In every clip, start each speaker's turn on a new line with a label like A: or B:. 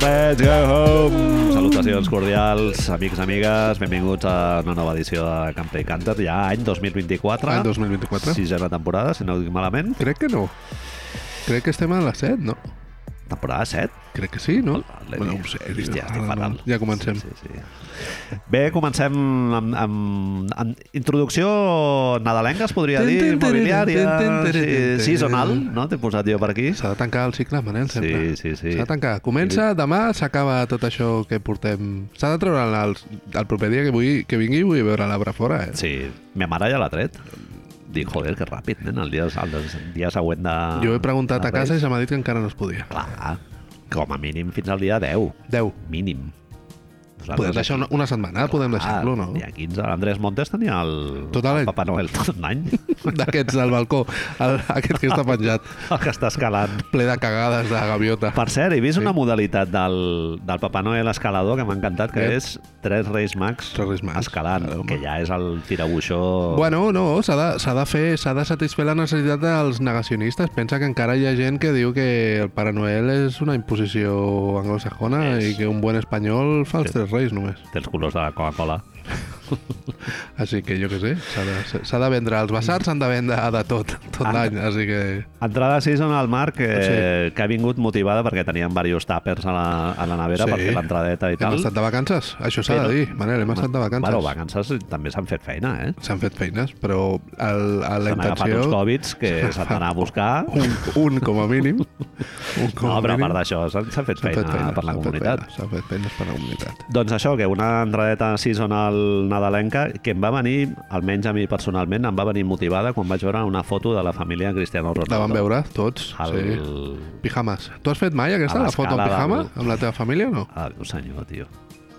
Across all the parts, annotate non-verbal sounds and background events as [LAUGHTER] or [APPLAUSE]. A: Let's go home! Salutacions cordials, amics, amigues, benvinguts a una nova edició de Can Play Cantat, ja any 2024.
B: Any 2024.
A: Sisena temporada, si no ho dic malament.
B: Crec que no. Crec que estem a la 7, no?
A: Temporada 7.
B: Crec que sí, no?
A: L'he dit.
B: no
A: Hòstia, estic
B: ara
A: fatal.
B: Ja comencem.
A: Sí, sí, sí. Bé, comencem amb, amb, amb introducció nadalenca, es podria
B: Ten,
A: dir,
B: ten, teren, ten,
A: immobiliària,
B: ten, teren,
A: sí, seasonal,
B: ten.
A: no? T'he posat jo per aquí.
B: S'ha de tancar el cicle, Manel, sempre.
A: Sí, sí, sí.
B: S'ha de tancar. Comença, demà s'acaba tot això que portem. S'ha de treure el, el proper dia que, vull, que vingui vull veure l'arbre fora, eh?
A: Sí, ma mare ja l'ha tret. Dic, joder, que ràpid, nen, el dia, el dia següent de...
B: Jo he preguntat
A: de
B: a casa i
A: Reis.
B: se m'ha dit que encara no es podia.
A: Clar, com a mínim fins al dia 10,
B: 10.
A: mínim. És la
B: Podem
A: cosa.
B: deixar una, una setmana, podem
A: Ah,
B: deixar-lo, no?
A: Dia 15, l'Andrés Montes tenia el,
B: Tot l'any.
A: el Papa Noel tot l'any, [LAUGHS] el
B: D'aquests del balcó, el, aquest que està penjat,
A: que està escalant.
B: ple de cagades de gaviota.
A: Per cert, he vist
B: Sí.
A: una modalitat del, del Papa Noel escalador que m'ha encantat, que
B: Què?
A: és tres reis mags,
B: Tres Reis Mags.
A: escalant,
B: Claro, home.
A: que ja és el tirabuixó...
B: Bueno, no, s'ha de, s'ha de fer, s'ha de satisfer la necessitat dels negacionistes. Pensa que encara hi ha gent que diu que el Pare Noel és una imposició anglosajona
A: És.
B: i que un bon espanyol fa els tres reis només.
A: Té els colors de la Coca-Cola.
B: Així que jo què sé, s'ha de, s'ha de vendre els basars, s'han de vendre de tot, tot
A: Ah.
B: l'any, així que...
A: Entrada season al mar que, sí. que ha vingut motivada perquè teníem diversos tàpers a la, a la nevera sí. per fer l'entradeta i
B: Hem
A: tal.
B: estat de vacances, això s'ha de dir, Manel, hem estat de vacances.
A: Bueno, vacances també s'han fet feina, eh?
B: S'han fet feines, però el, el, la
A: S'han agafat
B: intenció...
A: uns Covids que
B: [LAUGHS]
A: s'han d'anar a buscar.
B: Un, un com a
A: [LAUGHS]
B: mínim. Un com
A: No,
B: a
A: però a
B: mínim.
A: part d'això, s'han s'han fet,
B: S'han
A: feina
B: fet feines,
A: per la
B: s'han fet
A: comunitat.
B: feines, S'han fet feines per la comunitat.
A: Doncs això, que una entradeta seasonal nadalenca que em va venir, almenys a mi personalment, em va venir motivada quan vaig veure una foto de la família Cristiano
B: La van
A: Ronaldo.
B: veure tots,
A: al...
B: sí. Pijames. Tu has fet mai aquesta,
A: A
B: la foto en
A: l'escala
B: pijama,
A: del-
B: amb la teva família o no?
A: Adéu, senyor, tio.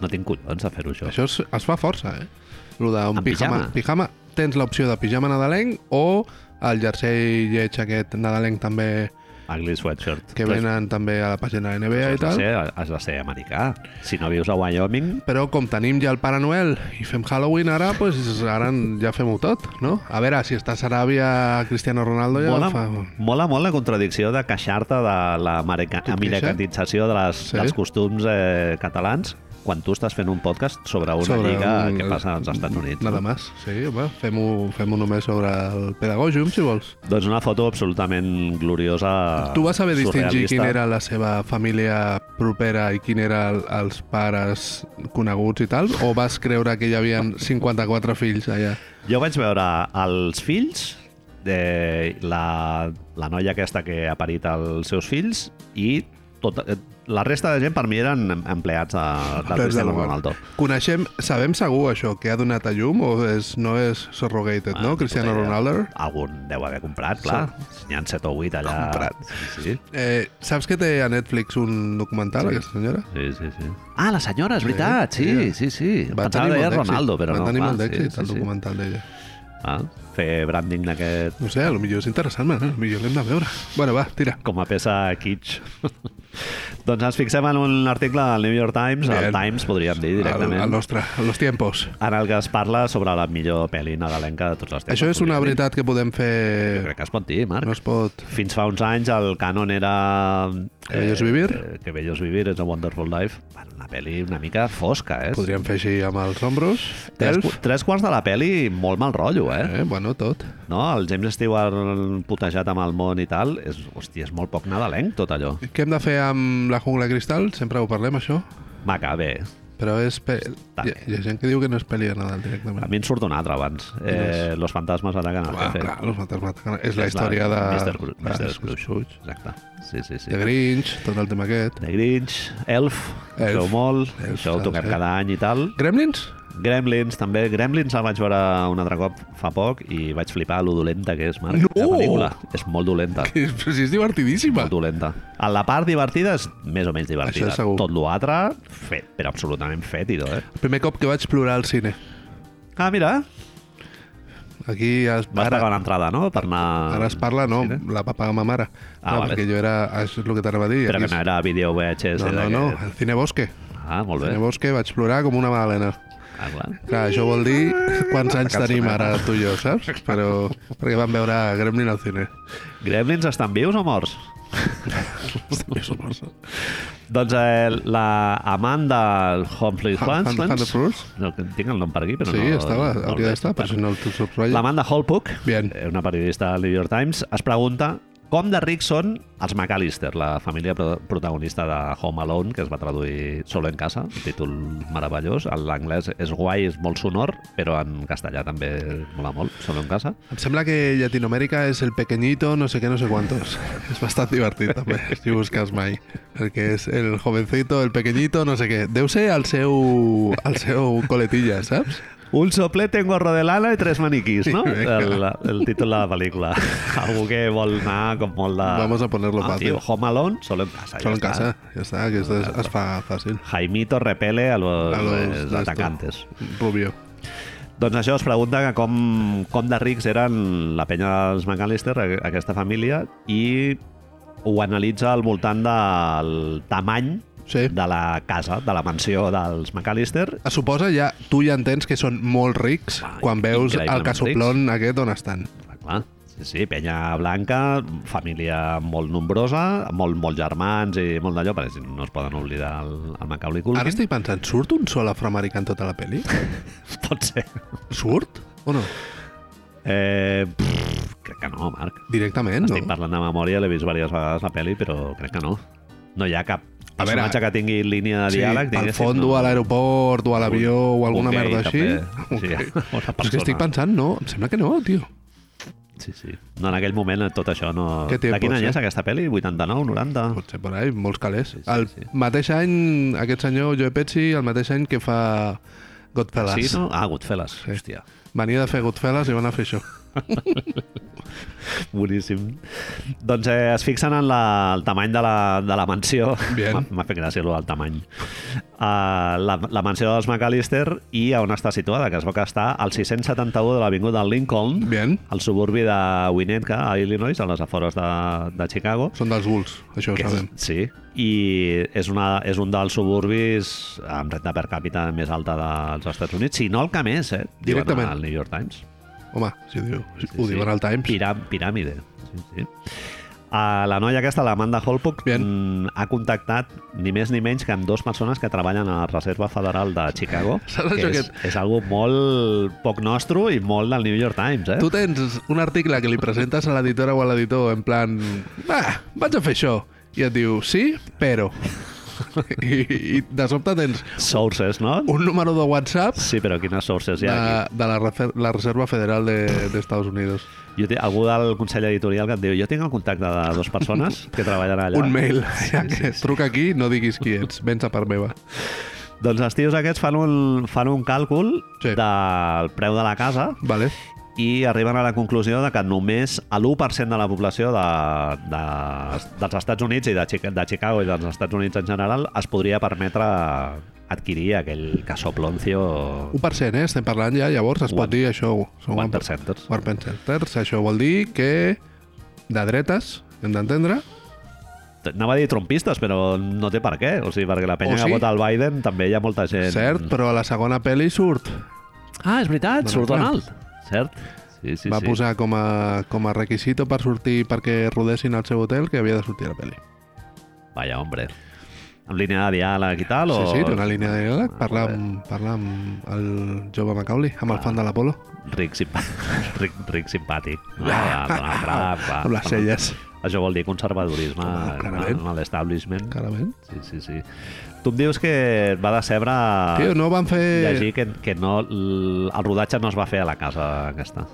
A: No tinc collons a fer-ho, això.
B: Això es, es fa força, eh? Lo d'un
A: En
B: pijama.
A: pijama?
B: Pijama, tens l'opció de pijama nadalenc o el jersei lleig aquest nadalenc també,
A: Ugly sweatshirt.
B: que venen també a la pàgina de NBA i
A: Has de,
B: tal.
A: ser, has de ser americà. Si no vius a Wyoming,
B: Però com tenim ja el Pare Noel i fem Halloween ara, doncs ara en- ja fem-ho tot, no? A veure, si estàs a Aràbia, Cristiano Ronaldo ja
A: mola,
B: fa...
A: mola molt la contradicció de queixar-te de
B: Tu et
A: l'americatització de les,
B: Sí.
A: sí. dels costums eh, catalans quan tu estàs fent un podcast sobre una sobre lliga un... que passa als Estats Units.
B: Nada
A: no?
B: més, sí, home, fem-ho fem només sobre el pedagògium, si vols.
A: Doncs una foto absolutament gloriosa,
B: Tu vas saber distingir
A: surrealista.
B: quina era la seva família propera i quin era el, els pares coneguts i tal? O vas creure que hi havia 54 fills allà?
A: Jo vaig veure els fills, de la, la noia aquesta que ha parit els seus fills i tot, eh, la resta de gent per mi eren em- empleats de, de Cristiano Ronaldo.
B: Coneixem, sabem segur això, que ha donat a llum o és, no és surrogated,
A: Ah,
B: no,
A: ni
B: Cristiano
A: puta idea.
B: Ronaldo?
A: Algun deu haver comprat, clar. N'hi ha 7 o 8 allà.
B: Comprat.
A: Sí, sí.
B: Eh, saps que té a Netflix un documental,
A: Sí.
B: sí. aquesta senyora?
A: Sí, sí, sí. Ah, la senyora, és veritat, sí,
B: ella.
A: sí, sí. Em Pensava que
B: molt
A: era
B: d'èxit,
A: Ronaldo, però
B: va
A: no.
B: tenir
A: clar,
B: molt d'èxit, el
A: sí, sí, sí.
B: documental d'ella.
A: Ah, fer branding d'aquest
B: No sé, a lo millor és interessant, Manel, a lo millor l'hem de veure. Bueno, va, tira.
A: com a peça kitsch. [LAUGHS] doncs ens fixem en un article del New York Times, el
B: Bien.
A: Times podríem dir
B: Al, al
A: directament,
B: nostre, a los tiempos.
A: en el que es parla sobre la millor pel·li nadalenca de tots els temps.
B: Això és una veritat que podem
A: Jo
B: fer...
A: crec que es pot dir, Marc.
B: No es pot...
A: Fins fa uns anys el cànon era...
B: Que bello es vivir.
A: Eh, que Bellos Vivir, és a Wonderful Life. Bueno, una pel·li una mica fosca, eh?
B: Podríem fer així amb els ombros.
A: Tres,
B: Elf.
A: tres quarts de la pel·li, molt mal rotllo, eh?
B: Eh, bueno, tot.
A: No, el James Stewart putejat amb el món i tal, és, hòstia, és molt poc nadalenc tot allò.
B: Què hem de fer amb la jungla cristal? Sempre ho parlem, això.
A: Maca, bé,
B: Però és... Pe... Hi, ha- hi ha gent que diu que no és pel·li de
A: a
B: Nadal directament.
A: mi en surt un altre abans. Eh, los fantasmes ataquen al
B: Ah,
A: jefe.
B: clar, los mates maten. És la història de...
A: Mr. Gru-
B: de-
A: Mr. Scrooge. Exacte, sí, sí, sí.
B: De Grinch, tot el tema aquest.
A: The Grinch, Elf,
B: Elf.
A: Elf. molt,
B: Elf,
A: això ho toquem
B: eh?
A: cada any i tal.
B: Gremlins? [LAUGHS]
A: Gremlins, també. Gremlins el vaig veure un altre cop fa poc i vaig flipar lo dolenta que és, Marc.
B: No!
A: La pel·lícula és molt dolenta.
B: Que és, però si és divertidíssima.
A: molt dolenta. A la part divertida és més o menys divertida.
B: Això segur.
A: Tot l'altre, fet, però absolutament fètido, eh?
B: El primer cop que vaig plorar al cine.
A: Ah, mira,
B: Aquí es,
A: vas
B: ara,
A: pagar una entrada, no?, per anar...
B: ara es parla, no,
A: Cine?
B: la va pagar ma mare.
A: Ah,
B: no,
A: vale.
B: perquè jo era... Això és el que t'anava a dir.
A: Però
B: Aquí
A: que no era vídeo VHS.
B: No, no,
A: d'aquest.
B: no, al Cine Bosque.
A: Ah, molt bé.
B: Cine Bosque vaig plorar com una magdalena.
A: Ah, clar.
B: Clar, això
A: [LAUGHS]
B: vol dir quants anys tenim ara tu i jo, saps? Però perquè vam veure Gremlin al cine.
A: Gremlins estan vius o morts? Doncs eh, la Amanda Humphreys
B: Han- Han-
A: Hanslands-
B: Hanfrus?
A: No, que tinc el nom per aquí, però
B: Sí,
A: no...
B: estava,
A: no el
B: hauria
A: veig.
B: d'estar, però si no el subscriu.
A: L'Amanda Holpook,
B: Bien.
A: eh, una periodista del New York Times, es pregunta com de rics són els McAllister, la família pro- protagonista de Home Alone, que es va traduir Solo en casa, un títol meravellós. En l'anglès és guai, és molt sonor, però en castellà també mola molt, Solo en casa.
B: Em sembla que Llatinoamèrica és el pequeñito, no sé què, no sé cuántos. [LAUGHS] És bastant divertit, també, [LAUGHS] si busques mai. Perquè és el jovencito, el pequeñito, no sé què. Deu ser el seu, el seu coletilla, saps?
A: Un soplete, un gorro de lana i tres maniquís, no?
B: Sí, vinga.
A: El, el títol de la pel·lícula. [LAUGHS] Algú que vol anar com molt de...
B: Vamos a ponerlo
A: ah,
B: fácil.
A: tio, Home Alone, Solo en casa.
B: Solo en
A: està.
B: casa, ja està, que esto es, es fa fàcil.
A: Jaimito repele a los,
B: A los de
A: eh,
B: esto.
A: atacantes.
B: Rubio.
A: Doncs això es pregunta que com, com de rics eren la penya dels McAllister, a- aquesta família, i ho analitza al voltant del tamany
B: Sí.
A: de la casa, de la mansió dels McAllister.
B: Es suposa ja, tu ja entens que són molt rics
A: Ah,
B: quan veus el
A: increïblement
B: casoplón aquest on estan.
A: Clar, clar. Sí, sí, penya blanca, família molt nombrosa, molt, molt germans i molt d'allò, perquè si no es poden oblidar el, el Macaulay
B: Ara
A: Culkin.
B: estic pensant, surt un sol afroamericà en tota la pel·li?
A: [LAUGHS] Pot ser.
B: Surt? O no?
A: Eh, pff, crec que no, Marc.
B: Directament,
A: Estic
B: no?
A: parlant de memòria, l'he vist diverses vegades la pel·li, però crec que no. No hi ha cap
B: A veure,
A: personatge que tingui línia de diàleg.
B: al
A: diguéssim,
B: fondo,
A: no.
B: a l'aeroport, o a l'avió, o alguna
A: Un gay,
B: merda així.
A: també.
B: Un gay.
A: Sí, [LAUGHS] una
B: Però és que estic
A: persona.
B: pensant, no, em sembla que no, tio.
A: Sí, sí. No, en aquell moment tot això no...
B: Què té,
A: de quin
B: pot
A: any
B: ser?
A: és aquesta pel·li? 89, 90?
B: Potser per ahí, molts calés.
A: Sí, sí,
B: El
A: sí.
B: mateix any, aquest senyor Joe Pesci, el mateix any que fa Godfellas.
A: Sí, no? Ah, Goodfellas.
B: Sí.
A: Hòstia. [LAUGHS]
B: Venia de fer Godfellas i van a fer això.
A: Boníssim. Doncs eh, es fixen en la, el tamany de la, de la mansió.
B: Bien.
A: [LAUGHS] M'ha- M'ha fet gràcia allò del tamany. Uh, la, la mansió dels McAllister i on està situada, que es veu que està al 671 de l'Avinguda Lincoln,
B: Bien.
A: al suburbi de Winnetka, a Illinois, a les afores de, de Chicago.
B: Són dels Bulls, això ho
A: Que és,
B: sabem.
A: sí, i és, una, és un dels suburbis amb renta per càpita més alta dels Estats Units, si no el que més, eh? diuen
B: Directament.
A: Al New York Times.
B: Home, si ho, diu, ho diuen al Times.
A: Piram, piràmide. Sí, sí. A la noia aquesta, l'Amanda Holpook,
B: Bien.
A: mm, ha contactat ni més ni menys que amb dues persones que treballen a la Reserva Federal de Chicago,
B: [LAUGHS] Saps
A: que
B: això
A: és, és algo molt poc nostre i molt del New York Times, eh?
B: Tu tens un article que li presentes a l'editora o a l'editor en plan, va, vaig a fer això. I et diu, sí, però. [LAUGHS] I, i de sobte tens
A: Sources, no?
B: un número de WhatsApp
A: Sí, però quines sources hi
B: de,
A: ha aquí?
B: de la, Refer- la Reserva Federal de- d'Estats de, Units.
A: Jo tinc algú del Consell Editorial que et diu jo tinc el contacte de dues persones
B: [LAUGHS]
A: que treballen allà.
B: Un mail. [LAUGHS] Ja que Truca aquí, no diguis qui ets. Vens a part meva.
A: Doncs els tios aquests fan un, fan un càlcul
B: Sí.
A: del preu de la casa
B: Vale.
A: i arriben a la conclusió de que només l'1% de la població de, de, dels Estats Units i de, Chica- de Chicago i dels Estats Units en general es podria permetre adquirir aquell casoploncio
B: 1%, eh? Estem parlant ja, llavors es pot
A: One-
B: dir això. Són
A: one percenters.
B: One percenters. Això vol dir que de dretes, hem d'entendre,
A: Anava a dir trompistes, però no té per què. O sigui, perquè la penya
B: O
A: que
B: sí.
A: vota el Biden també hi ha molta gent...
B: cert, però a la segona pel·li surt
A: Ah, és veritat,
B: Donald
A: surt
B: Trump.
A: Donald. Cert. Sí, sí,
B: va
A: sí.
B: posar com a, com a requisito per sortir perquè rodessin al seu hotel que havia de sortir a la pel·li.
A: Vaya, hombre. Amb línia de diàleg i tal?
B: Sí,
A: O...
B: sí, té una línia de diàleg,
A: Ah,
B: parlar
A: molt
B: amb, parlar amb el jove Macaulay, amb el fan de l'Apolo,
A: bé. Ric, simpa... [LAUGHS] ric, ric
B: [LAUGHS]
A: simpàtic. No, Ah, va, Donald Trump, va.
B: amb les celles.
A: Això vol dir conservadorisme
B: Home,
A: en-
B: clarament.
A: en l'establishment.
B: Clarament.
A: Sí, sí, sí. Tu em dius que et va decebre
B: Tio, no eh, van fer...
A: llegir que, que no, l- el rodatge no es va fer a la casa aquesta.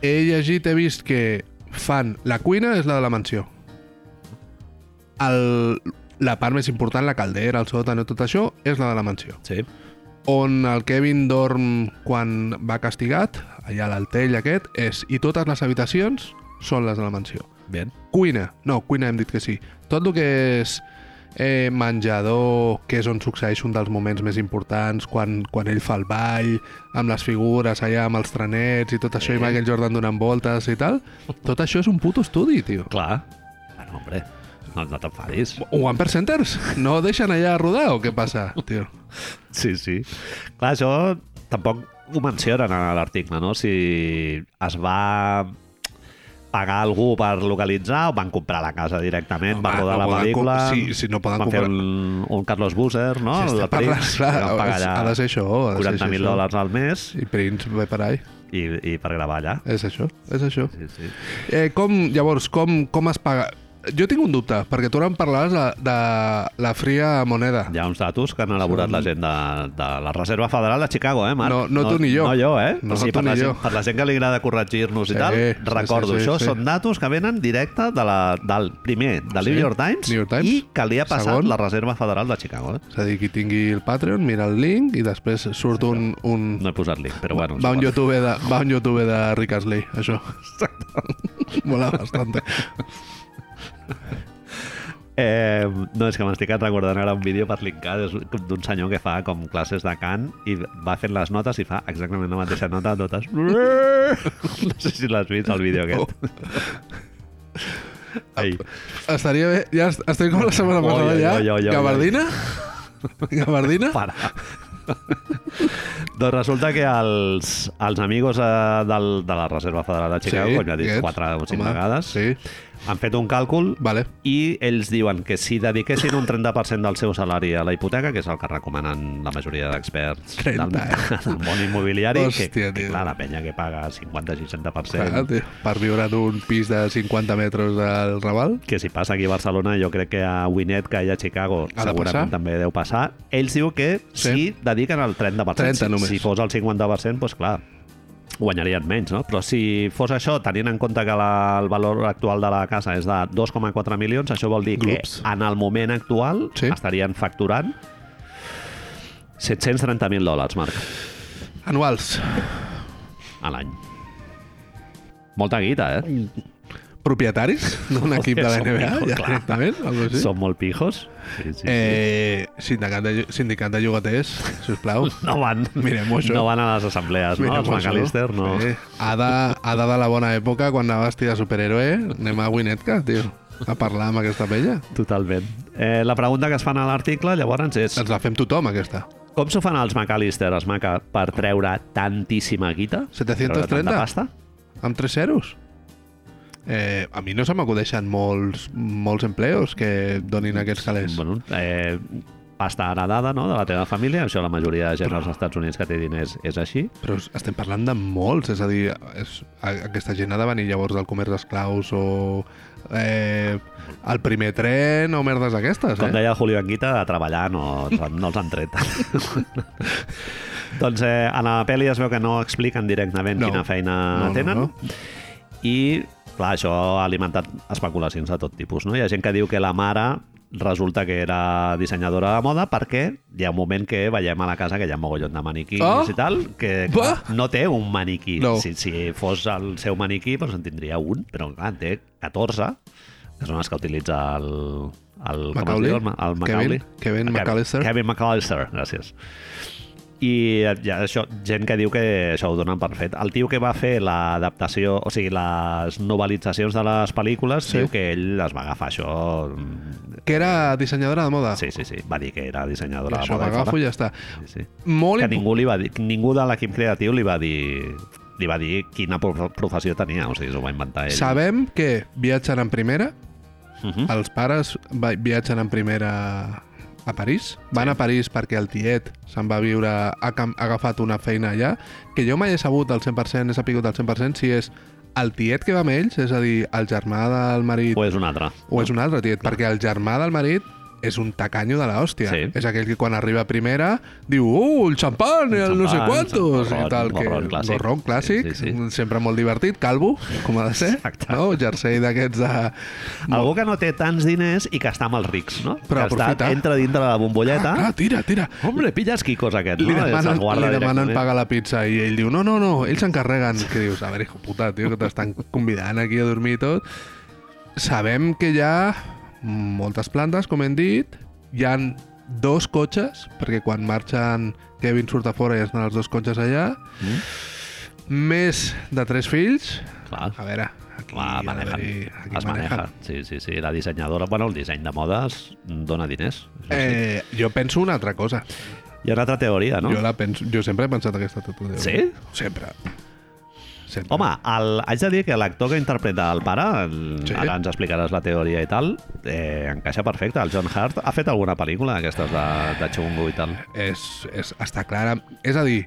B: He llegit, he vist que fan... La cuina és la de la mansió. El, la part més important, la caldera, el sòtano, tot això, és la de la mansió.
A: Sí.
B: on el Kevin dorm quan va castigat, allà a l'altell aquest, és, i totes les habitacions són les de la mansió.
A: Ben.
B: Cuina, no, cuina hem dit que sí. Tot el que és eh, menjador, que és on succeeix un dels moments més importants, quan, quan ell fa el ball, amb les figures allà, amb els trenets i tot això, i Michael Jordan donant voltes i tal, tot això és un puto estudi, tio.
A: Clar. Bueno, hombre, no, no t'enfadis.
B: One Percenters? No deixen allà a rodar o què passa, tio?
A: Sí, sí. Clar, això tampoc ho mencionen a l'article, no? Si es va... pagar algú per localitzar o van comprar la casa directament, van
B: Home,
A: rodar
B: no
A: la
B: poden
A: pel·lícula...
B: com- si- si no poden
A: van fer
B: comprar-
A: un, un Carlos Busser, no?
B: Si està
A: El Prince,
B: parlant, clar,
A: que van pagar
B: ha de-
A: allà
B: ha de ser això, ha de ser
A: 40.000
B: això.
A: dòlars al mes
B: I Prince ve per ahí.
A: i, i per gravar allà.
B: És això, és això.
A: Sí, sí.
B: Eh, com, llavors, com, com es paga? Jo tinc un dubte, perquè tu ara em parlaves de, de la fria moneda.
A: Hi ha uns datos que han elaborat la gent de, de la Reserva Federal de Chicago, eh, Marc?
B: No- no tu ni jo.
A: No jo, eh?
B: No
A: o sigui,
B: tu
A: per, la
B: ni
A: gent,
B: jo.
A: per la gent que li agrada corregir-nos
B: Sí,
A: i tal,
B: sí, sí,
A: recordo,
B: sí,
A: això
B: sí.
A: són datos que venen directe de la, del primer, de
B: Sí,
A: New York Times,
B: New York Times.
A: i que li ha passat
B: Segon.
A: la Reserva Federal de Chicago. Eh?
B: És a dir, qui tingui el Patreon, mira el link i després surt un... un...
A: No he posat link, però bueno.
B: Va un,
A: suposo.
B: youtuber de, va un youtuber de Rick Astley, això. Mola bastante.
A: Eh, no, és que m'estic recordant ara un vídeo per linkar és d'un senyor que fa com classes de cant i va fent les notes i fa exactament la mateixa nota a totes. [LAUGHS] No sé si l'has vist, el vídeo [LAUGHS] aquest. Ai,
B: Estaria bé... Ja est- estem com la setmana
A: Oi,
B: passada
A: oi,
B: ja.
A: oi, oi, oi,
B: Gabardina? Gabardina?
A: para. doncs resulta que els, els amigos eh, del, de la Reserva Federal de Chicago, com ja he dit
B: aquests.
A: quatre o cinc
B: Home,
A: vegades,
B: Sí,
A: han fet un càlcul
B: vale.
A: i ells diuen que si dediquessin un 30% del seu salari a la hipoteca, que és el que recomanen la majoria d'experts del,
B: 30, eh?
A: [LAUGHS] del món immobiliari,
B: Hòstia,
A: que, que
B: tio.
A: clar, la penya que paga 50-60%,
B: Clar, tio, per viure en un pis de 50 metres del Raval?
A: que si passa aquí a Barcelona, jo crec que a Winnet, que hi ha a Chicago,
B: Ha de
A: segurament
B: passar.
A: també deu passar. Ells diu que
B: Sí.
A: sí. si dediquen el 30%.
B: 30
A: Si-
B: només.
A: Si fos el 50%, doncs clar, guanyarien menys, no? Però si fos això, tenint en compte que la, el valor actual de la casa és de 2,4 milions, això vol dir
B: Glups.
A: que en el moment actual
B: Sí.
A: sí. estarien facturant 730.000 dòlars, Marc,
B: Anuals.
A: a l'any. Molta guita, eh?
B: Propietaris d'un equip de la
A: som
B: NBA,
A: pijos,
B: ja
A: clar.
B: directament? Algo
A: Sí?
B: així?
A: Som molt pijos. Sí, sí,
B: Eh, sindicat, de, llo- sindicat de llogaters, si us plau.
A: No van,
B: Mirem-ho, això.
A: no van a les assemblees, no? Els
B: Mirem-ho, això.
A: McAllister no.
B: Sí. Ada, Ada de la bona època, quan anaves tira superhéroe, anem a Winnetka, tio, a parlar amb aquesta pella.
A: Totalment. Eh, la pregunta que es fan a l'article, llavors, és
B: Ens la fem tothom, aquesta.
A: com s'ho fan els McAllister, els Maca, per treure tantíssima guita?
B: 730?
A: Treure tanta pasta?
B: Amb tres zeros. Eh, a mi no se m'acudeixen molts, molts empleos que donin aquests calés.
A: Bueno, eh, pasta heredada no? de la teva família, això la majoria de gent als Estats Units que té diners és així.
B: Però estem parlant de molts, és a dir, és, a- aquesta gent ha de venir llavors del comerç d'esclaus o eh, el primer tren o merdes d'aquestes,
A: Com
B: eh?
A: deia el Julio Anguita, a treballar no, els han- no els han tret.
B: [LAUGHS]
A: doncs eh, a la pel·li es veu que no expliquen directament
B: No.
A: quina feina
B: No, no,
A: tenen.
B: no.
A: I, clar, això ha alimentat especulacions de tot tipus, no? Hi ha gent que diu que la mare resulta que era dissenyadora de moda perquè hi ha un moment que veiem a la casa que hi ha mogollon de maniquís
B: Ah!
A: i tal, que
B: Va!
A: clar, no té un maniquí.
B: No.
A: Si, si fos el seu maniquí, doncs en tindria un, però clar, en té 14, que són els que utilitza el... el com es
B: Macaulay?
A: diu? El, Ma- el Macaulay.
B: Kevin- Kevin McAllister?
A: Kevin McAllister, gràcies. I hi ha això, gent que diu que això ho donen per fet. El tio que va fer l'adaptació, o sigui, les novel·litzacions de les pel·lícules,
B: Sí.
A: sí. diu que ell es va agafar això... mm,
B: Que era dissenyadora de moda.
A: Sí, sí, sí. Va dir que era dissenyadora
B: Això
A: de moda. i
B: m'agafo
A: fora.
B: i ja està.
A: Sí, sí.
B: Molt
A: Que
B: impo-
A: ningú, li va dir, ningú de l'equip creatiu li va dir li va dir quina prof- professió tenia, o sigui, s'ho va inventar ell.
B: Sabem que viatgen en primera,
A: Uh
B: els pares va- viatgen en primera a París. Van a París perquè el tiet se'n va viure, ha, cam- ha agafat una feina allà, que jo mai he sabut al 100%, he sapigut al 100% si és el tiet que va amb ells, és a dir, el germà del marit,
A: O és un altre.
B: o és un altre tiet, perquè el germà del marit és un tacanyo de l'hòstia.
A: Sí.
B: És aquell que quan arriba a primera diu uh, el xampan, el, el no sé
A: xampan,
B: quantos,
A: el
B: i tal. que,
A: gorrón clàssic.
B: Gorron clàssic,
A: Sí, sí, sí.
B: sempre molt divertit, calvo, com ha de ser,
A: Exacte.
B: no? jersei d'aquests de...
A: Algú que no té tants diners i que està amb els rics, no?
B: Però
A: que
B: aprofita.
A: està, entra dintre de la bombolleta.
B: Ah, tira, tira.
A: Hombre, pilla els quicos aquests,
B: Li
A: no? I se'ls
B: demanen,
A: guarda
B: li demanen
A: directament.
B: pagar la pizza i ell diu, no, no, no, ells s'encarreguen. Que dius, a veure, hijo puta, tio, que t'estan convidant aquí a dormir i tot. Sabem que hi ha moltes plantes, com hem dit, hi han dos cotxes, perquè quan marxen Kevin surt a fora i estan els dos cotxes allà,
A: Mm?
B: més de tres fills,
A: Clar.
B: a veure, aquí,
A: Clar,
B: ha
A: maneja.
B: d'haver-hi- aquí
A: Es maneja. Sí, sí, sí. La dissenyadora... Bueno, el disseny de modes dona diners. Això sí.
B: Eh, jo penso una altra cosa.
A: Hi ha una altra teoria, no?
B: Jo, la penso, jo sempre he pensat aquesta teoria.
A: Sí?
B: Sempre. Sempre.
A: Home, el, haig de dir que l'actor que interpreta el pare, el,
B: Sí.
A: sí. ara ens explicaràs la teoria i tal, eh, encaixa perfecte. El John Hart ha fet alguna pel·lícula d'aquestes de, de Chungo i tal.
B: És, és, està clara. És a dir,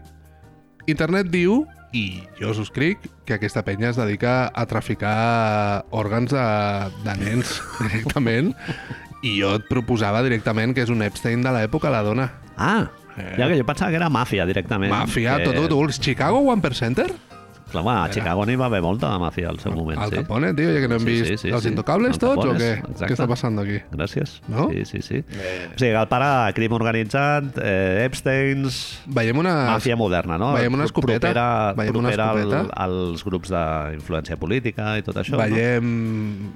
B: internet diu, i jo subscric, que aquesta penya es dedica a traficar òrgans de, de nens [LAUGHS] directament. I jo et proposava directament que és un Epstein de l'època, la dona.
A: Ah, ja que jo pensava que era màfia directament.
B: Màfia,
A: que...
B: tot, tot, tot. Chicago One Percenter?
A: Clar, home, a Chicago n'hi va haver molta de màfia al seu moment,
B: Al
A: sí.
B: Capone, tio, ja que no hem
A: Sí,
B: vist
A: sí, sí,
B: els
A: sí.
B: intocables
A: Al
B: tots, o
A: Capones,
B: què?
A: exacte.
B: Què està passant aquí?
A: Gràcies.
B: No?
A: Sí, sí, sí. O sigui, el pare, crim organitzat, eh, Epsteins,
B: Veiem una...
A: màfia moderna, no?
B: Ah, veiem una escopeta,
A: Propera,
B: veiem una
A: propera al,
B: escopeta.
A: als grups d'influència política i tot això,
B: Veiem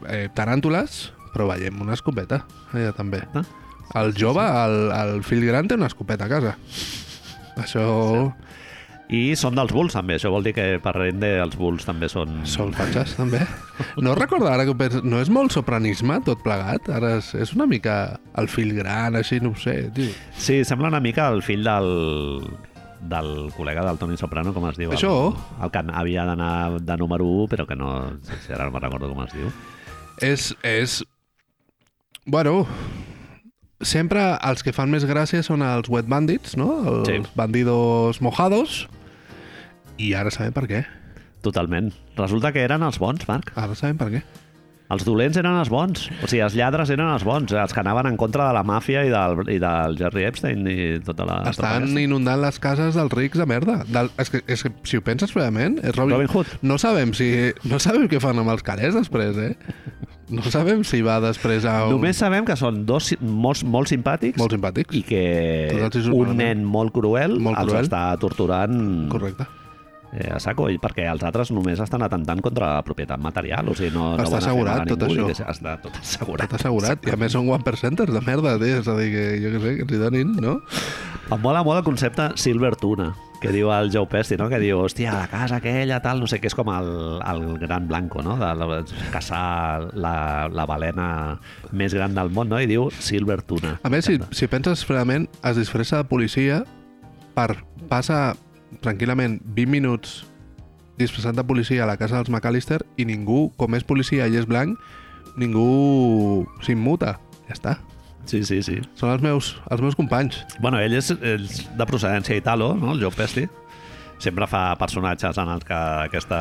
B: eh, taràntules, però veiem una escopeta, ella també.
A: no? Ah?
B: El jove, el, el fill gran, té una escopeta a casa. Això...
A: I són dels Bulls, també. Això vol dir que per rende els Bulls també són...
B: Són fatxes, també. No recordo ara que ho penso... No és molt sopranisme, tot plegat? Ara és, és una mica el fill gran, així, no ho sé, tio.
A: Sí, sembla una mica el fill del del col·lega del Toni Soprano, com es diu?
B: Això?
A: El, el que havia d'anar de número 1, però que no... si Ara no me'n recordo com es diu.
B: És, és... Bueno, sempre els que fan més gràcia són els wet bandits, no? Els
A: Sí.
B: bandidos mojados. I ara sabem per què.
A: Totalment. Resulta que eren els bons, Marc.
B: Ara sabem per què.
A: Els dolents eren els bons. O sigui, els lladres eren els bons, els que anaven en contra de la màfia i del, i del Jerry Epstein i tota la...
B: Estan
A: propaganda.
B: inundant les cases dels rics de merda. Del, és, que, és que, si ho penses fredament, és Robin,
A: Robin Hood.
B: No sabem, si, no sabem què fan amb els calés després, eh? No sabem si va després a un...
A: Només sabem que són dos si- molt, molt simpàtics
B: Molt simpàtics.
A: i que
B: Tots els hi
A: un
B: sorprenen.
A: nen molt cruel
B: Molt
A: els
B: cruel.
A: està torturant
B: Correcte.
A: eh, a saco, i perquè els altres només estan atentant contra la propietat material. O sigui, no, no
B: Està
A: van a fer
B: assegurat,
A: mal a
B: tot
A: ningú,
B: això.
A: i que Està tot assegurat.
B: Tot assegurat. I a més són one percenters de merda, tio. És a dir, que jo què sé, que ens hi donin, no?
A: Em mola molt el concepte Silver Tuna, que diu el Joe Pesci, no? que diu, hòstia, la casa aquella, tal, no sé què, és com el, el gran blanco, no? de, la- caçar la, la balena més gran del món, no? i diu Silver Tuna.
B: A més, si, si penses fredament, es disfressa de policia per passar tranquil·lament 20 minuts disfressat de policia a la casa dels McAllister i ningú, com és policia i és blanc, ningú s'immuta. Ja està.
A: Sí, sí, sí.
B: Són els meus, els meus companys.
A: Bueno, ell és, és de procedència italo, no? el Joe Pesci. Sempre fa personatges en els que aquesta,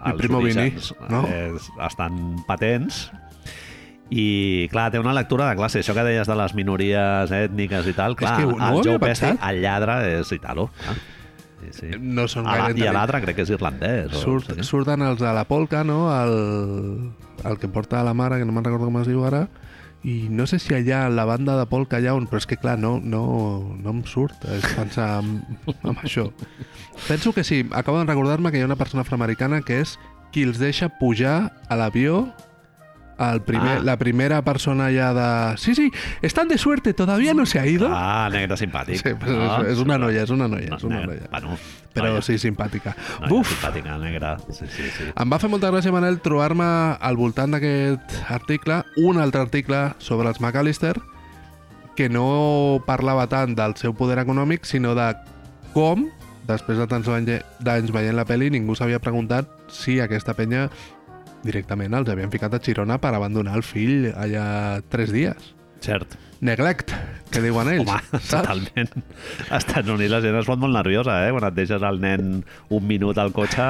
B: El
A: els
B: Primo Vini,
A: orígens,
B: no?
A: és, estan patents. I, clar, té una lectura de classe. Això que deies de les minories ètniques i tal, clar,
B: que no ho
A: el
B: havia
A: Joe Pesci,
B: pensat. Eh,
A: el lladre, és italo. clar. Sí, sí.
B: No són
A: A la,
B: gaire
A: I
B: intel·ligents.
A: l'altre crec que és irlandès. o
B: Surt,
A: no sé què.
B: surten els de la polca, no? El, el que porta la mare, que no me'n recordo com es diu ara, i no sé si allà, a la banda de polca, allà on... Però és que, clar, no, no, no em surt és pensar en, en això. Penso que sí. Acabo de recordar-me que hi ha una persona afroamericana que és qui els deixa pujar a l'avió el primer,
A: Ah.
B: ah. la primera persona ja de... Sí, sí, estan de suerte, todavía no se ha ido.
A: Ah, negre simpàtic.
B: ah, Sí, però
A: No?
B: és, és una noia, és una noia,
A: No,
B: és una
A: negre.
B: noia.
A: Bueno,
B: Però
A: noia,
B: sí, simpàtica.
A: noia
B: Buf!
A: Simpàtica, negra. Sí, sí, sí.
B: Em va fer molta gràcia, Manel, trobar-me al voltant d'aquest article, un altre article sobre els McAllister, que no parlava tant del seu poder econòmic, sinó de com, després de tants venge- d'anys veient la pel·li, ningú s'havia preguntat si aquesta penya directament els havien ficat a Girona per abandonar el fill allà tres dies.
A: Cert.
B: Neglect, que diuen ells.
A: Home, totalment. Als Estats Units la gent es pot molt nerviosa, eh? Quan et deixes el nen un minut al cotxe,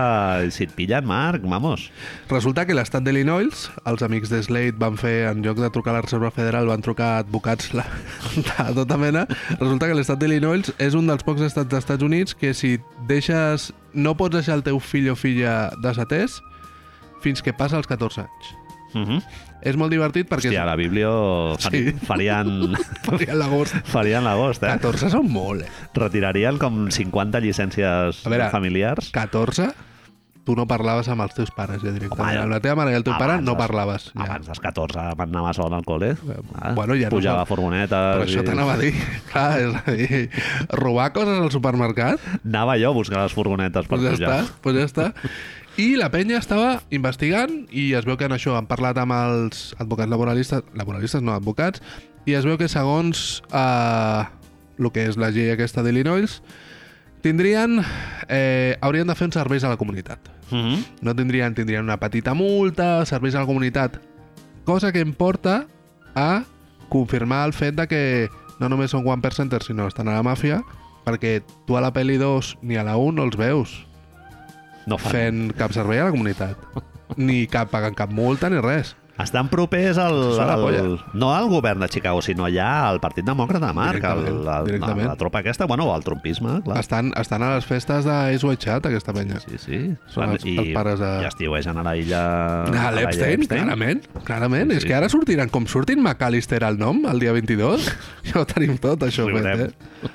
A: si et pillen, Marc, vamos.
B: Resulta que l'estat d'Illinois, els amics de Slade van fer, en lloc de trucar a la Reserva Federal, van trucar a advocats la, [LAUGHS] de tota mena. Resulta que l'estat d'Illinois és un dels pocs estats dels Estats Units que si deixes... no pots deixar el teu fill o filla desatès fins que passa els 14 anys.
A: Uh -huh.
B: És molt divertit perquè... [LAUGHS]
A: Hòstia, a la Biblio fari,
B: Mhm. Sí. [LAUGHS]
A: farien, [LAUGHS]
B: Hòstia, l'agost.
A: farien l'agost, eh?
B: 14 són molt, eh?
A: Retirarien com 50 llicències
B: A veure,
A: familiars.
B: 14? Tu no parlaves amb els teus pares, ja directament.
A: Home,
B: amb la teva mare i el teu pare
A: abans
B: no
A: dels-
B: parlaves. Eh,
A: Ja. Abans dels 14 van anar sol al col·le. Ah,
B: bueno, ja no
A: pujava
B: fa-
A: a furgonetes.
B: Però això
A: i-
B: t'anava a dir. [LAUGHS] Clar, és a dir, robar coses al supermercat,
A: Anava jo a buscar les furgonetes per
B: doncs ja està,
A: pujar.
B: doncs ja està. I la penya estava investigant i es veu que en això han parlat amb els advocats laboralistes, laboralistes no, advocats, i es veu que segons eh, el que és la llei aquesta d'Illinois, Tindrien... Eh, haurien de fer uns serveis a la comunitat.
A: Mm -hmm.
B: No tindrien, tindrien una petita multa, serveis a la comunitat, cosa que em porta a confirmar el fet de que no només són One Percenters, sinó estan a la màfia, perquè tu a la pel·li 2 ni a la 1 no els veus
A: No fan. Fent...
B: fent cap servei a la comunitat. Ni cap pagant cap multa ni res.
A: Estan propers al,
B: Són la
A: al...
B: polla.
A: No al govern de Chicago, sinó ja al Partit Demòcrata Marc,
B: Directament,
A: el, el, la,
B: directament.
A: la tropa aquesta, bueno, el trumpisme, clar.
B: Estan, estan a les festes d'Ace White Chat, aquesta penya.
A: Sí, sí.
B: Són
A: Clar,
B: els- els pares de-
A: I estiuegen a la illa...
B: A Ah, l'Epstein, clarament, clarament.
A: Sí,
B: És
A: sí.
B: que ara sortiran, com surtin McAllister al nom el dia 22, [LAUGHS] ja ho tenim tot, això.
A: Riurem.
B: Fet, eh?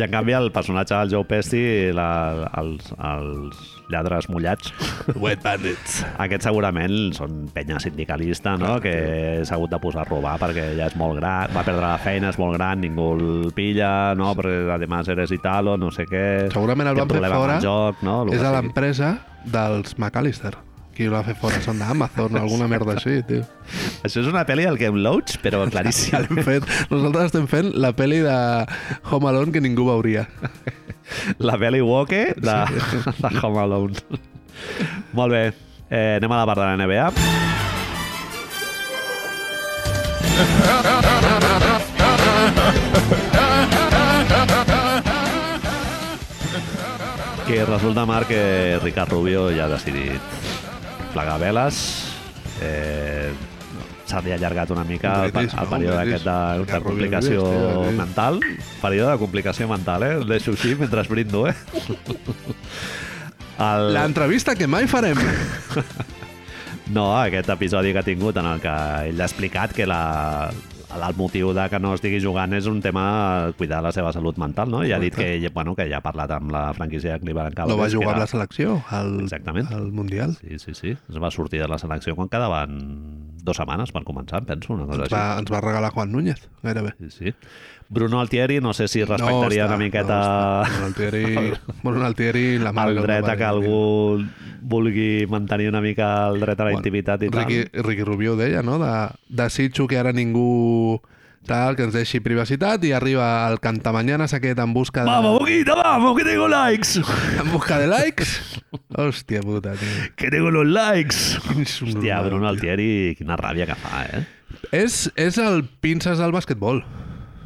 A: I en canvi el personatge del Joe Pesci, la, els, els lladres mullats,
B: Wet Bandits.
A: aquests segurament són penya sindicalista, no? que s'ha hagut de posar a robar perquè ja és molt gran, va perdre la feina, és molt gran, ningú el pilla, no? perquè además eres italo, no sé què...
B: Segurament el
A: té
B: van fer
A: problema amb
B: fora.
A: El joc, no? El
B: és
A: que
B: a
A: sigui.
B: l'empresa dels McAllister. Qui el va fer fora són d'Amazon o alguna merda així, tio.
A: Això és una pel·li del Game Loach, però
B: [LAUGHS]
A: claríssim.
B: Ja l'hem fet. Nosaltres estem fent la pel·li de Home Alone que ningú veuria.
A: La Belly Walker de, de Home Alone. Molt bé. Eh, anem a la part de la NBA. Que resulta, Marc, que Ricard Rubio ja ha decidit plegar veles. Eh, S'ha allargat una mica el, pe-
B: Retris,
A: el
B: no?
A: període
B: Retris.
A: aquest de, de
B: Ricard Rubio,
A: complicació
B: hòstia, retris.
A: mental. Període de complicació mental, eh? El deixo així mentre brindo, eh? El...
B: L'entrevista que mai farem.
A: No, aquest episodi que ha tingut en el que ell ha explicat que la, el motiu de que no estigui jugant és un tema cuidar la seva salut mental, no? I ha dit que, bueno, que ja ha parlat amb la franquícia de Cleveland Cavaliers.
B: No va
A: que
B: jugar
A: era-
B: amb la selecció al,
A: Exactament.
B: al Mundial.
A: Sí, sí, sí. Es va sortir de la selecció quan quedaven dues setmanes per començar, em penso, una cosa
B: Ens
A: així.
B: Doncs va, ens va regalar Juan Núñez, gairebé.
A: Sí, sí. Bruno Altieri, no sé si respectaria
B: està,
A: una miqueta...
B: No està. Bonaltieri, Bonaltieri, la mà
A: el dret a que algú vulgui mantenir una mica el dret a la
B: Bueno,
A: intimitat i
B: Ricky, eh,
A: tal.
B: Ricky Rubio ho deia, no? De, desitjo que ara ningú tal, que ens deixi privacitat i arriba el cantamanyanes aquest en busca de,
A: Vamos, Boquita, vamos, que tengo likes.
B: en busca de likes. Hòstia puta, tio.
A: Que tengo los likes.
B: Quins
A: Hòstia,
B: subnormals,
A: Bruno
B: tio.
A: Altieri, quina ràbia que fa, eh?
B: És, és el pinces del basquetbol.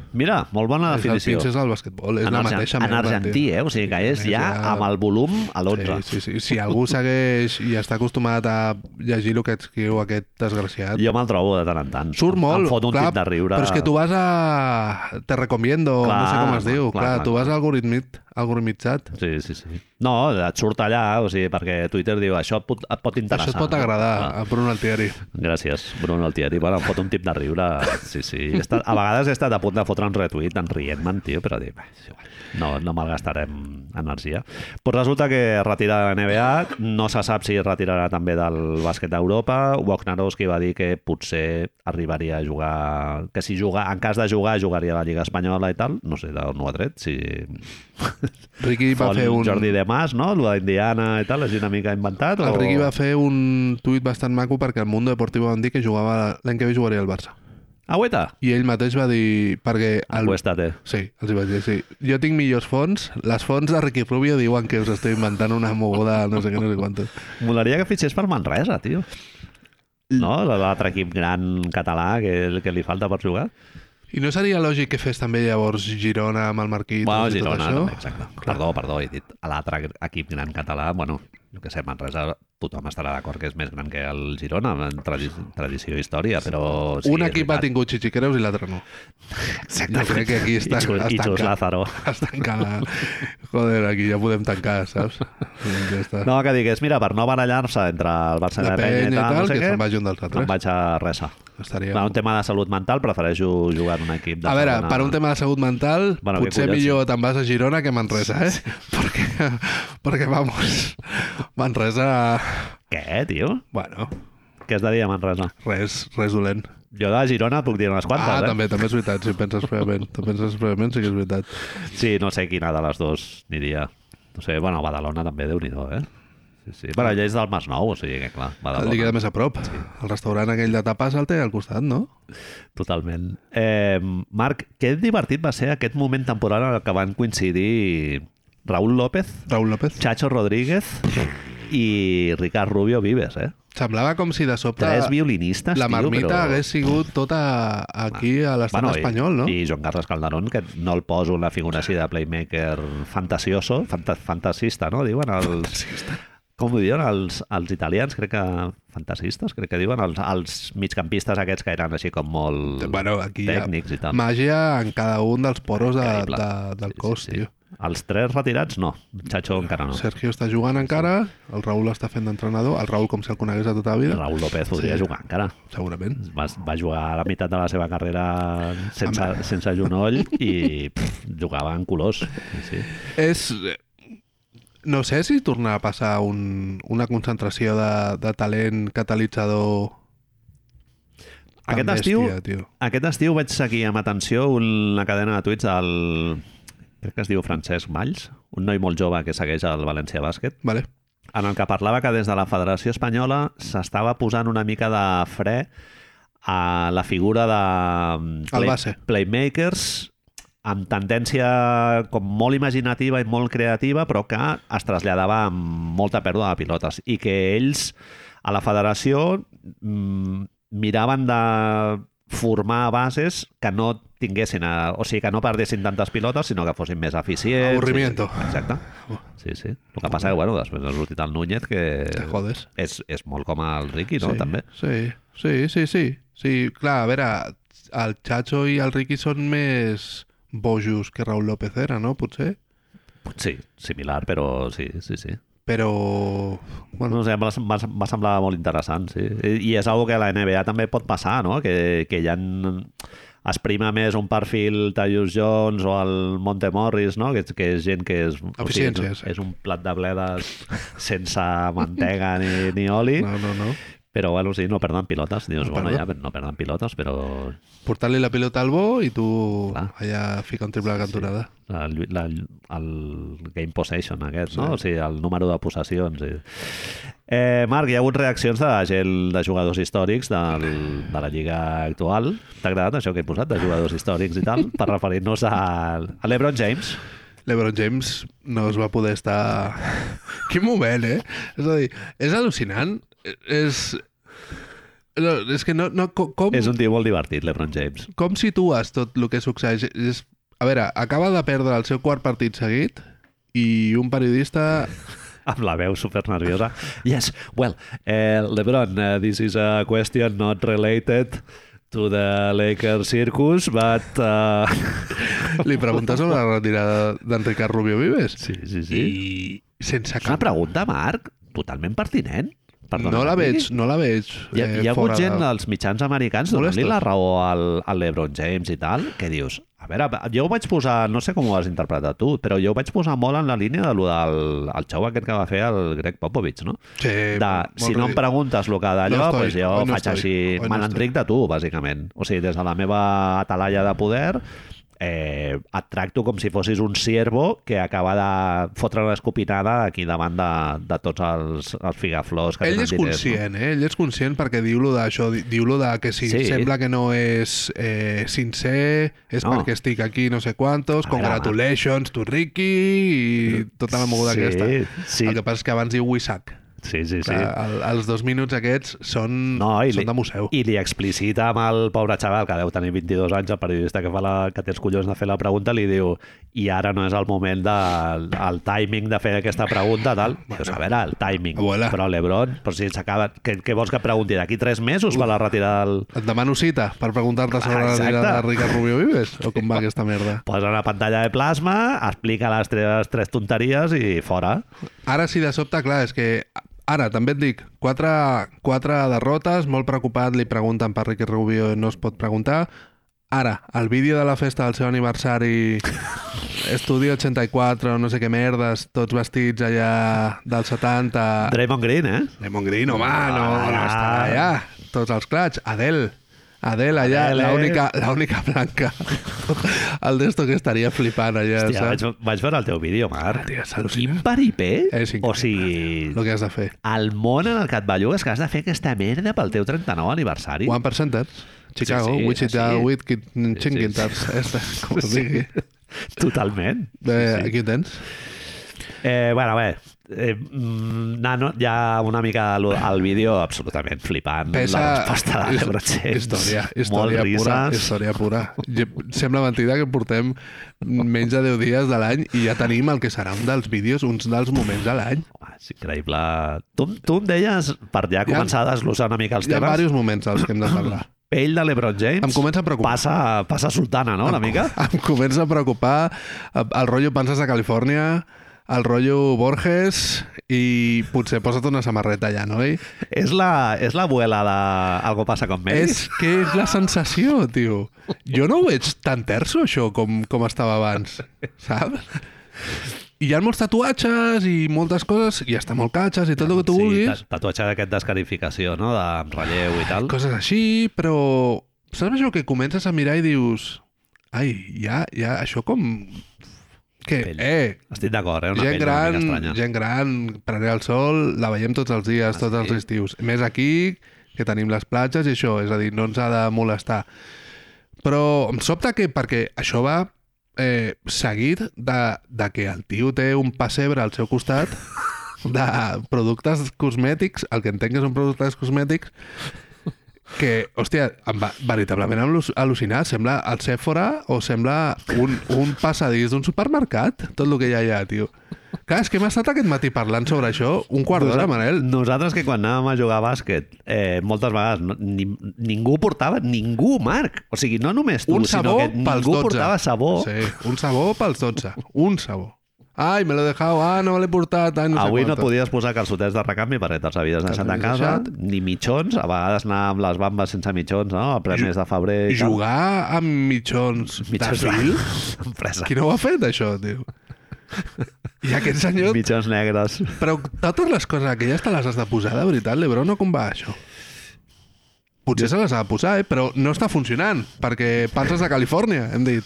A: Mira, molt bona
B: És el
A: definició.
B: pinces del basquetbol. És
A: Ah, en,
B: la
A: argen-
B: mateixa
A: en
B: merda,
A: argentí,
B: tio.
A: eh? O sigui que és
B: Sí,
A: ja
B: ja-
A: amb el volum a l'11.
B: Sí, sí, sí. Si algú segueix i està acostumat a llegir el que escriu aquest desgraciat,
A: Jo me'l trobo de tant en tant.
B: surt molt.
A: Em fot un
B: clar,
A: tip de riure.
B: Però és que tu vas a... Te recomiendo,
A: Clar,
B: no sé com es
A: clar,
B: diu.
A: clar,
B: Clar,
A: clar,
B: tu
A: clar.
B: vas algoritmit, algoritmitzat.
A: Sí, sí, sí. No, et surt allà, o sigui, perquè Twitter diu això et pot, et pot interessar.
B: Això et pot
A: Clar.
B: agradar a Bruno Altieri.
A: Gràcies, Bruno Altieri. Bueno, em fot un tip de riure. Sí, sí. He estat, a vegades he estat a punt de fotre un retuit en rient-me'n, tio, però dic, "Bah, és igual. no, no malgastarem energia. Pues resulta que es retira de la NBA, no se sap si es retirarà també del bàsquet d'Europa. Wojnarowski va dir que potser arribaria a jugar, que si juga, en cas de jugar, jugaria a la Lliga Espanyola i tal, no sé d'on ho ha tret, si
B: Ricky va
A: Font,
B: fer un...
A: Jordi de Mas, no? Lo d'Indiana i tal, és una mica inventat?
B: El
A: o-
B: Ricky va fer un tuit bastant maco perquè al Mundo Deportivo van dir que jugava l'any que ve jugaria al Barça.
A: Agüeta,
B: I ell mateix va dir... Perquè el,
A: acuéstate.
B: Sí, els hi vaig dir, sí. Jo tinc millors fonts. Les fonts de Ricky Rubio diuen que us estic inventant una moguda, no sé què, no sé quantos.
A: Molaria que fitxés per Manresa, tio. No? L'altre equip gran català que, que li falta per jugar.
B: I no seria lògic que fes també llavors Girona amb el Marquí
A: bueno,
B: i tot
A: Girona,
B: això?
A: també, exacte. Perdó, perdó, he dit l'altre equip gran català, bueno, jo que sé, Manresa, tothom estarà d'acord que és més gran que el Girona, en tradi tradició i història, però... Sí,
B: un
A: és
B: equip ha
A: veritat.
B: tingut Xixicreus i l'altre no.
A: Exactament.
B: Jo crec que aquí està-
A: I Xus,
B: està
A: i Xus
B: enca- [LAUGHS]
A: Lázaro.
B: Es tanca la... Joder, aquí ja podem tancar,
A: [LAUGHS]
B: saps? Ja està.
A: No, que digués, mira, per no barallar-se entre el Barça i
B: la
A: la Penya i tal, no sé
B: que
A: què,
B: se'n vagi un dels altres.
A: em vaig a resa.
B: Estaria...
A: Per un tema de salut mental, prefereixo jugar en un equip de
B: A veure,
A: segona-
B: per un tema de salut mental,
A: Bueno,
B: bueno,
A: que
B: potser
A: collons.
B: millor te'n vas a Girona que a Manresa, eh? [LAUGHS] Perquè, perquè, vamos, Manresa...
A: Què, tio?
B: Bueno,
A: Què has de dir a Manresa?
B: res, res dolent.
A: Jo de Girona puc dir unes quantes,
B: ah,
A: eh?
B: també, també és veritat, si penses
A: [LAUGHS]
B: prèviament. Si penses prèviament, sí que és veritat.
A: Sí, no sé quina de les dues aniria. No sé, bueno, Badalona també, déu nhi eh? Sí, sí. Bueno, ella és del Masnou, o sigui que, clar,
B: El li
A: Badalona.
B: queda més a prop. El restaurant aquell de tapes el té al costat, no?
A: Totalment. Eh, Marc, que divertit va ser aquest moment temporal en el que van coincidir Raúl López,
B: Raúl López.
A: Chacho Rodríguez i Ricard Rubio Vives, eh?
B: Semblava com si de sobte
A: Tres violinistes,
B: la
A: tio,
B: marmita
A: però...
B: hagués sigut tota aquí a l'estat
A: i-
B: espanyol, no?
A: I Joan Carles Calderón, que no el poso en la figura així de playmaker fantasioso, fanta fantasista, no? Diuen els... Com ho diuen els, els italians? Crec que... Fantasistes, crec que diuen. Els, els migcampistes aquests que eren així com molt
B: Bueno, aquí hi ha
A: tècnics i tal.
B: màgia en cada un dels poros de,
A: Increïble.
B: de, del cos, tio.
A: Els tres retirats, no. Chacho encara no.
B: Sergio està jugant encara, el Raúl està fent d'entrenador, el Raúl com si el conegués de tota la vida,
A: Raúl López podria
B: Sí.
A: jugar encara.
B: segurament.
A: va, va jugar a la meitat de la seva carrera sense, sense genoll i pff, jugava en colors. Sí, sí.
B: És... eh, No sé si tornarà a passar un, una concentració de, de talent catalitzador tan
A: Aquest estiu,
B: bèstia, tio.
A: Aquest estiu vaig seguir amb atenció una cadena de tuits del... crec que es diu Francesc Valls, un noi molt jove que segueix el València Bàsquet,
B: Vale.
A: en el que parlava que des de la Federació Espanyola s'estava posant una mica de fre a la figura de mm,
B: Al base.
A: playmakers amb tendència com molt imaginativa i molt creativa, però que es traslladava amb molta pèrdua de pilotes i que ells a la federació mm, miraven de formar bases que no tinguessin, eh, o sigui, que no perdessin tantes pilotes, sinó que fossin més eficients.
B: Aburrimiento.
A: Exacte. Sí, sí. El que passa que, bueno, després ha sortit el Núñez, que
B: Te jodes.
A: és, és molt com el Ricky, no?
B: sí,
A: També.
B: Sí, sí, sí, sí. Sí, clar, a veure, el Chacho i el Ricky són més bojos que Raúl López era, no? Potser.
A: Sí, similar, però sí, sí, sí.
B: Però...
A: No
B: Bueno,
A: sé, em va, em va, em va semblar molt interessant, sí. I, i és algo que a la NBA també pot passar, no? Que, que ja en, es prima més un perfil Tyus Jones o el Monte Morris, no? Que, que és gent que és... O sigui,
B: Eficiència,
A: és,
B: sí.
A: un- és un plat de bledes sense mantega ni, ni oli, no.
B: [LAUGHS] no, no, no.
A: però bueno, sí, no perden pilotes. Dius,
B: No
A: no bueno, ja
B: perden.
A: no perden pilotes, però
B: Portar-li la pilota al bo i tu
A: Clar.
B: allà fica un triple de cantonada.
A: la, llu- la, el game possession aquest, no? O sigui, el número de possessions. I... Eh, Marc, hi ha hagut reaccions de gent de jugadors històrics del, de la lliga actual. T'ha agradat això que he posat, de jugadors històrics i tal, per referir-nos a, a l'Ebron James?
B: L'Ebron James no es va poder estar... [LAUGHS] Quin moment, eh? És a dir, és al·lucinant. E-, És... No, és que no... no com, com-
A: És un tio molt divertit, l'Ebron James.
B: com situes tot el que succeeix? És, a veure, acaba de perdre el seu quart partit seguit i un periodista...
A: amb la veu super nerviosa. Yes, well, eh, LeBron, uh, this is a question not related to the Lakers circus, but... Uh...
B: [LAUGHS] Li pregunta sobre la retirada d'en Ricard Rubio Vives.
A: Sí, sí, sí.
B: I sense
A: És una
B: cap...
A: pregunta, Marc, totalment pertinent. Perdona,
B: no la
A: que
B: veig,
A: digui.
B: no la veig.
A: Hi ha,
B: eh,
A: hi ha hagut
B: fora
A: gent
B: de-
A: als mitjans americans
B: Molestos.
A: donant-li la raó al, al LeBron James i tal, que dius, a veure, jo ho vaig posar, no sé com ho has interpretat tu, però jo ho vaig posar molt en la línia de lo del el xou aquest que va fer el Greg Popovich, no?
B: Sí,
A: De,
B: Eh, molt
A: si no em
B: ridícul.
A: preguntes el que d'allò,
B: No
A: no
B: estoy,
A: pues jo
B: hoy no
A: faig
B: estoy,
A: així,
B: hoy no
A: me n'enric de tu, bàsicament. O sigui, des de la meva atalaya de poder, eh, et tracto com si fossis un ciervo que acaba de fotre una escopitada aquí davant de, de tots els, els figaflors que
B: Ell
A: tenen
B: és
A: diners,
B: conscient, eh? Ell és conscient perquè diu-lo d'això, di- diu-lo de que si
A: Sí.
B: sí. sembla que no és eh, sincer, és
A: No. Ah,
B: no. perquè estic aquí no sé quantos,
A: A veure,
B: congratulations to Ricky i tota la moguda
A: Sí,
B: aquesta.
A: sí.
B: El que passa és que abans diu Wissac.
A: No? Sí, sí, sí.
B: Sí. El, els dos minuts aquests són,
A: No, i, li,
B: Mm. són de museu.
A: I li explicita amb el pobre xaval, que deu tenir 22 anys, el periodista que, fa la, que té els collons de fer la pregunta, li diu i ara no és el moment de, el timing de fer aquesta pregunta, tal. Dius, a veure, el timing.
B: Abuela.
A: Però l'Ebron, però si s'acaba... Què, què vols que pregunti? D'aquí tres mesos per la retirada del...
B: Et demano cita per preguntar-te sobre
A: Ah,
B: la
A: Exacte.
B: retirada de Ricard Rubio Vives o com va aquesta merda.
A: Posa una pantalla de plasma, explica les tres, tres tonteries i fora.
B: Ara sí, de sobte, clar, és que ara també et dic, quatre, quatre derrotes, molt preocupat, li pregunten per Ricky Rubio, no es pot preguntar. Ara, el vídeo de la festa del seu
A: [LAUGHS]
B: aniversari, Estudio 84, no sé què merdes, tots vestits allà dels 70...
A: Draymond Green, eh?
B: Lemon Green, home, no, no està allà. Tots els clats. Adel. Adel allà,
A: Adele, eh?
B: l'única l'única blanca. [LAUGHS] El d'esto que estaria flipant allà,
A: Hòstia, vaig,
B: saps?
A: vaig veure el teu vídeo, Marc.
B: Tio, és al·lucinant.
A: Quin paripé!
B: És increïble,
A: O sigui,
B: El que has de fer.
A: el món en el que et bellugues que has de fer aquesta merda pel teu 39 aniversari.
B: One Percenters. Chicago,
A: sí,
B: Wichita,
A: així.
B: Whitkit,
A: sí. [LAUGHS]
B: Chinginters. Esta, com es
A: Sí.
B: digui.
A: Totalment.
B: Eh, Aquí ho tens.
A: Eh, bueno, bé, eh, mm, nano, ja una mica al, al vídeo absolutament flipant
B: Pesa-
A: la resposta de
B: és-
A: l'Ebron James.
B: Història,
A: Molt
B: història pura,
A: rises.
B: història pura. Jo- Sembla mentida que portem menys de 10 dies de l'any i ja tenim el que serà un dels vídeos, uns dels moments de l'any.
A: Home, és increïble. Tu, tu em deies, per ja començar a desglossar una mica els
B: Hi ha
A: temes,
B: diversos moments dels que hem
A: [COUGHS]
B: de parlar.
A: pell de l'Ebron James
B: Em comença a preocupar.
A: passa, passa sultana, no?, una mica.
B: Em comença a preocupar el rotllo Panses de Califòrnia, el rotllo Borges i potser posa't una samarreta allà, no? Eh?
A: És la, és la abuela de Algo passa con Mace?
B: És que és la sensació, tio. Jo no ho veig tan terso, això, com, com estava abans, saps? I hi ha molts tatuatges i moltes coses, i està molt catxes i tot el que tu
A: sí,
B: vulguis,
A: ta- Tatuatge d'aquest d'escarificació, no?, de, amb relleu i tal.
B: coses així, però... Saps això que comences a mirar i dius... Ai, ja, ja, això com... Que,
A: Pell.
B: eh,
A: Estic d'acord, eh? Una
B: gent
A: pell gran, una mica
B: gran,
A: estranya. Ah,
B: gent gran, prenent el sol, la veiem tots els dies, tots
A: sí?
B: els estius. Més aquí, que tenim les platges i això, és a dir, no ens ha de molestar. Però em sobta que, perquè això va eh, seguit de, de que el tio té un pessebre al seu costat de productes cosmètics, el que entenc que són productes cosmètics, que, hòstia, em va, veritablement em al·lu- al·lucinar. Sembla el Sephora o sembla un, un passadís d'un supermercat, tot el que hi ha allà, tio. Clar, és que hem estat aquest matí parlant sobre això un quart d'hora,
A: Doncs,
B: Manel.
A: Nosaltres que quan anàvem a jugar a bàsquet, eh, moltes vegades no- ni, ningú portava, ningú, Marc. O sigui, no només tu,
B: Un
A: sinó
B: sabó
A: que
B: pels
A: ningú
B: 12.
A: portava sabó. Sí.
B: Sí, un sabó pels 12. Un sabó. Ai, me l'he deixat, ah, no me l'he portat, ai, no sé
A: Avui no
B: quanto.
A: podies posar calçotets de recanvi perquè te'ls havies deixat a
B: havies
A: casa,
B: deixat.
A: ni mitjons, a vegades anar amb les bambes sense mitjons, no? A ple
B: Ju-
A: mes de febrer i tal.
B: Jugar amb mitjons, mitjons
A: Mitjons
B: de fil?
A: blancs. [LAUGHS] Empresa.
B: Qui no ho ha fet, això, tio? I aquest senyor...
A: Mitjons negres.
B: Però totes les coses aquelles te les has de posar, de veritat, l'Ebron, o com va això? Potser se les ha de posar, eh? però no està funcionant, perquè panses de Califòrnia, hem dit.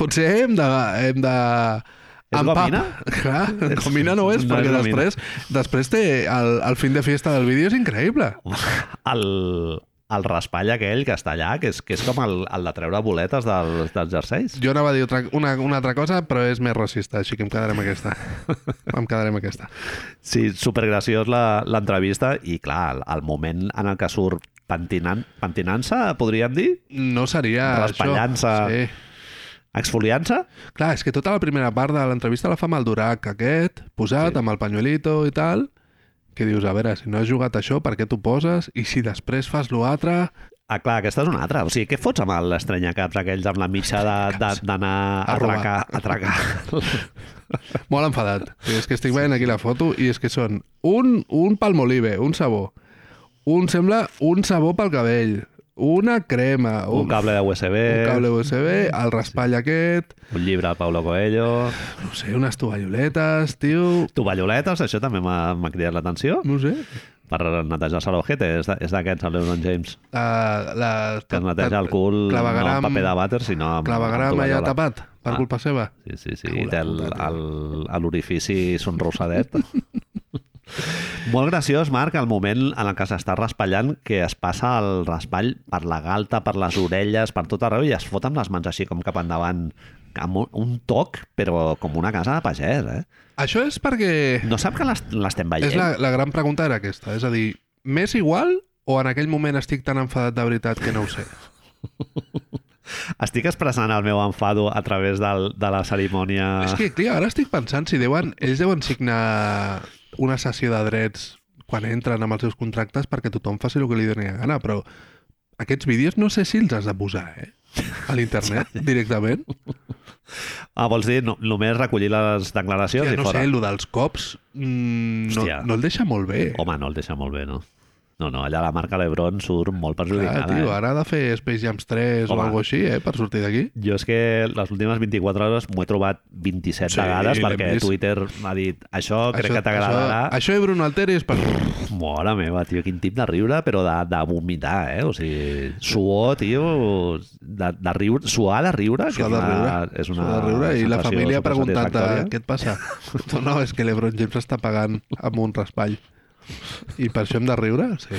B: Potser hem de... Hem de...
A: És
B: empap.
A: gomina?
B: Clar, gomina no
A: No
B: és,
A: és
B: perquè
A: gomina.
B: després, després té el, el fin de fiesta del vídeo és increïble.
A: [LAUGHS] el, el raspall aquell que està allà, que és, que és com el, el de treure boletes dels, dels jerseis.
B: Jo anava a dir otra, una, una altra cosa, però és més racista, així que em
A: [LAUGHS]
B: quedarem aquesta. em quedarem aquesta.
A: Sí, supergraciós la- l'entrevista i, clar, el, el moment en el que surt pentinant- pentinant-se, pentinant podríem dir?
B: No seria
A: Raspallant-se.
B: això. Sí.
A: Exfoliant-se?
B: Clar, és que tota la primera part de l'entrevista la fa amb el Durac aquest,
A: Sí.
B: posat sí. amb el pañuelito i tal, que dius, a veure, si no has jugat això, per què t'ho poses? I si després fas l'altre...
A: Ah, clar, aquesta és una altra. O sigui, què fots amb l'estranyacaps aquells amb la mitja de- de- d'anar a,
B: A robar.
A: atracar, a atracar? [LAUGHS]
B: Molt enfadat. I és que estic veient aquí la foto i és que són un, un palmolive, un sabó, un sembla un sabó pel cabell, una crema,
A: Un cable de USB,
B: un cable USB, el raspall aquest,
A: un llibre de Paulo Coelho...
B: no sé, unes tovalloletes, tio...
A: Tovalloletes, això també m'ha m'ha cridat l'atenció.
B: No sé,
A: Per netejar-se l'ojete, és de- és d'aquests, el LeBron James.
B: la, la,
A: que es neteja el cul no
B: clavegueram-
A: amb paper de vàter, sinó amb,
B: Clavegram
A: amb
B: allà
A: tovallola.
B: tapat, per
A: Ah.
B: culpa seva.
A: Sí, sí, sí.
B: Cago
A: I
B: la
A: té el-
B: puta,
A: el- a l'orifici sonrosadet. [LAUGHS] Molt graciós, Marc, el moment en el que s'està raspallant, que es passa el raspall per la galta, per les orelles, per tot arreu, i es fot amb les mans així com cap endavant, amb un, un toc, però com una casa de pagès, eh?
B: Això és perquè...
A: No sap que l'est- l'estem veient?
B: És la, la gran pregunta era aquesta. És a dir, m'és igual o en aquell moment estic tan enfadat de veritat que no ho sé?
A: Estic expressant el meu enfado a través del, de la cerimònia...
B: És que, clar, ara estic pensant si deuen... Ells deuen signar una sessió de drets quan entren amb els seus contractes perquè tothom faci el que li doni la gana, però aquests vídeos no sé si els has de posar, eh? A
A: [LAUGHS]
B: l'internet, directament.
A: Ah, vols dir no, només recollir les declaracions
B: Hòstia,
A: i
B: no
A: fora?
B: sé, eh. el dels cops mm, no,
A: Hòstia.
B: no el deixa molt bé.
A: Home, no el deixa molt bé, no? No, no, allà la marca Lebron surt molt
B: Clar,
A: perjudicada.
B: Ah, tio,
A: eh?
B: ara ha de fer Space Jams 3
A: Home.
B: o alguna així, eh? Per sortir d'aquí.
A: Jo és que les últimes 24 hores m'ho he trobat 27
B: Sí,
A: vegades
B: l'hem
A: perquè
B: vist.
A: Twitter m'ha dit això crec que t'agradarà.
B: Això, això Ebro Alteri és per...
A: Mora meva, tio, quin tip de riure, però de, de vomitar, eh? O sigui, suor, tio, de, de riure, suar de riure, que
B: S'ha
A: és
B: de
A: una,
B: riure.
A: és una
B: S'ha de riure. I la
A: sensació
B: família ha preguntat eh,
A: supersatisfactòria.
B: què et passa? [LAUGHS] No, no, és que l'Ebron James està pagant amb un raspall. I per això hem de riure? Sí.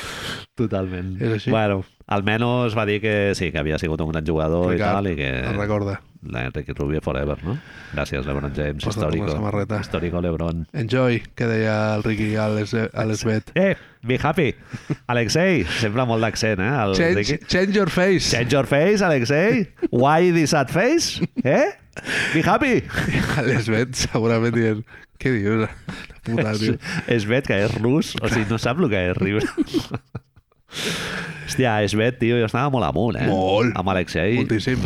A: Totalment.
B: És així?
A: Bueno, almenys va dir que sí, que havia sigut un gran jugador Oh, i
B: Ricard,
A: tal, i que...
B: El recorda.
A: l'Enrique Rubio forever, no? Gràcies, LeBron James,
B: Posa't una
A: histórico.
B: samarreta.
A: Histórico LeBron.
B: Enjoy, que deia el Ricky a les- a l'Esbet.
A: Eh, be happy. Alexei, sempre molt d'accent, eh? [LAUGHS] El
B: Change,
A: Ricky.
B: change your face.
A: Change your face, Alexei. Why this sad face? Eh? Be happy.
B: [LAUGHS] A l'Esbet segurament dient, què dius? [LAUGHS] La puta, tio.
A: Es vet que és rus, o sigui, no sap el que és
B: [LAUGHS]
A: riure. Hòstia, es vet, tio, jo estava molt amunt, eh?
B: Molt.
A: Amb Alexei.
B: Moltíssim,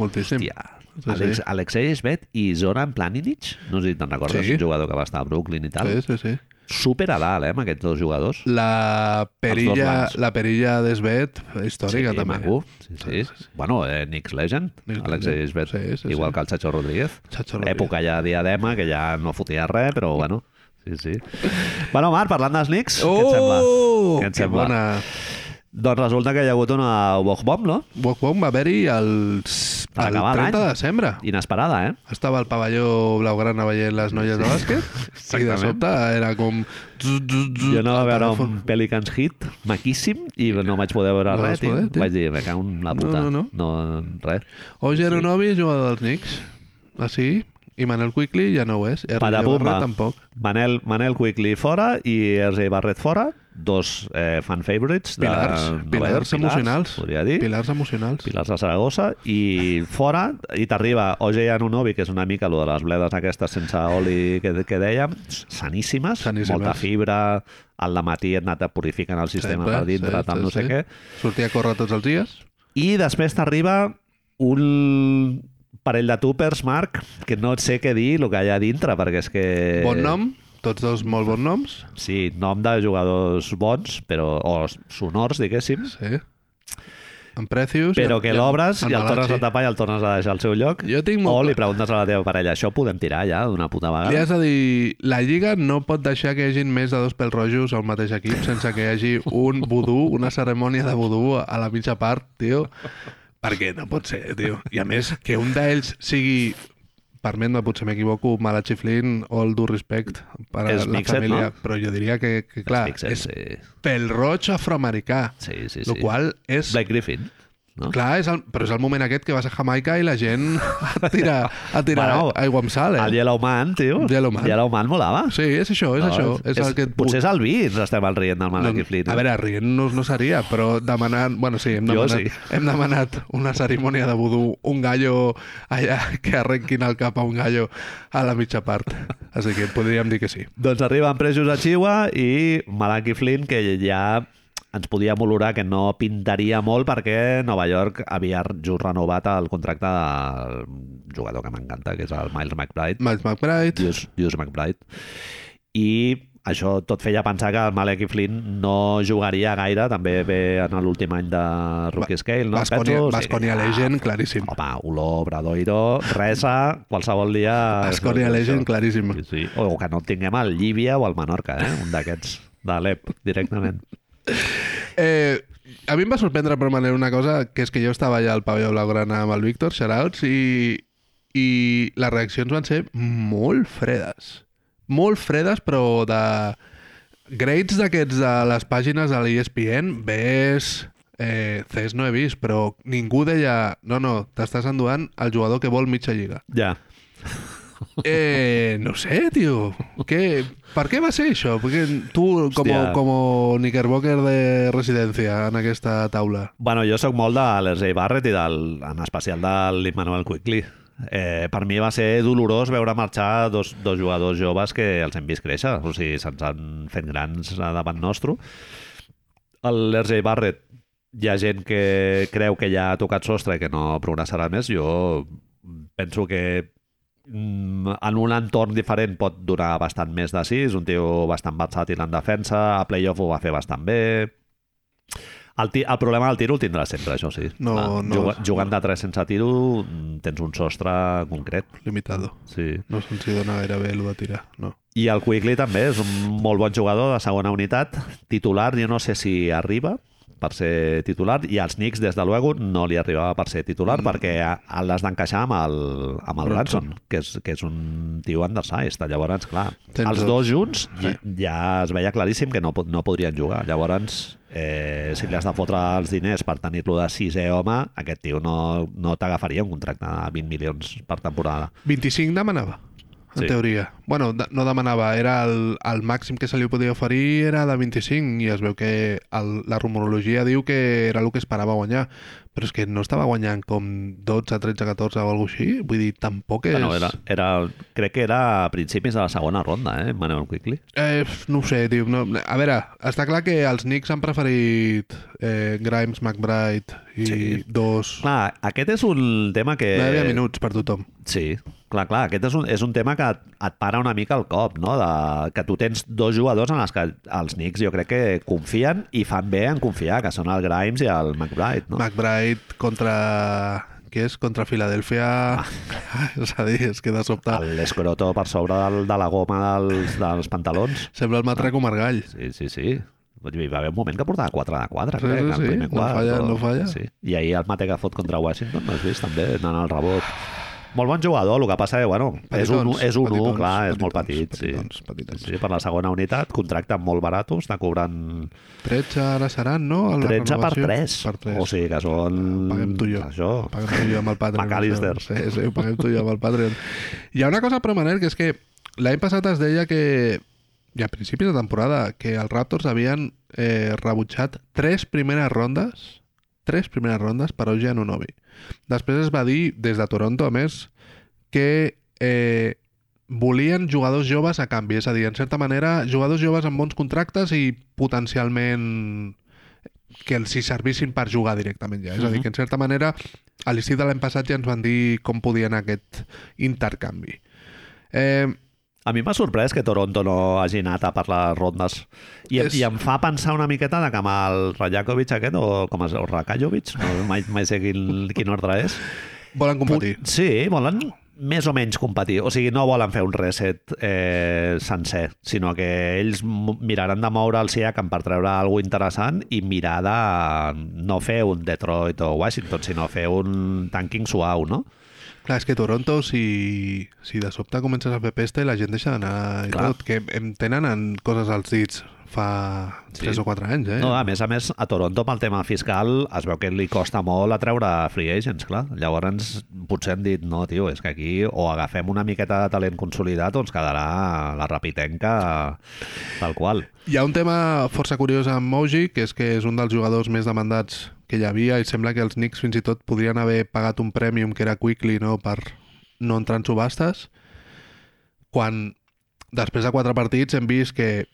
B: moltíssim.
A: Hòstia.
B: Sí,
A: Alex,
B: sí.
A: Alexei Esbet i Zoran Planinic, no sé si te'n recordes,
B: Sí.
A: sí. un jugador que va estar a Brooklyn i tal.
B: Sí,
A: Sí.
B: sí, sí.
A: Super a dalt, eh, amb aquests dos jugadors.
B: La
A: Els dos
B: perilla,
A: blancs.
B: la perilla d'Esbet, històrica també.
A: maco. Sí, sí. Bueno, eh, Knicks Legend,
B: Knicks
A: Alexei
B: Legend.
A: Esbet,
B: Sí, sí,
A: igual
B: sí.
A: que el Chacho Rodríguez.
B: Chacho Rodríguez.
A: Època ja diadema, que ja no fotia res, però bueno. Sí, sí. Bueno, Marc, parlant dels Knicks, què et sembla?
B: Oh!
A: Què et
B: que
A: sembla?
B: bona.
A: Doncs resulta que hi ha hagut una walk bomb, no?
B: Walk Bomb va haver-hi el,
A: Per
B: el
A: acabar
B: 30 de
A: l'any.
B: desembre.
A: Inesperada, eh?
B: Estava al pavelló blaugrana veient les noies de
A: [LAUGHS]
B: bàsquet i de
A: Exactament.
B: sobte era com...
A: Jo
B: Jo
A: anava a veure un Pelicans hit maquíssim i no vaig poder veure
B: No vas
A: res, tio.
B: poder, tio.
A: Vaig dir, me cago en la puta.
B: No, no,
A: no. res.
B: O Geronovi és jugador dels Knicks. Ah, sí? I Manel Quickly ja no ho és. Erling
A: Patapumba.
B: Ibarra tampoc.
A: Manel, Manel Quickly fora i RJ Barret fora, dos eh, fan favorites. De
B: Pilars.
A: Nova York,
B: pilars emocionals.
A: Podria dir.
B: Pilars emocionals.
A: Pilars de Saragossa i fora, i t'arriba OJ Anunobi, que és una mica lo de les bledes aquestes sense oli que, que dèiem, saníssimes,
B: Saníssimes.
A: molta fibra, al matí et anat purificant el sistema
B: Sempre,
A: per dintre,
B: sí,
A: tal,
B: sí,
A: no sé
B: sí.
A: què.
B: Sortia a córrer tots els dies.
A: I després t'arriba un parell de túpers, Marc, que no et sé què dir el que hi ha a dintre, perquè és que...
B: Bon nom. Tots dos molt bons noms.
A: Sí, nom de jugadors bons, però, o sonors, diguéssim,
B: Sí. En precios. i
A: però
B: en-
A: que
B: i en-
A: l'obres
B: en
A: i el tornes a
B: balanci.
A: tapar i el tornes a deixar al seu lloc.
B: Jo tinc molt
A: O li
B: clar.
A: preguntes a la teva parella, això ho podem tirar ja d'una puta
B: Li
A: vegada?
B: has de dir, la Lliga no pot deixar que hi hagin més de dos pèls rojos al mateix equip sense que hi hagi un vudú, una cerimònia de vudú a la mitja part, tio. Perquè no pot ser, tio. I a més, que un d'ells sigui permet-me, potser m'equivoco, Malachi Flynn, all due respect per a
A: És
B: la
A: mixed, no?
B: família, però jo diria que, que clar,
A: mixed,
B: és
A: sí.
B: pel roig afroamericà,
A: Sí, sí, sí.
B: el qual és...
A: Blake Griffin, no?
B: Clar, és el, però és el moment aquest que vas a Jamaica i la gent [LAUGHS] a tirar, a tirar
A: Bueno,
B: aigua amb sal, eh?
A: El Yellow Man, tio.
B: Yellow Man.
A: Yellow Man molava.
B: Sí, és això, és
A: No,
B: això. És, el que et puc-
A: Potser és el vi, ens estem al rient del Malachi
B: Doncs,
A: Flynn.
B: A
A: eh?
B: veure, rient-nos no seria, però demanant... Bueno, sí, hem
A: Jo
B: demanat,
A: sí.
B: [LAUGHS] hem demanat una cerimònia de vudú, un gallo allà [LAUGHS] que arrenquin el cap a un gallo a la mitja part. Així que podríem dir que sí.
A: Doncs arriben presos a Chihuahua i Malachi Flynn, que ja ens podíem olorar que no pintaria molt perquè Nova York havia just renovat el contracte del jugador que m'encanta, que és el Miles McBride,
B: Miles McBride,
A: Dius, Dius McBride. I això tot feia pensar que el Malachi Flynn no jugaria gaire, també ve en l'últim any de Rookie Scale, no?
B: Basconia,
A: Penso, sí.
B: Basconia
A: Ah,
B: Legend, claríssim.
A: Home, olor, bradoiro, resa, qualsevol dia...
B: Basconia Legend, claríssim.
A: Sí, sí. O que no tinguem el Llívia o el Menorca, eh? un d'aquests de l'EP directament. [LAUGHS]
B: Eh, a mi em va sorprendre per manera una cosa, que és que jo estava allà al pavelló blaugrana amb el Víctor, shoutouts, i, i les reaccions van ser molt fredes. Molt fredes, però de... Grades d'aquests de les pàgines de l'ESPN, ves... Eh, CES no he vist, però ningú deia no, no, t'estàs enduant el jugador que vol mitja lliga.
A: Ja.
B: Eh, no sé, tio. Què, per què va ser això? Perquè tu, com,
A: Hòstia.
B: com Knickerbocker de residència en aquesta taula.
A: Bueno, jo sóc molt de l'Ersay Barrett i del, en especial de l'Immanuel Quickly. Eh, per mi va ser dolorós veure marxar dos, dos jugadors joves que els hem vist créixer, o sigui, se'ns han fet grans davant nostre. L'Ersay Barrett hi ha gent que creu que ja ha tocat sostre i que no progressarà més. Jo penso que mm, en un entorn diferent pot donar bastant més de sí. És un tio bastant versàtil en defensa, a playoff ho va fer bastant bé. El, ti- el problema del tiro el tindrà sempre, això sí.
B: No,
A: Clar,
B: no.
A: juga- jugant de 3 sense tiro mm, tens un sostre concret.
B: Limitado.
A: Sí.
B: No se'ns hi dona gaire bé el de tirar, no.
A: I el Quigley també és un molt bon jugador de segona unitat, titular, jo no sé si arriba, per ser titular i als Knicks, des de luego, no li arribava per ser titular mm. perquè a- l'has d'encaixar amb el, amb el Branson, que és, que és un tio undersized. Llavors, clar,
B: Tens
A: els
B: el-
A: dos junts
B: Sí.
A: sí. ja es veia claríssim que no, po- no podrien jugar. Llavors, eh, si li has de fotre els diners per tenir-lo de sisè home, aquest tio no, no t'agafaria un contracte de 20 milions per temporada.
B: 25 demanava, en
A: Sí.
B: teoria. Bueno, de, no demanava, era el, el màxim que se li podia oferir era de 25 i es veu que el, la rumorologia diu que era el que esperava guanyar, però és que no estava guanyant com 12, 13, 14 o alguna cosa així, vull dir, tampoc és...
A: Ah, no, era, era, crec que era a principis de la segona ronda, eh, Manuel Quickly.
B: Eh, no ho sé, tio. No, a veure, està clar que els Knicks han preferit eh, Grimes, McBride i
A: Sí.
B: dos... Clar,
A: Clar, aquest és un tema que...
B: eh... 9 minuts per tothom.
A: Sí, clar, clar. Aquest és un, és un tema que et, et para una mica el cop, no? De, que tu tens dos jugadors en els que els Knicks jo crec que confien i fan bé en confiar, que són el Grimes i el McBride,
B: No.
A: no?
B: McBride contra... Què és? Contra Filadèlfia... Ah. [LAUGHS] és a dir, és que de sobte...
A: Ah.
B: El...
A: L'escroto per sobre del, de la goma dels, dels pantalons.
B: Sembla el matraco Margall.
A: Sí, sí, sí. Vull dir, Hi va haver un moment que portava 4 de 4,
B: Sí,
A: crec,
B: sí,
A: al
B: sí.
A: primer
B: No
A: quart.
B: falla,
A: o-
B: no falla.
A: Sí. I ahir el mate que fot contra Washington, l'has vist també, anant al rebot. Molt bon jugador, el que passa que, bueno, és un,
B: Petitons,
A: és un
B: petitons,
A: 1, clar, és
B: petitons,
A: molt petit.
B: petitons,
A: sí.
B: petitons.
A: Sí, per la segona unitat, contracte molt barat, està cobrant
B: 13 ara seran, no? A la
A: 13 per
B: renovació?
A: 3.
B: Per 3.
A: O sigui que són...
B: paguem tu i jo.
A: Això.
B: Paguem tu i jo amb el Patreon.
A: McAllister.
B: això. Sí, sí, ho paguem tu i jo amb el Patreon. Hi ha una cosa, però, Manel, que és que l'any passat es deia que, i a principis de temporada, que els Raptors havien eh, rebutjat tres primeres rondes tres primeres rondes per Oja Anunobi. Després es va dir, des de Toronto, a més, que eh, volien jugadors joves a canvi. És a dir, en certa manera, jugadors joves amb bons contractes i potencialment que els hi servissin per jugar directament ja. És a
A: Mhm.
B: dir, que en certa manera a l'estiu de l'any passat ja ens van dir com podia anar aquest intercanvi. Eh,
A: A mi m'ha sorprès que Toronto no hagi anat a per les rondes. I,
B: És-
A: és... I em fa pensar una miqueta de que amb el Rajakovic aquest, o com es diu, Rakajovic, no, mai, mai sé quin, quin ordre és,
B: volen competir.
A: Pu- Sí, volen més o menys competir. O sigui, no volen fer un reset eh, sencer, sinó que ells m- miraran de moure el Siakam per treure alguna interessant i mirar de no fer un Detroit o Washington, sinó fer un tanking suau, no?
B: Clar, és que Toronto, si, si de sobte comences a fer pesta i la gent deixa d'anar i
A: Clar.
B: tot, que em tenen en coses als dits fa
A: Sí.
B: 3 o 4 anys, eh?
A: No, a més a més, a Toronto, pel tema fiscal, es veu que li costa molt atreure free agents, clar. Llavors, potser han dit, no, tio, és que aquí o agafem una miqueta de talent consolidat o ens quedarà la rapitenca tal qual.
B: Hi ha un tema força curiós amb Moji, que és que és un dels jugadors més demandats que hi havia i sembla que els Knicks fins i tot podrien haver pagat un prèmium que era Quickly no, per no entrar en subhastes quan després de quatre partits hem vist que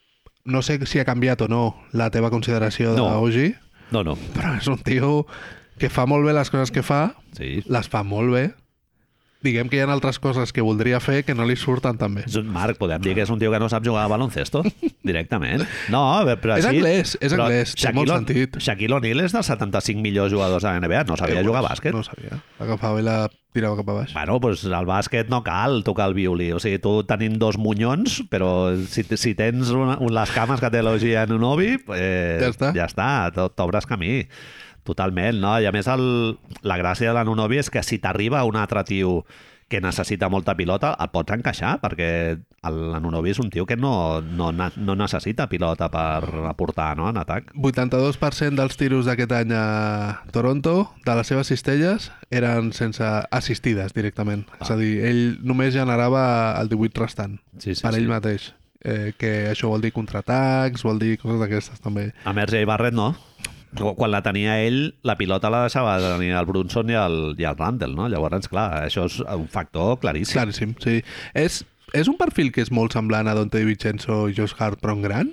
B: no sé si ha canviat o no la teva consideració de
A: No.
B: Oji,
A: No, no,
B: però és un tio que fa molt bé les coses que fa,
A: sí,
B: les fa molt bé. Diguem que hi ha altres coses que voldria fer que no li surten tan bé.
A: És un Marc, podem dir que és un tio que no sap jugar a baloncesto, directament. No, però
B: És
A: així...
B: anglès, és
A: però
B: anglès, té molt
A: O'Neal-
B: sentit.
A: Shaquille O'Neal és dels 75 millors jugadors de la NBA, no sabia
B: Eh,
A: jugar a
B: pues,
A: bàsquet.
B: No ho sabia. L'agafava i la tirava cap a baix.
A: Bueno, doncs al bàsquet no cal tocar el violí. O sigui, tu tenint dos munyons, però si, si tens una, un, les cames que té l'Ogi en un ovi, eh,
B: Ja està.
A: ja està t'o- t'obres camí. Totalment, no? I a més, el, la gràcia de l'Anunobi és que si t'arriba un altre tio que necessita molta pilota, el pots encaixar, perquè el- l'Anunobi és un tio que no, no, na- no necessita pilota per aportar no, en atac.
B: 82% dels tiros d'aquest any a Toronto, de les seves cistelles, eren sense assistides directament.
A: Ah.
B: És a dir, ell només generava el 18 restant
A: Sí, sí,
B: per ell
A: sí.
B: mateix. Eh, que això vol dir contraatacs, vol dir coses d'aquestes també.
A: A Merge i Barrett no. Qu- Quan la tenia ell, la pilota la deixava de tenir el Brunson i el, i el Randall, no? Llavors, clar, això és un factor claríssim.
B: Claríssim, sí. És, és un perfil que és molt semblant a Dante DiVincenzo i Josh Hart, però en gran?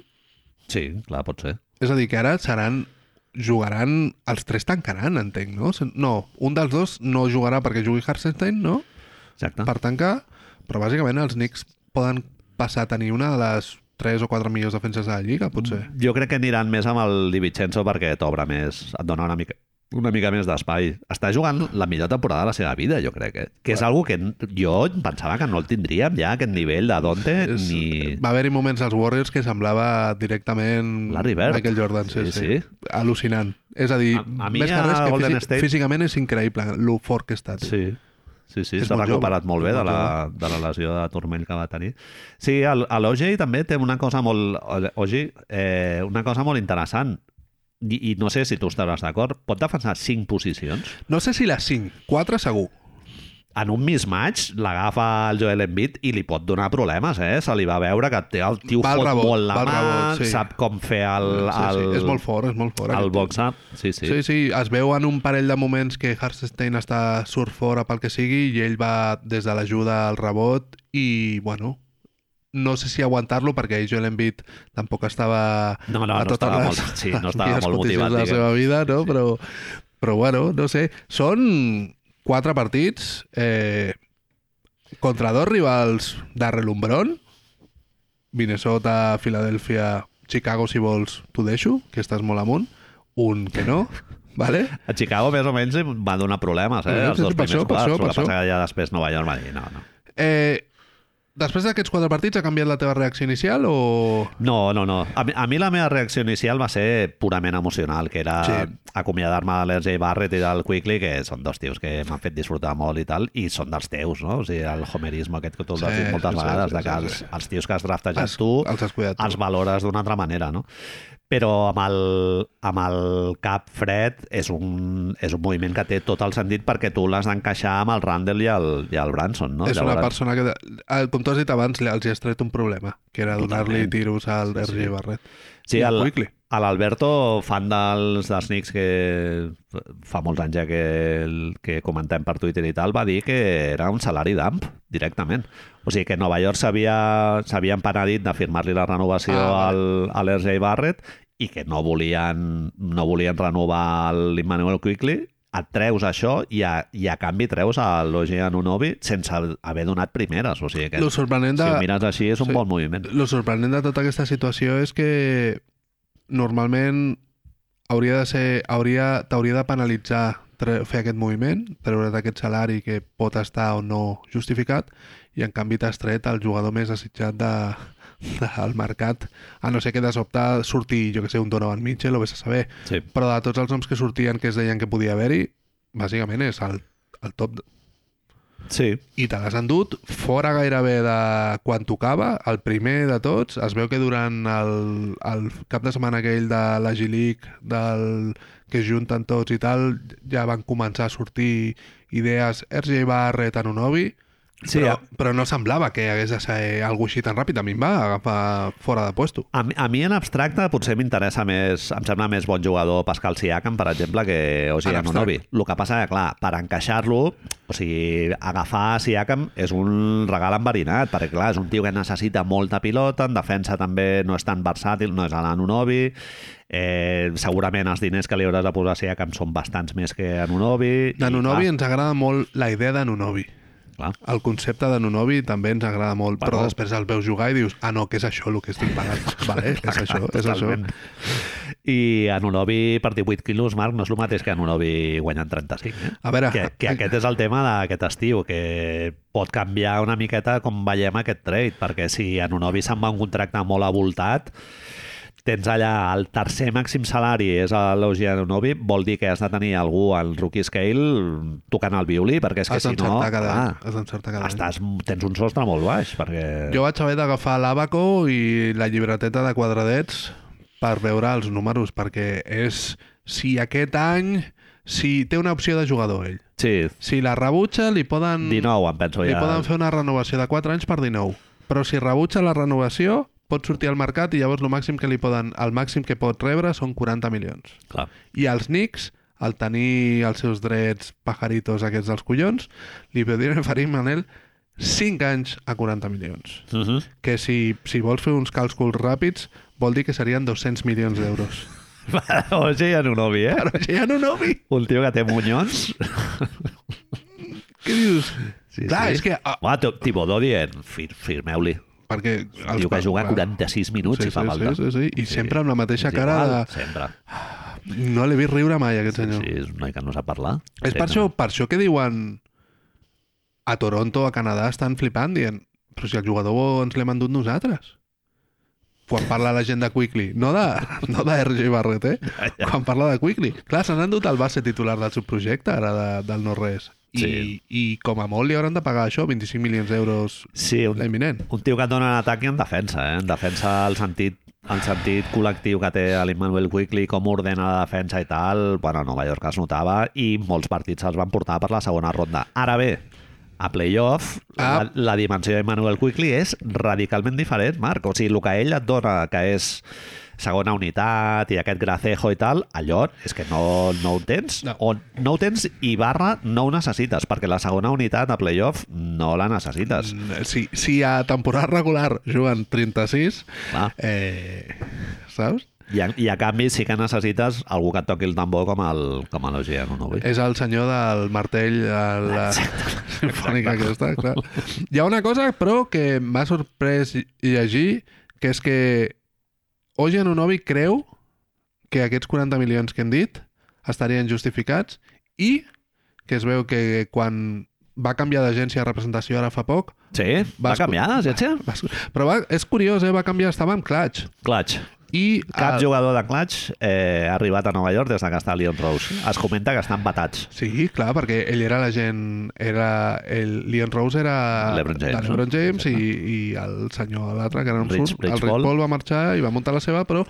A: Sí, clar, pot ser.
B: És a dir, que ara seran jugaran, els tres tancaran, entenc, no? Sen- No, un dels dos no jugarà perquè jugui Hartenstein, no?
A: Exacte.
B: Per tancar, però bàsicament els Knicks poden passar a tenir una de les tres o quatre millors defenses de la Lliga, potser.
A: Jo crec que aniran més amb el Di Vincenzo perquè t'obre més, et dona una mica una mica més d'espai. Està jugant la millor temporada de la seva vida, jo crec. Eh? Que és algo que n- jo pensava que no el tindríem ja, aquest nivell de Donte,
B: És,
A: ni...
B: Va haver-hi moments als Warriors que semblava directament
A: Larry Bird.
B: Michael Jordan. Sí,
A: Sí,
B: sí, sí.
A: sí.
B: Al·lucinant. És a dir,
A: A- a mi
B: més que
A: a
B: res que
A: Golden
B: físic,
A: State-
B: físicament és increïble lo fort que està. Sí.
A: Sí, sí, sí
B: És
A: s'ha
B: molt jove,
A: recuperat molt bé
B: és
A: de
B: molt
A: la, de la lesió de turmell que va tenir. Sí, el- el OJ també té una cosa molt... OJ, eh, una cosa molt interessant. I, i no sé si tu estaràs d'acord, pot defensar cinc posicions?
B: No sé si les 5, 4 segur.
A: En un mismatch l'agafa el Joel Embiid i li pot donar problemes, eh? Se li va veure que té- el tio
B: Va al
A: fot
B: rebot,
A: molt la
B: va al
A: mà,
B: rebot, sí.
A: sap com fer el...
B: Sí,
A: el
B: sí, és molt fort, és molt fort.
A: El
B: aquest
A: box-up, sí, sí.
B: Sí. sí, sí, es veu en un parell de moments que Hartenstein està surt fora pel que sigui i ell va des de l'ajuda al rebot i, bueno, no sé si aguantar-lo perquè Joel Embiid tampoc estava
A: No, no,
B: a
A: no
B: totes
A: estava
B: les,
A: molt- sí, no
B: les
A: estava
B: millors
A: molt
B: condicions
A: motivat,
B: de la
A: diguem.
B: seva vida, no? Però, però, bueno, no sé. Són quatre partits eh, contra dos rivals de relumbrón. Minnesota, Filadèlfia, Chicago, si vols, t'ho deixo, que estàs molt amunt. Un que
A: [LAUGHS]
B: no, vale?
A: A Chicago més o menys va donar problemes, eh?
B: Sí,
A: Els
B: sí,
A: dos
B: sí, per
A: primers
B: això, per
A: quarts.
B: això,
A: El que
B: per
A: passa
B: això.
A: que ja després Nova York va dir no, no.
B: Eh, després d'aquests quatre partits ha canviat la teva reacció inicial o...
A: No, no, no. A mi, a mi la meva reacció inicial va ser purament emocional, que era sí.
B: Sí.
A: acomiadar-me de l'Erge Barrett i del Quickly, que són dos tios que m'han fet disfrutar molt i tal, i són dels teus, no? O sigui, el homerisme aquest que tu has
B: Sí,
A: dit moltes
B: sí, sí,
A: vegades,
B: sí,
A: de que
B: sí,
A: els,
B: sí.
A: els tios que has draftejat
B: Has-
A: tu
B: els has cuidat tu.
A: els valores d'una altra manera, no? Però amb el, amb el cap fred és un, és un moviment que té tot el sentit perquè tu l'has d'encaixar amb el Randall i el, i el Branson, no?
B: és una persona que, eh, com tu has dit abans, li- els hi has tret un problema, que era donar-li
A: Totalment.
B: tiros al
A: Sí,
B: sí,
A: sí.
B: RG Barret.
A: Sí,
B: I el
A: el,
B: Quickly.
A: a l'Alberto, fan dels, dels Knicks que fa molts anys ja que, el- que comentem per Twitter i tal, va dir que era un salari dump, directament. O sigui que Nova York s'havia s'havia empenedit de firmar-li la renovació
B: Ah,
A: ah, al, a l'Ergei Barrett i que no volien, no volien renovar l'Immanuel Quickly, et treus això i a, i a canvi treus a l'Ogi Anunobi sense haver donat primeres. O sigui que
B: Lo sorprenent,
A: si
B: de,
A: ho mires així és un
B: Sí.
A: bon moviment.
B: lo sorprenent de tota aquesta situació és que normalment hauria de ser hauria t'hauria de penalitzar tre- fer aquest moviment, treure't aquest salari que pot estar o no justificat i en canvi t'has tret el jugador més desitjat de, [LAUGHS] del mercat a no ser que de sobte surti jo que sé, un Donovan Mitchell o vés a saber
A: Sí.
B: però de tots els noms que sortien que es deien que podia haver-hi, bàsicament és el, el top de-
A: sí.
B: i te l'has endut fora gairebé de quan tocava, el primer de tots. Es veu que durant el, el cap de setmana aquell de la G-League, del, que es junten tots i tal, ja van començar a sortir idees RJ Barrett en un obi,
A: Sí,
B: però,
A: a-
B: però no semblava que hagués de ser alguna així tan ràpid. A mi em va agafar fora de puesto.
A: A, mi- a mi en abstracte potser m'interessa més, em sembla més bon jugador Pascal Siakam, per exemple, que Oji
B: En
A: Anunobi. El que passa que, clar, per encaixar-lo, o sigui, agafar Siakam és un regal enverinat, perquè, clar, és un tio que necessita molta pilota, en defensa també no és tan versàtil, no és l'Anunobi, eh, segurament els diners que li hauràs de posar a Siakam són bastants més que Anunobi.
B: De Nunobi ens agrada molt la idea de Nunobi.
A: Clar, clar.
B: El concepte de Nunobi també ens agrada molt,
A: Bueno.
B: però després el veus jugar i dius, ah, no, que és això el que estic
A: [LAUGHS]
B: pagant. vale, és això, és això.
A: Totalment. I Anunobi per 18 quilos, Marc, no és el mateix que Anunobi guanyant 35, eh?
B: A veure,
A: que, que aquest és el tema d'aquest estiu, que pot canviar una miqueta com veiem aquest trade, perquè si en un obi se'n va un contracte molt avoltat, tens allà el tercer màxim salari és a l'Ogi Anunobi, vol dir que has de tenir algú al rookie scale tocant el violí, perquè és que
B: has
A: si no...
B: d'encertar cada,
A: clar,
B: any, has d'encertar cada any.
A: estàs, tens un sostre molt baix, perquè...
B: Jo vaig haver d'agafar l'àbaco i la llibreteta de quadradets per veure els números, perquè és si aquest any, si té una opció de jugador ell,
A: Sí,
B: si la rebutja li poden,
A: 19 em penso
B: li
A: ja.
B: poden fer una renovació de 4 anys per 19, però si rebutja la renovació pot sortir al mercat i llavors el màxim que li poden, el màxim que pot rebre són 40 milions.
A: Clar.
B: I els Knicks, al tenir els seus drets pajaritos aquests dels collons, li podrien oferir, Manel, 5 anys a 40 milions.
A: Uh -huh.
B: Que si, si vols fer uns càlculs ràpids, vol dir que serien 200
A: [LAUGHS]
B: milions d'euros.
A: Ogi Anunobi, eh?
B: Però ja no, no, vi.
A: Un tio que té
B: [LAUGHS]
A: munyons.
B: Què dius?
A: Sí,
B: Clar,
A: sí.
B: és que... Ah,
A: Va, Tibodó dient, eh, fir firmeu-li.
B: perquè...
A: Diu que juga 46 minuts
B: sí,
A: sí, i fa
B: sí,
A: falta.
B: Sí, sí, sí. I
A: Sí.
B: sempre amb la mateixa
A: És
B: cara
A: igual,
B: de...
A: Sempre.
B: No l'he vist riure mai, aquest senyor.
A: Sí, és un noi que no sap parlar.
B: És
A: Sí,
B: per,
A: no.
B: això, per això que diuen a Toronto, a Canadà, estan flipant, dient però si el jugador ens l'hem endut nosaltres. quan parla la gent de Quickly, no de, [LAUGHS] no de RJ Barret, eh?
A: [LAUGHS]
B: Quan parla de Quickly. Clar, s'han endut el base titular del subprojecte, ara, de, del no-res. I,
A: Sí.
B: I com a molt li hauran de pagar això, 25 milions d'euros
A: Sí, un,
B: l'any vinent.
A: un tio que et dona en atac i en defensa, eh? En defensa el sentit el sentit col·lectiu que té l'Immanuel Quickly, com ordena la defensa i tal, bueno, Nova York es notava i molts partits els van portar per la segona ronda. Ara bé, a playoff,
B: Ah.
A: la, la dimensió d'Immanuel Quickly és radicalment diferent, Marc. O sigui, el que ell et dona, que és segona unitat i aquest gracejo i tal, allò és que no, no ho tens.
B: No.
A: O no ho tens i barra no ho necessites, perquè la segona unitat a playoff no la necessites.
B: Mm, Si, si a temporada regular juguen 36,
A: Clar.
B: eh, saps?
A: I a, I a canvi sí que necessites algú que et toqui el tambor com el, com el Giano, no vull?
B: És el senyor del martell de la simfònica aquesta, clar. Hi ha una cosa, però, que m'ha sorprès llegir, que és que Oji Anunobi creu que aquests 40 milions que hem dit estarien justificats i que es veu que quan va canviar d'agència de representació ara fa poc,
A: Sí, va
B: Vas-
A: canviar l'agència?
B: va, però va, és curiós, eh? va canviar, estava amb Clutch.
A: Clutch.
B: I
A: Cap
B: el-
A: jugador de Clutch eh, ha arribat a Nova York des de que està Leon Rose. Es comenta que estan batats.
B: Sí, clar, perquè ell era la gent... Era, el Leon Rose era
A: LeBron James,
B: de LeBron
A: no?
B: James i,
A: Exacte.
B: i el senyor l'altre, que ara no em
A: Rich-
B: surt,
A: Rich
B: el Rich
A: Paul.
B: Paul va marxar i va muntar la seva, però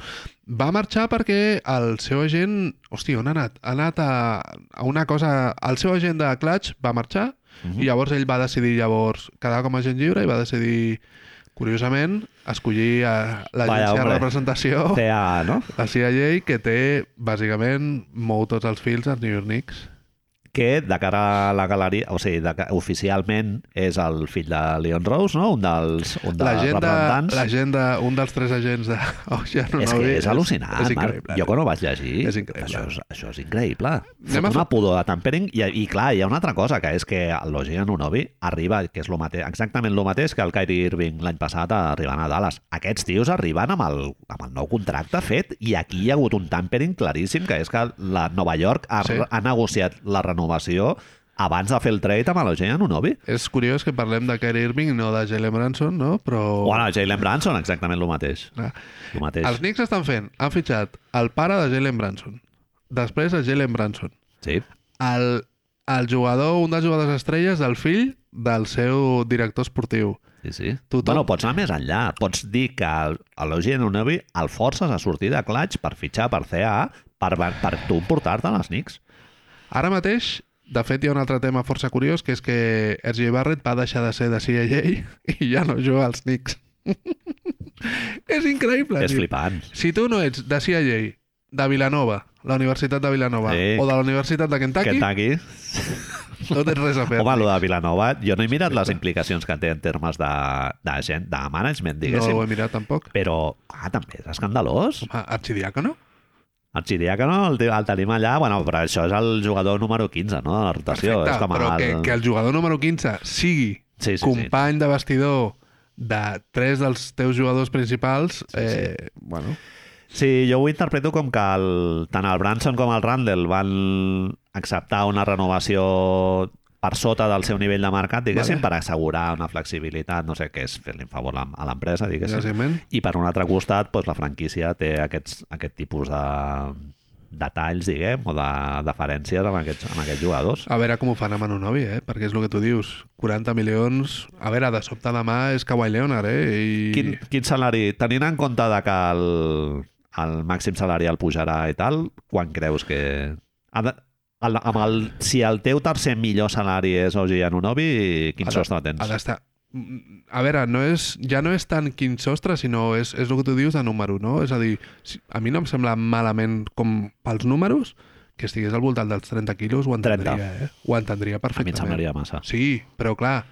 B: va marxar perquè el seu agent... Hòstia, on ha anat? Ha anat a, a una cosa... El seu agent de Clutch va marxar
A: Mhm.
B: i llavors ell va decidir llavors quedar com a agent lliure i va decidir, curiosament, escollir a
A: Vaya,
B: l'agència de
A: hombre.
B: representació,
A: CA, no?
B: la CIA, que té, bàsicament, mou tots els fils als New York Knicks.
A: Que de cara a la galeria, o sigui, de, ca- oficialment és el fill de Leon Rose, no? Un dels, un dels
B: l'agenda,
A: representants.
B: l'agenda, un dels tres agents de [LAUGHS] Oh, Ocean
A: és que és al·lucinant, Marc.
B: és increïble.
A: Jo quan ho vaig llegir,
B: És increïble.
A: això és, això és increïble. Fot
B: a
A: una
B: fer-
A: pudor de tampering i, i clar, hi ha una altra cosa, que és que el Logi Anunobi arriba, que és lo mate, exactament el mateix que el Kyrie Irving l'any passat arribant a Dallas. Aquests tios arriben amb el, amb el nou contracte fet i aquí hi ha hagut un tampering claríssim, que és que la Nova York ha,
B: Sí.
A: sí. ha negociat la renovació abans de fer el trade amb el Logi Anunobi.
B: És curiós que parlem de Kyrie Irving, no de Jalen Branson, no? Però...
A: O bueno, Jalen Branson, exactament el mateix.
B: Ah.
A: El mateix.
B: Els Knicks estan fent, han fitxat el pare de Jalen Branson, després a Jalen Branson,
A: Sí.
B: el, el jugador, un dels jugadors estrelles, el fill del seu director esportiu.
A: Sí, sí.
B: Tothom-
A: Bueno, pots anar més enllà. Pots dir que el- a l'Ogi Anunobi el forces a sortir de Clutch per fitxar per CA per, per tu portar-te a les Knicks.
B: Ara mateix, de fet, hi ha un altre tema força curiós, que és que R.J. Barrett va deixar de ser de CIA [LAUGHS] i ja no juga als Knicks. [LAUGHS] és increïble.
A: És
B: tio.
A: flipant.
B: Si tu no ets de CIA, de Vilanova, la Universitat de Vilanova,
A: Sí.
B: o de la Universitat de Kentucky,
A: Kentucky.
B: no tens res a fer.
A: Home, lo de Vilanova, jo no he mirat les implicacions que té en termes de, de, gent, de management,
B: no
A: diguéssim.
B: ho he mirat tampoc. Ah,
A: Però, ah, també és escandalós.
B: Home, arxidiàcono?
A: Arxidiàcono el, te- el tenim allà, bueno, però això és el jugador número 15, no?, de la rotació. és com
B: però
A: el...
B: que, que el jugador número 15 sigui
A: Sí, sí, sí.
B: company de vestidor de tres dels teus jugadors principals,
A: sí.
B: eh, bueno,
A: Sí, jo ho interpreto com que el, tant el Branson com el Randall van acceptar una renovació per sota del seu nivell de mercat, diguéssim, vale. per
B: Vale.
A: assegurar una flexibilitat, no sé què és, fer-li un favor a a l'empresa, diguéssim.
B: bàsicament.
A: I per un altre costat, doncs, la franquícia té aquests, aquest tipus de detalls, diguem, o de deferències amb aquests, amb aquests jugadors.
B: A veure com ho fan amb Anunobi, eh? perquè és el que tu dius. 40 milions... A veure, de sobte demà és Kawhi Leonard, eh? I...
A: Quin, quin salari? Tenint en compte de que el, el màxim salarial pujarà i tal, quan creus que... Ha de, el, amb el, si el teu tercer millor salari és Oji Anunobi, quin
B: Ha de-
A: sostre
B: Ha
A: tens?
B: d'estar... Mm, A veure, no és, ja no és tant quin sostre, sinó és, és el que tu dius de número, no? És a dir, si- a mi no em sembla malament com pels números, que estigués al voltant dels 30 quilos ho entendria, 30. eh? Ho
A: A mi
B: entendria
A: em
B: perfectament.
A: semblaria massa.
B: Sí, però clar,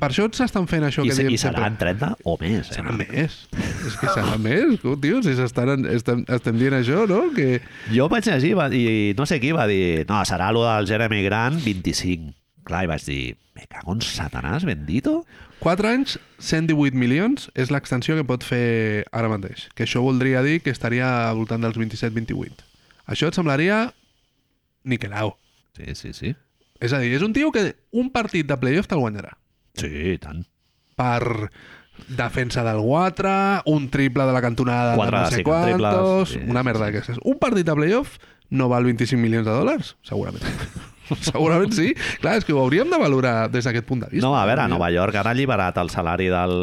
B: per això s'estan fent això
A: I,
B: que
A: se-
B: diem
A: I seran 30 o més. Eh?
B: Serà més. És que serà més, tio, si s'estan, en- estem, estem dient això, no? Que...
A: Jo vaig llegir va, i no sé qui va dir no, serà allò del Jeremy Grant 25. Clar, i vaig dir, me cago en satanàs, bendito.
B: 4 anys, 118 milions és l'extensió que pot fer ara mateix. Que això voldria dir que estaria al voltant dels 27-28. Això et semblaria niquelau.
A: Sí, sí, sí.
B: És a dir, és un tio que un partit de playoff te'l guanyarà.
A: Sí, i tant.
B: Per defensa del Guatra, un triple de la cantonada de
A: Quatre,
B: no sé
A: sí,
B: quantos,
A: triples, sí,
B: una
A: sí,
B: merda
A: sí.
B: d'aquestes. Un partit de playoff no val 25 milions de dòlars? Segurament. [LAUGHS] Segurament sí. Clar, és que ho hauríem de valorar des d'aquest punt de vista.
A: No, a veure, a Nova York han alliberat el salari del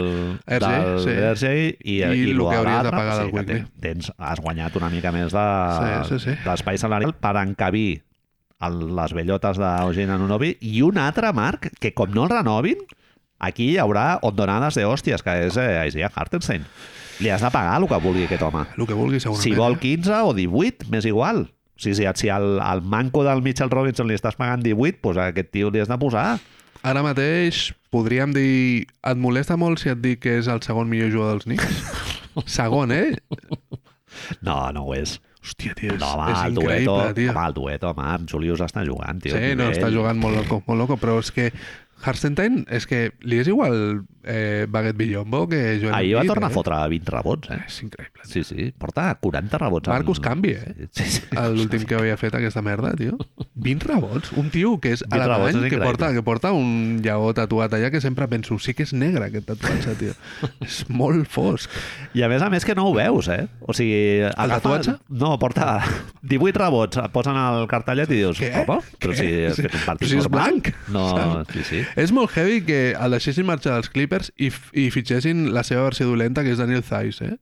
B: RJ,
A: del
B: Eh, sí.
A: RJ i,
B: I el
A: lo
B: que hauries de
A: d'Arnab,
B: pagar del
A: que
B: Quigley.
A: ten- Tens, has guanyat una mica més de-
B: Sí, sí, sí.
A: d'espai salarial per encabir el, les bellotes d'Eugene Anunobi i un altre, Marc, que com no el renovin, aquí hi haurà ondonades de hòsties, que és eh, Isaiah Hartenstein. Li has de pagar el que vulgui aquest home.
B: El que vulgui, segurament.
A: Si vol
B: eh?
A: 15 o 18, m'és igual. Si, si, si al, al manco del Mitchell Robinson li estàs pagant 18, doncs a aquest tio li has de posar.
B: Ara mateix podríem dir... Et molesta molt si et dic que és el segon millor jugador dels Knicks?
A: [LAUGHS]
B: segon, eh?
A: No, no ho és.
B: Hòstia, tio, és,
A: No, home,
B: és
A: el
B: increïble,
A: dueto,
B: tio.
A: home, el dueto, home, en Julius està jugant, tio.
B: Sí, no,
A: nivell.
B: està jugant molt loco, molt loco, però és que Hartenstein, és que li és igual eh, Baguette Villombo que Joel
A: Ahir va
B: Embiid,
A: tornar a
B: eh?
A: fotre 20 rebots, eh?
B: És increïble.
A: Sí, sí, porta 40 rebots. amb-
B: Marcus Cambi, eh?
A: Sí, sí.
B: L'últim que havia fet aquesta merda,
A: [LAUGHS]
B: tio. 20 rebots. Un tio que és
A: 20 rebots, és
B: alemany, que
A: increïble.
B: porta, que porta un lleó tatuat allà, que sempre penso, sí que és negre aquest tatuatge,
A: [LAUGHS]
B: tio. és molt fosc.
A: I a més a més que no ho veus, eh? O sigui... El
B: tatuatge?
A: No, porta 18 rebots, et posen el cartellet i dius...
B: Què?
A: Papa, però
B: Què?
A: si és, que és un
B: Però
A: partit
B: si és
A: normal.
B: blanc,
A: No,
B: saps?
A: sí, sí.
B: És molt heavy que el deixessin marxar dels Clippers i, f- i fitxessin la seva versió dolenta, que és Daniel Thais, eh?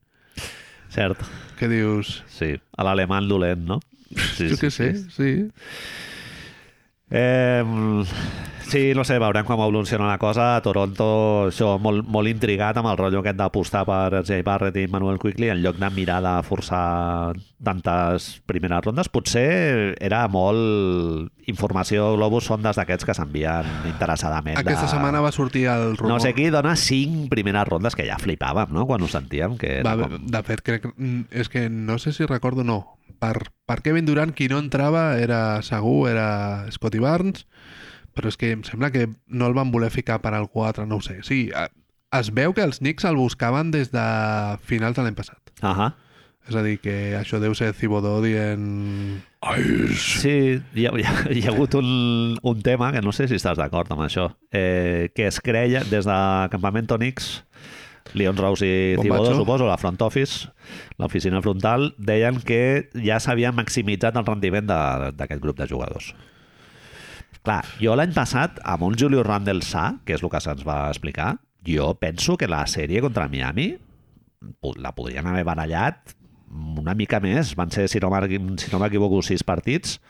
A: Cert,
B: Que dius...
A: sí. A l'alemán dolent, no? Sí,
B: jo què sé, sí.
A: Eh, sí, no sé, veurem com evoluciona la cosa. A Toronto, això, molt, molt intrigat amb el rotllo aquest d'apostar per Jay Barrett i Manuel Quigley en lloc de mirar de forçar tantes primeres rondes. Potser era molt informació globus, sondes d'aquests que s'envien interessadament.
B: Aquesta
A: de...
B: setmana va sortir el rumor.
A: No sé qui dona cinc primeres rondes, que ja flipàvem, no?, quan ho sentíem. Que era
B: Va,
A: com...
B: de fet, crec, mm, és que no sé si recordo, no. Per, per Kevin Durant, qui no entrava era segur, era Scotty Barnes, però és que em sembla que no el van voler ficar per al 4, no ho sé. Sí, a- es veu que els Knicks el buscaven des de finals de l'any passat.
A: Uh -huh.
B: És a dir, que això deu ser Cibodó dient... Ice!
A: Sí, hi ha, hi ha, hi ha hagut un, un tema que no sé si estàs d'acord amb això, eh, que es creia des de Campamento Nix, Leon Rose i
B: Bombacho.
A: Thibodeau, suposo, la front office, l'oficina frontal, deien que ja s'havia maximitzat el rendiment de- d'aquest grup de jugadors. Clar, jo l'any passat, amb un Julio Randle sa, que és el que se'ns va explicar, jo penso que la sèrie contra Miami po- la podrien haver barallat una mica més. Van ser, si no m'equi- si no m'equivoco, sis partits.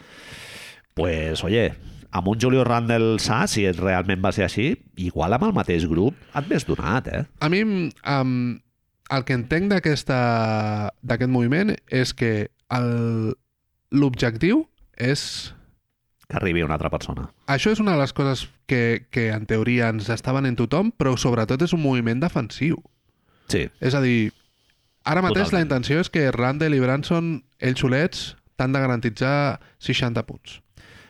A: pues, oye, amb un Julio Randle sa, si és- realment va ser així, igual amb el mateix grup et ves donat, eh?
B: A mi, um, el que entenc d'aquesta- d'aquest moviment és que el- l'objectiu és
A: Que arribi una altra persona.
B: Això és una de les coses que, que en teoria ens estaven en tothom, però sobretot és un moviment defensiu.
A: Sí,
B: És a dir, ara mateix
A: Totalment.
B: la intenció és que Randall i Branson, ells solets, t'han de garantitzar 60 punts.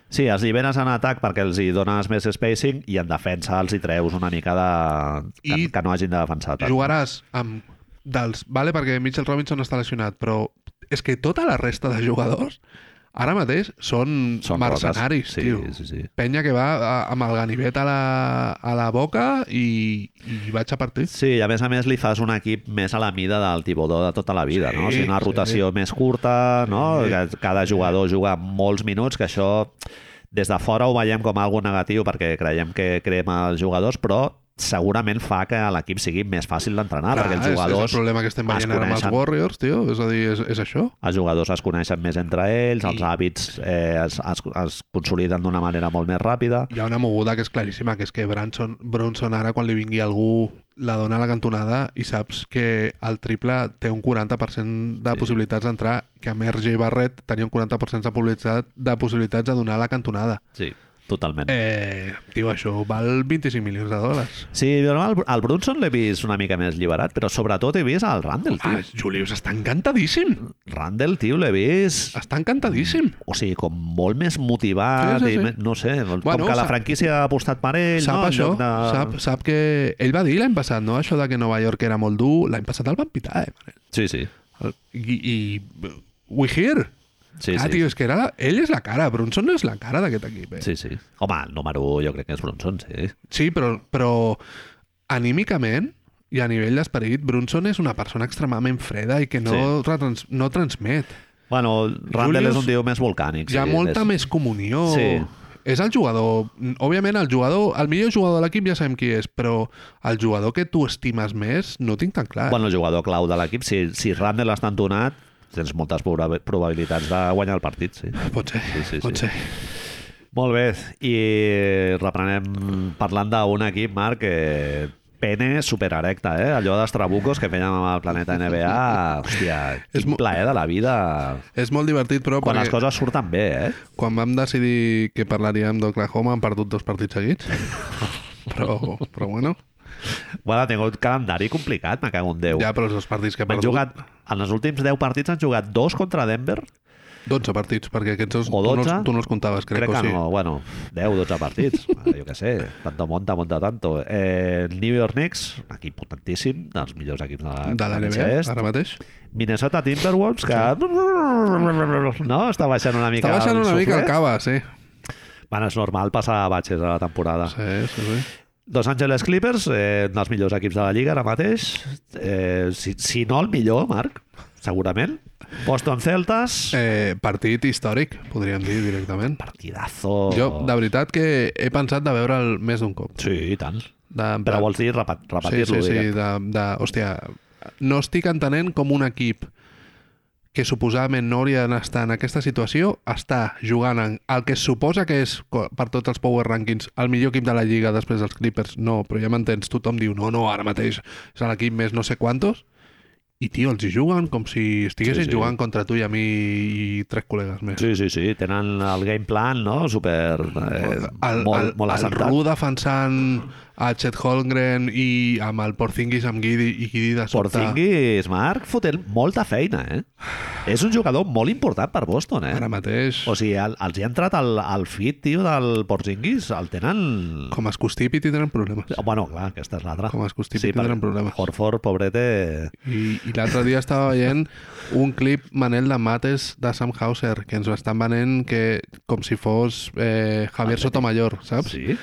A: sí els lliberes en atac perquè els hi dones més spacing i en defensa els hi treus una mica de... Que,
B: I
A: que no hagin de defensar tant.
B: Jugaràs amb dels... Vale, perquè Mitchell Robinson està lesionat, però és que tota la resta de jugadors ara mateix són,
A: Són
B: mercenaris,
A: roques. sí,
B: tio.
A: Sí, sí,
B: Penya que va a- amb el ganivet a la, a la boca i, i vaig a partir.
A: Sí, i a més a més li fas un equip més a la mida del Tibodó de tota la vida,
B: Sí,
A: no? O sigui, una
B: sí.
A: rotació més curta, no?
B: Sí.
A: Que Cada jugador juga molts minuts, que això des de fora ho veiem com algo negatiu perquè creiem que crema els jugadors, però segurament fa que l'equip sigui més fàcil d'entrenar, perquè els
B: és-
A: jugadors,
B: És el problema que estem
A: es
B: veient ara amb els
A: coneixen.
B: Warriors, tio. És a dir, és, és això.
A: els jugadors es coneixen més entre ells, els
B: I-
A: hàbits eh, es, es, es consoliden d'una manera molt més ràpida.
B: Hi ha una moguda que és claríssima, que és que Branson, Bronson ara, quan li vingui algú, la dona a la cantonada i saps que el triple té un 40% de
A: Sí.
B: possibilitats d'entrar, que a més Jay Barrett tenia un 40% de possibilitat de possibilitats de donar a la cantonada.
A: Sí, totalment.
B: Eh, tio, això val 25 milions de dòlars.
A: Sí, jo al, al Brunson l'he vist una mica més lliberat, però sobretot he vist al Randall,
B: Ah,
A: tio.
B: Julius està encantadíssim.
A: Randall, tio, l'he vist
B: Està encantadíssim.
A: o sigui, com molt més motivat
B: Sí, sí,
A: i
B: sí.
A: me- no sé, bueno,
B: Bueno,
A: com que la
B: sap-
A: franquícia ha apostat per ell Eh,
B: sap
A: no? En
B: això,
A: lloc de...
B: sap, sap que... Ell va dir l'any passat, no?, això de que Nova York era molt dur. L'any passat el van pitar, eh, Manel?
A: sí, sí,
B: I, i we here.
A: sí,
B: ah,
A: sí.
B: tio, és que era la, ell és la cara, Brunson no és la cara d'aquest equip. Eh?
A: sí, sí. Home, el número 1 jo crec que és Bronson, sí.
B: sí però, però anímicament I a nivell d'esperit, Brunson és una persona extremament freda i que no,
A: Sí.
B: retrans, no transmet.
A: Bueno, Randall
B: Julius-
A: és un tio més volcànic.
B: Hi ha molta
A: és...
B: més comunió.
A: Sí.
B: És el jugador... Òbviament, el jugador... El millor jugador de l'equip ja sabem qui és, però el jugador que tu estimes més no ho tinc tan clar.
A: Bueno, el jugador clau de l'equip, si, si Randall està entonat, tens moltes proba- probabilitats de guanyar el partit, sí.
B: Pot ser,
A: Sí, sí, sí.
B: pot ser.
A: Molt bé, i reprenem parlant d'un equip, Marc, que pene supererecta, eh? Allò dels trabucos que feien amb el planeta NBA, hòstia,
B: És
A: quin
B: mo-
A: plaer de la vida.
B: És molt divertit, però
A: Quan
B: quan,
A: les
B: perquè,
A: coses surten bé, eh?
B: quan vam decidir que parlaríem d'Oklahoma hem perdut dos partits seguits. [LAUGHS] però, però bueno,
A: Bueno, tinc un calendari complicat, me cago en Déu.
B: ja, però els dos partits que hem
A: han
B: perdut...
A: jugat, en els últims 10 partits han jugat dos contra Denver,
B: 12 partits, perquè aquests dos
A: O
B: tu, no,
A: 12?
B: els- tu no els comptaves, crec,
A: crec,
B: o
A: que
B: sí.
A: no, bueno, 10-12 partits, [LAUGHS] jo què sé, tanto monta, monta tanto. Eh, New York Knicks, un equip potentíssim, dels millors equips de la,
B: De la NBA,
A: NBA
B: ara mateix.
A: Minnesota Timberwolves, que... No? Està baixant una mica
B: Està baixant una mica el
A: suflet.
B: cava, sí.
A: Bueno, és normal passar batxes a la temporada. Sí.
B: Sí, sí, sí.
A: Los Angeles Clippers, eh, un dels millors equips de la Lliga ara mateix. Eh, si, si no el millor, Marc, segurament. Boston Celtas, eh.
B: Eh, partit històric, podríem dir directament.
A: partidazo...
B: Jo, de veritat que he pensat de veure'l més d'un cop.
A: Sí, i tant.
B: De,
A: Però vols dir repa-
B: sí, sí,
A: repetir-lo?
B: sí,
A: diguem.
B: de, de, hòstia, no estic entenent com un equip que suposadament no hauria d'estar en aquesta situació, està jugant en el que es suposa que és, co- per tots els power rankings, el millor equip de la Lliga després dels Clippers. No, però ja m'entens, tothom diu, no, no, ara mateix és l'equip més no sé quantos, i tio, els hi juguen com si
A: Sí,
B: estiguessin sí,
A: sí.
B: sí. jugant contra tu i a mi i tres col·legues més.
A: Sí, sí, sí, tenen el game plan, no? Super... Eh,
B: el,
A: molt,
B: el,
A: molt
B: el
A: assentat.
B: Ru defensant a Chet Holmgren i amb el Porzingis amb Guidi i Guidi de sobte.
A: Porzingis, Marc, fotent molta feina, eh? És un jugador molt important per Boston, eh?
B: Ara mateix,
A: O sigui, el, els hi ha entrat el, el fit, tio, del Porzingis, el tenen... Eh,
B: com es constipi tindran problemes.
A: Bueno, clar, aquesta és l'altra.
B: Com es constipi
A: perquè
B: tindran problemes.
A: Horford, pobrete...
B: I, i l'altre dia estava veient un clip Manel de Mates de Sam Hauser que ens ho estan venent que, com si fos eh, Javier Sotomayor, saps?
A: Sí?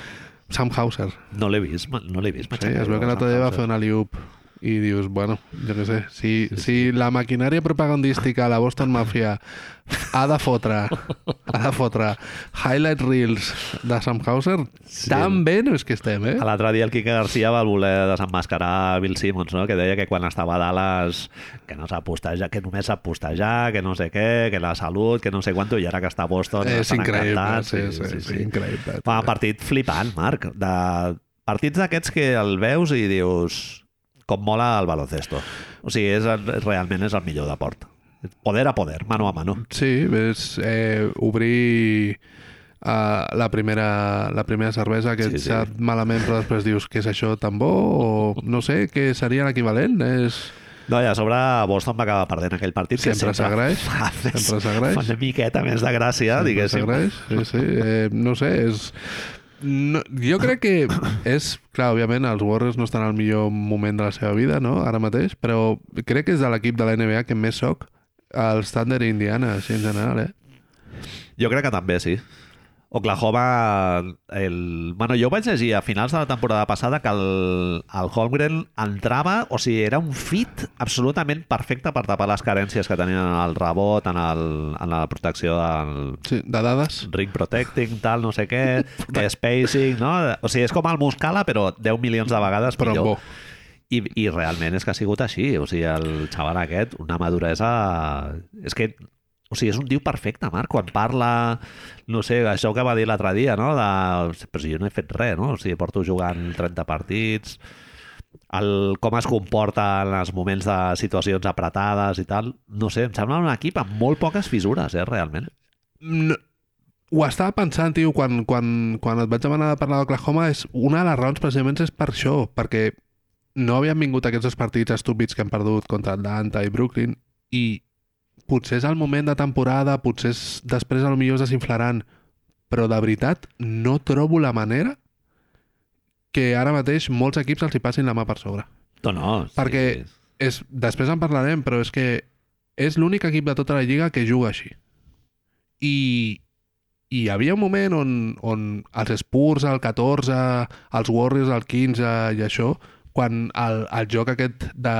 B: Sam Hauser.
A: No l'he vist, ma- no l'he vist.
B: Sí,
A: matxacar,
B: es veu que l'altre dia va fer una liup i dius, bueno, jo què sé, si, si la maquinària propagandística la Boston Mafia ha de fotre, ha de fotre highlight reels de Sam Hauser,
A: Sí.
B: tan bé no és que estem, eh?
A: A L'altre dia el Quique Garcia va voler desenmascarar Bill Simmons, no? que deia que quan estava a Dallas que no sap postejar, que només sap postejar, que no sé què, que la salut, que no sé quant, i ara que està a Boston
B: Eh, És
A: estan
B: increïble,
A: encantats.
B: sí, sí, sí, sí, increïble.
A: Fa un partit flipant, Marc. De partits d'aquests que el veus i dius com mola el baloncesto. O sigui, és, el- realment és el millor deport. Poder a poder, mano a mano.
B: Sí, és eh, obrir eh, la, primera, la primera cervesa que
A: Sí,
B: sí,
A: sí.
B: sí. sap malament però després dius que és això tan bo o no sé, què seria l'equivalent? És...
A: No, i a sobre Boston va acabar perdent aquell partit. que
B: Sempre s'agraeix,
A: fa més-
B: sempre s'agraeix.
A: fa Una miqueta més de gràcia,
B: Sempre
A: diguéssim.
B: s'agraeix, eh, Sí, sí. Eh, no sé, és... No, jo crec que és... Clar, òbviament, els Warriors no estan al millor moment de la seva vida, no?, ara mateix, però crec que és de l'equip de la NBA que més soc els Thunder i Indiana, així en general, eh?
A: Jo crec que també, sí. Oklahoma, el... Bueno, jo vaig llegir a finals de la temporada passada que el, el Holmgren entrava, o sigui, era un fit absolutament perfecte per tapar les carències que tenien en el rebot, en, el, en la protecció del
B: Sí, de dades.
A: ring protecting, tal, no sé què, de spacing, no? O sigui, és com el Muscala, però 10 milions de vegades
B: Però
A: millor.
B: bo.
A: I, I realment és que ha sigut així. O sigui, el xaval aquest, una maduresa... És que... O sigui, és un tio perfecte, Marc, quan parla... No sé, això que va dir l'altre dia, no? De... Però si jo no he fet res, no? O sigui, porto jugant 30 partits... El, com es comporta en els moments de situacions apretades i tal, no sé, em sembla un equip amb molt poques fissures, eh, realment.
B: no, ho estava pensant, tio, quan, quan, quan et vaig demanar de parlar d'Oklahoma, és una de les raons precisament és per això, perquè no havien vingut aquests dos partits estúpids que han perdut contra Atlanta i Brooklyn i potser és el moment de temporada, potser és, després a lo millor es desinflaran, però de veritat no trobo la manera que ara mateix molts equips els hi passin la mà per sobre.
A: No, no. sí.
B: Perquè- És, després en parlarem, però és que és l'únic equip de tota la lliga que juga així. I, i hi havia un moment on, on els Spurs, el 14, els Warriors, el 15 i això, quan el, el joc aquest de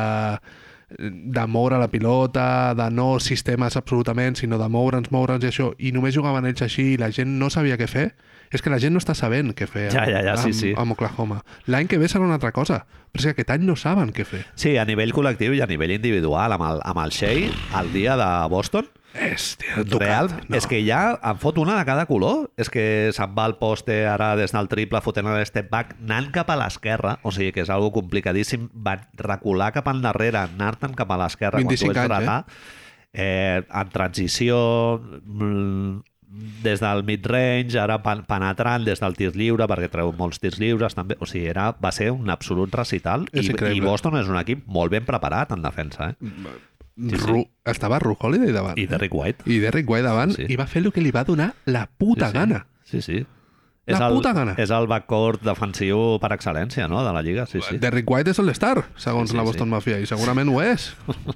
B: de moure la pilota, de no sistemes absolutament, sinó de moure'ns, moure'ns i això, i només jugaven ells així i la gent no sabia què fer, és que la gent no està sabent què fer
A: Ja, ja, ja, sí,
B: amb,
A: sí.
B: amb Oklahoma. L'any que ve serà una altra cosa, però és que aquest any no saben què fer.
A: Sí, a nivell col·lectiu i a nivell individual, amb el, amb el Shea, el dia de Boston,
B: Hòstia, tocat.
A: Real,
B: no.
A: és que ja em fot una de cada color. És que se'n va al poste ara des del triple, fotent el step back, anant cap a l'esquerra, o sigui que és algo complicadíssim, va recular cap endarrere, anar-te'n cap a l'esquerra quan tu
B: 25
A: ets
B: anys,
A: retar. Eh? en transició, mm, des del mid-range, ara pen- penetrant des del tir lliure, perquè treu molts tirs lliures també. O sigui, era, va ser un absolut recital
B: És
A: i, i
B: increïble.
A: Boston és un equip molt ben preparat en defensa. Eh? sí.
B: Ru... Estava Ru Holiday davant.
A: I Derrick White.
B: I Derrick White davant
A: Sí,
B: sí,
A: sí.
B: i va fer el que li va donar la puta
A: sí,
B: sí, gana.
A: Sí, sí.
B: La
A: el,
B: puta gana.
A: És el backcourt defensiu per excel·lència, no?, de la Lliga, sí, sí.
B: Sí. Derrick White és l'estar, segons
A: Sí,
B: sí,
A: sí,
B: la Boston sí. Mafia, i segurament ho és.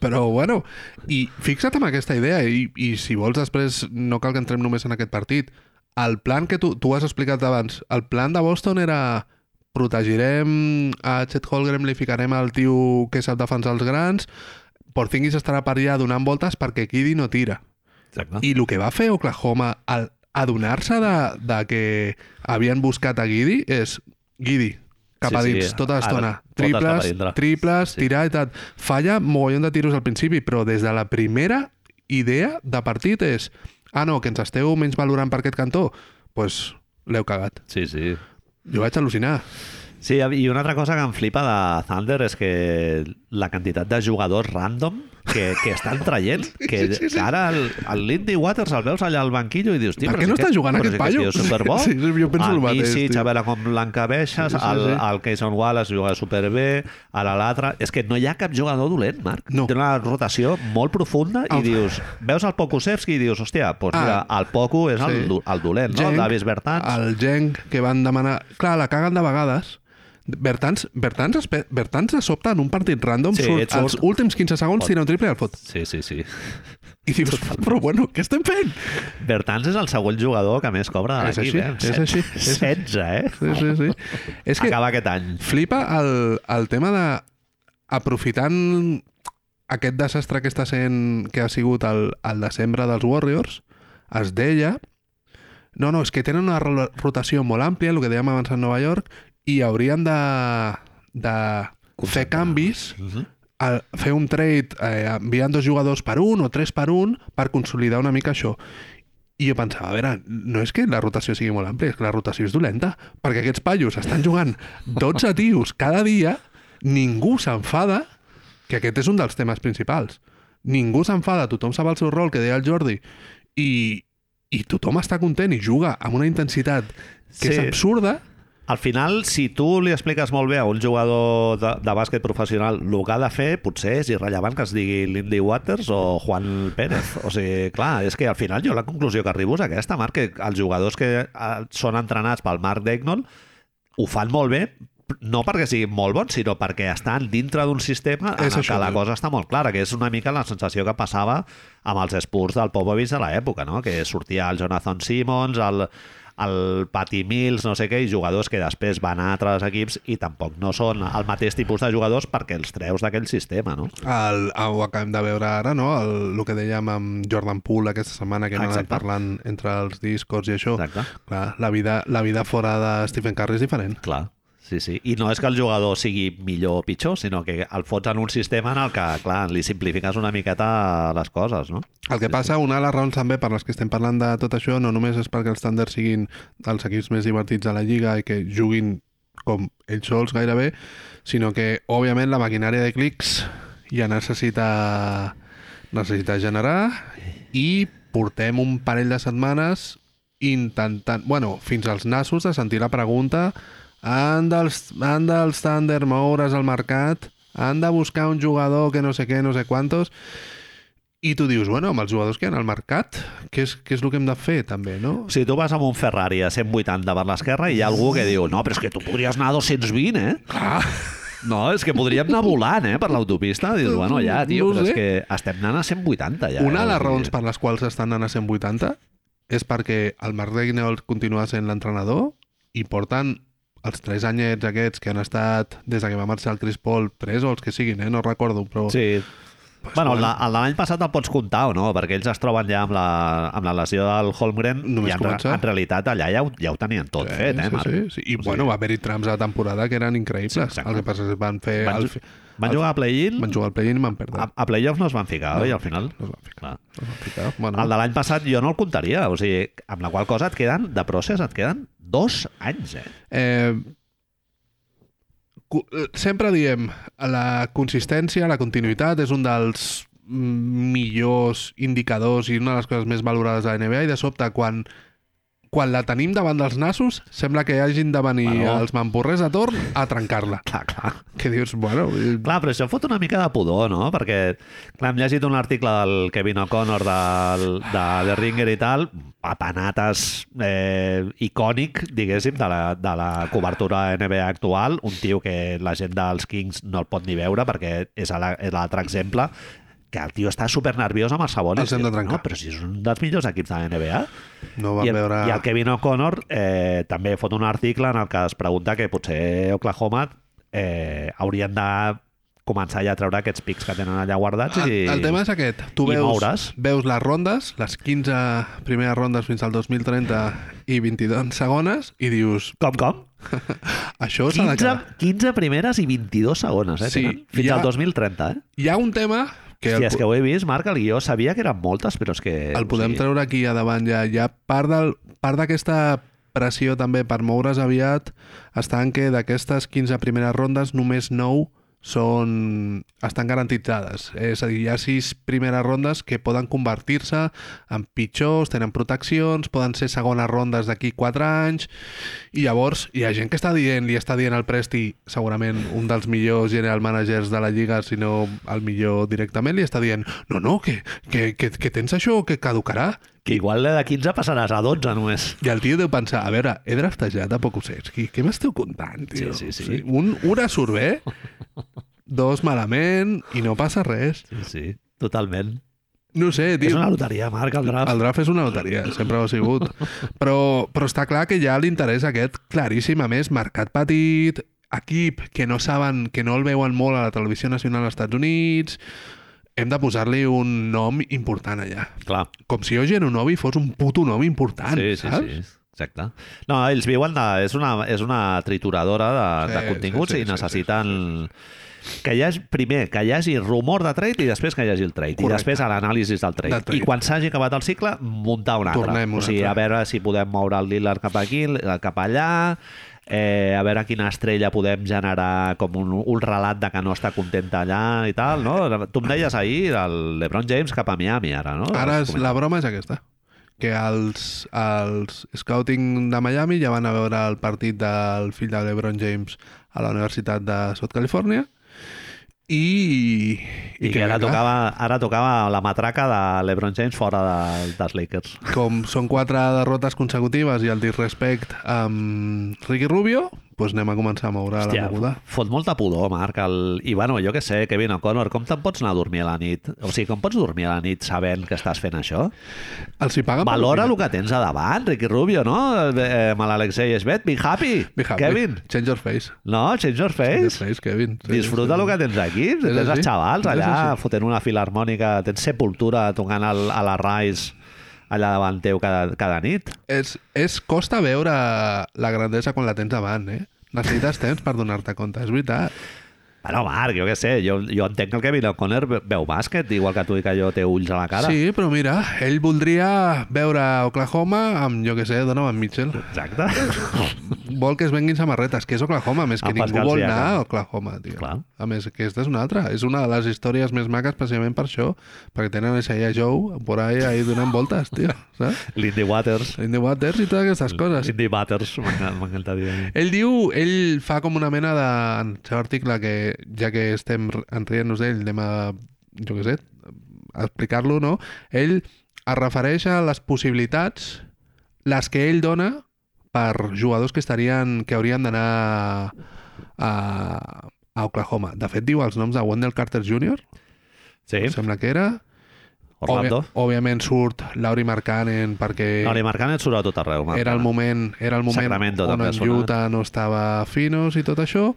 B: Però, bueno, i fixa't en aquesta idea, i, i si vols després, no cal que entrem només en aquest partit. El plan que tu, tu has explicat abans, el plan de Boston era protegirem a Chet Holgrim, li ficarem al tio que sap defensar els grans, Porzingis estarà per allà donant voltes perquè Kidi no tira.
A: Exacte. I...
B: I el que va fer Oklahoma al adonar-se de, de que havien buscat a Guidi és Guidi, cap
A: Sí,
B: a
A: sí,
B: dins, tota
A: ara
B: l'estona.
A: tot està per
B: Triples,
A: dintre.
B: triples,
A: Sí.
B: sí. tirar i tal. Falla mogollon de tiros al principi, però des de la primera idea de partit és ah, no, que ens esteu menys valorant per aquest cantó, doncs pues, l'heu cagat.
A: Sí, sí.
B: Jo vaig al·lucinar.
A: Sí, i una altra cosa que em flipa de Thunder és que la quantitat de jugadors random que, que estan traient, que,
B: [LAUGHS] Sí, sí, sí.
A: que ara el, el Lindy Waters el veus allà al banquillo i dius... "Tio,
B: Per
A: però
B: què
A: si
B: no està jugant
A: però
B: aquest
A: si tio és
B: paio?"
A: superbo.
B: [LAUGHS] Sí, sí, jo penso
A: el
B: el mateix,
A: Misic,
B: tio.
A: a veure com l'encabeixes,
B: Sí,
A: sí,
B: sí,
A: sí, el,
B: sí.
A: el Cason Wallace juga superbé, ara l'altre... És que no hi ha cap jugador dolent, Marc.
B: No.
A: Té una rotació molt profunda i
B: El-
A: dius... Veus el Pokusevski i dius, hòstia, doncs mira,
B: Ah.
A: el Poku és el,
B: Sí.
A: do- el dolent, no?
B: Genk,
A: El Davis Bertans.
B: El Genk, que van demanar... Clar, la caguen de vegades. Bertans, Bertans, espe- Bertans de sobte en un partit random
A: Sí,
B: sí, surt
A: et surt-
B: als últims 15 segons, tira un triple i el fot.
A: Sí, sí, sí.
B: I dius, però bueno, què estem fent?
A: Bertans és el següent jugador que més cobra de
B: És
A: l'equip, eh?
B: així, és així, és així.
A: 16, eh?
B: Sí, sí,
A: [LAUGHS]
B: sí. És que
A: Acaba aquest any.
B: flipa el, el tema de... Aprofitant aquest desastre que està sent, que ha sigut el, el desembre dels Warriors, es deia... No, no, és que tenen una ro- rotació molt àmplia, el que dèiem abans a Nova York, i haurien de, de fer canvis
A: Uh -huh.
B: a fer un trade eh, enviant dos jugadors per un o tres per un per consolidar una mica això. I jo pensava, a veure, no és que la rotació sigui molt àmplia, és que la rotació és dolenta, perquè aquests paios estan jugant 12 tios cada dia, ningú s'enfada, que aquest és un dels temes principals. Ningú s'enfada, tothom sap el seu rol, que deia el Jordi, i, i tothom està content i juga amb una intensitat que sí. és
A: Sí.
B: absurda,
A: Al final, si tu li expliques molt bé a un jugador de, de bàsquet professional el que ha de fer, potser és irrellevant que es digui Lindy Waters o Juan Pérez. O sigui, clar, és que al final jo la conclusió que arribo és aquesta, Marc, que els jugadors que eh, són entrenats pel Marc Degnold ho fan molt bé, no perquè siguin molt bons, sinó perquè estan dintre d'un sistema en
B: És
A: el
B: això,
A: que la
B: eh?
A: cosa està molt clara, que és una mica la sensació que passava amb els Spurs del Popovich de l'època, no? que sortia el Jonathan Simmons, el, el Patty Mills, no sé què, i jugadors que després van a altres equips i tampoc no són el mateix tipus de jugadors perquè els treus d'aquell sistema, no?
B: El, el, ho acabem de veure ara, no? El, el que dèiem amb Jordan Poole aquesta setmana, que hem anat
A: Ah, Exacte.
B: parlant entre els discos i això.
A: Exacte.
B: Clar, la vida, la vida fora de Stephen Curry és diferent.
A: Clar. Sí, sí. I no és que el jugador sigui millor o pitjor, sinó que el fots en un sistema en el que, clar, li simplifiques una miqueta les coses, no?
B: El que passa, una de les raons també per les que estem parlant de tot això, no només és perquè els Thunders siguin els equips més divertits de la Lliga i que juguin com ells sols gairebé, sinó que, òbviament, la maquinària de clics ja necessita, necessita generar i portem un parell de setmanes intentant... Bueno, fins als nassos de sentir la pregunta han dels, han dels Thunder moure's al mercat, han de buscar un jugador que no sé què, no sé quantos, i tu dius, bueno, amb els jugadors que hi ha al mercat, què és, què és el que hem de fer, també, no?
A: Si tu vas amb un Ferrari a 180 per l'esquerra i hi ha algú que diu no, però és que tu podries anar a 220, eh?
B: Clar,
A: No, és que podríem anar volant, eh, per l'autopista. Dius, bueno, ja, tio,
B: No
A: però és
B: sé.
A: que estem anant a 180 ja. eh?
B: una de
A: O
B: les
A: sigui,
B: raons per les quals estan anant a 180 és perquè el Marc Regnell continua sent l'entrenador i porten els tres anyets aquests que han estat des de que va marxar el Chris Paul, tres o els que siguin, eh? no recordo, però...
A: Sí. Pues bueno, bueno. el de l'any passat el pots comptar o no? Perquè ells es troben ja amb la, amb la lesió del Holmgren
B: Només
A: i en, re-
B: començar.
A: en realitat allà ja ho, ja ho tenien tot sí, fet, eh,
B: sí,
A: Marc?
B: sí, sí. I, bueno, va haver-hi trams de temporada que eren increïbles.
A: Sí,
B: Sí,
A: exacte.
B: el que passa és que van fer...
A: Van,
B: el,
A: ju- Ah.
B: fi-
A: van jugar a play-in,
B: van jugar al play-in i van perdre.
A: a, a play-off no es van ficar, oi, al final?
B: No es van ficar.
A: Clar.
B: No es van ficar. Bueno,
A: El de l'any passat jo no el comptaria, o sigui, amb la qual cosa et queden, de procés, et queden dos anys, eh?
B: Eh, cu- eh, sempre diem la consistència, la continuïtat és un dels mm, millors indicadors i una de les coses més valorades de la NBA i de sobte quan quan la tenim davant dels nassos sembla que hagin de venir
A: Bueno.
B: bueno. els mamporrers a torn a trencar-la
A: Clar, clar.
B: [LAUGHS] que dius, bueno, eh,
A: Clar, però això fot una mica de pudor, no? Perquè, clar, hem llegit un article del Kevin O'Connor del, de The Ringer i tal, papanates eh, icònic, diguéssim, de la, de la cobertura NBA actual, un tio que la gent dels Kings no el pot ni veure perquè és a la- és l'altre exemple, que el tio està super nerviós amb els Sabonis.
B: Els hem de trencar.
A: No, però si és un dels millors equips de la NBA.
B: no
A: I
B: van
A: el,
B: veure...
A: I el Kevin O'Connor eh, també fot un article en el que es pregunta que potser Oklahoma eh, haurien de començar ja a treure aquests pics que tenen allà guardats
B: El,
A: i...
B: Ah, el tema és aquest. Tu
A: i
B: veus,
A: moure's.
B: veus les rondes, les 15 primeres rondes fins al 2030 i 22 segones, i dius,
A: Com, com?
B: això s'ha
A: 15,
B: de quedar.
A: 15 primeres i 22 segones, eh?
B: Sí,
A: tenen? Fins
B: ja-
A: al 2030, eh?
B: Hi ha un tema que,
A: Hòstia,
B: el,
A: és que ho he vist, Marc, el guió sabia que eren moltes, però és que...
B: el podem
A: o sigui,
B: treure aquí a davant ja. Hi ha part del- part d'aquesta pressió també per moure's aviat està en què d'aquestes 15 primeres rondes només 9 són, estan garantitzades. És a dir, hi ha sis primeres rondes que poden convertir-se en pitjors, tenen proteccions, poden ser segones rondes d'aquí 4 anys, i llavors hi ha gent que està dient, li està dient al Presti, segurament un dels millors general managers de la Lliga, si no el millor directament, li està dient, no, no, que, que, que, que tens això que caducarà.
A: Que igual de 15 passaràs a 12 només.
B: I el tio deu pensar, a veure, he draftejat a Pokusevski, què m'esteu contant, tio?
A: Sí, sí, sí.
B: O sigui, Un, una surt bé, dos malament, i no passa res.
A: Sí, sí, totalment.
B: No ho sé, tio.
A: És una loteria, Marc, el draft.
B: El draft és una loteria, sempre ho ha sigut. Però, però està clar que hi ha l'interès aquest claríssim, a més, mercat petit, equip que no saben, que no el veuen molt a la televisió nacional als Estats Units, hem de posar-li un nom important allà.
A: Clar.
B: Com si Eugen Onobi fos un puto nom important,
A: sí, sí,
B: saps?
A: Sí, exacte. No, ells viuen de... És una, és una trituradora de,
B: Sí,
A: sí, de continguts sí,
B: sí, sí,
A: sí, i necessiten... Sí, sí, sí. Que hi hagi, primer, que hi hagi rumor de trade i després que hi hagi el trade.
B: Correcte.
A: Correcte. I després a l'anàlisi del trade.
B: Del trade.
A: I quan s'hagi acabat el cicle, muntar un altre.
B: Tornem un
A: o sigui,
B: altre.
A: a veure si podem moure el Lillard cap aquí, el- cap allà... Eh, a veure quina estrella podem generar com un, un relat de que no està contenta allà i tal, no? Tu em deies ahir el LeBron James cap a Miami, ara, no?
B: Ara és, la broma és aquesta que els, els scouting de Miami ja van a veure el partit del fill de LeBron James a la Universitat de South Califòrnia i...
A: I, que ara
B: clar,
A: tocava, ara tocava la matraca de LeBron James fora de, dels Lakers.
B: Com són quatre derrotes consecutives i el disrespect amb Ricky Rubio, doncs anem a començar a moure la moguda.
A: fot molta pudor, Marc. El... I bueno, jo que sé, Kevin O'Connor, com te'n pots anar a dormir a la nit? O sigui, com pots dormir a la nit sabent que estàs fent això?
B: Ah, Els hi paga
A: Valora el que tens a davant, Ricky Rubio, no? Eh, amb l'Alexei Esbet, be happy.
B: Be happy.
A: Kevin.
B: Change your face.
A: No, change your
B: Change your
A: face.
B: face, Kevin. Sí,
A: Disfruta
B: sí.
A: el que tens aquí.
B: És
A: Tens
B: així.
A: els xavals
B: És
A: allà
B: així.
A: fotent una filarmònica, tens sepultura tocant el, a la Rice allà davant teu cada, cada nit.
B: és, és costa veure la grandesa quan la tens davant, eh? Necessites temps per donar-te compte, és veritat.
A: Bueno, Marc, jo què sé, jo, jo entenc que el Kevin O'Connor ve- veu bàsquet, igual que tu i que jo té ulls a la cara.
B: Sí, però mira, ell voldria veure Oklahoma amb, jo què sé, Donovan Mitchell.
A: Exacte. [LAUGHS]
B: Vol que es venguin samarretes, que és Oklahoma, més que
A: Amb
B: ningú
A: Pascal
B: vol
A: Siakam.
B: anar a Oklahoma, tio.
A: Clar.
B: A més, aquesta és una altra. És una de les històries més maques, precisament per això, perquè tenen a Isaiah Joe por ahí, ahí donant voltes, tio, saps?
A: Lindy Waters.
B: Lindy Waters i totes aquestes coses.
A: Lindy Waters, m'enca- m'encantaria.
B: Ell diu, ell fa com una mena de... En el seu article, que ja que estem enrient-nos d'ell, anem a, jo què sé, a explicar-lo, no? Ell es refereix a les possibilitats, les que ell dona per jugadors que estarien que haurien d'anar a, a Oklahoma. De fet, diu els noms de Wendell Carter Jr.,
A: Sí,
B: em sembla que era,
A: Orlando.
B: Òbvia- Òbviament surt Lauri Markkanen perquè
A: Lauri Marcanet surt a tot arreu. Marc
B: era el
A: Canet.
B: moment, era el moment
A: Sacramento
B: on
A: també ha
B: en
A: sonat.
B: Utah no estava finos i tot això.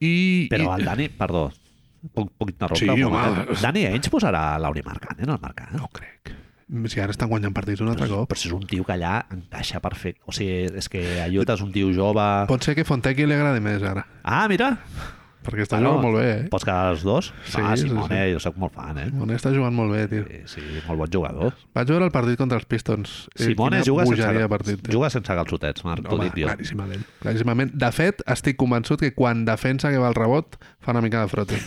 B: I,
A: Però
B: i...
A: el Dani, perdó, puc, puc interrompre?
B: Sí,
A: un
B: home.
A: moment? Dani Ainge posarà Lauri Marcant en el mercat?
B: No crec. Si ara estan guanyant partits un altre cop.
A: Però si és un tio que allà encaixa perfecte. O sigui, és que Ayuta és un tio jove...
B: Pot ser que Fontecchi li agradi més ara,
A: Ah, mira!
B: perquè està jugant molt bé, eh?
A: Pots quedar els dos?
B: Sí,
A: ah,
B: sí,
A: Simone,
B: sí.
A: jo sóc molt fan, eh?
B: Monet està jugant molt bé, tio.
A: Sí, sí, molt bon jugador.
B: Vaig veure el partit contra els Pistons. Eh,
A: Simone
B: quina
A: juga
B: bogeria de
A: sense,
B: partit. tio.
A: juga sense calçotets, Marc, t'ho
B: Home,
A: dic jo.
B: claríssimament. claríssimament. De fet, estic convençut que quan defensa que va al rebot, fa una mica de
A: [LAUGHS]
B: froti.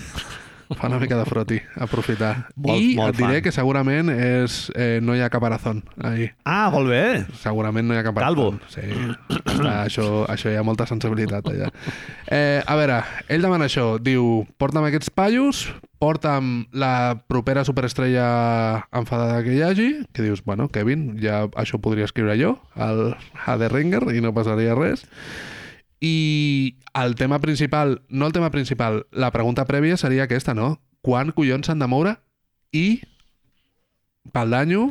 B: fa una mica de froti, aprofitar.
A: Molt-
B: I
A: molt
B: et diré
A: fan.
B: que segurament és, eh, no hi ha caparazón ahir.
A: Ah, molt bé!
B: Segurament no hi ha cap
A: Calvo.
B: altre. Sí. Està, això, això hi ha molta sensibilitat allà. Eh, a veure, ell demana això. Diu, porta'm aquests paios, porta'm la propera superestrella enfadada que hi hagi, que dius, bueno, Kevin, ja això podria escriure jo al, a The Ringer i no passaria res. I el tema principal, no el tema principal, la pregunta prèvia seria aquesta, no? Quan collons s'han de moure i pel danyo,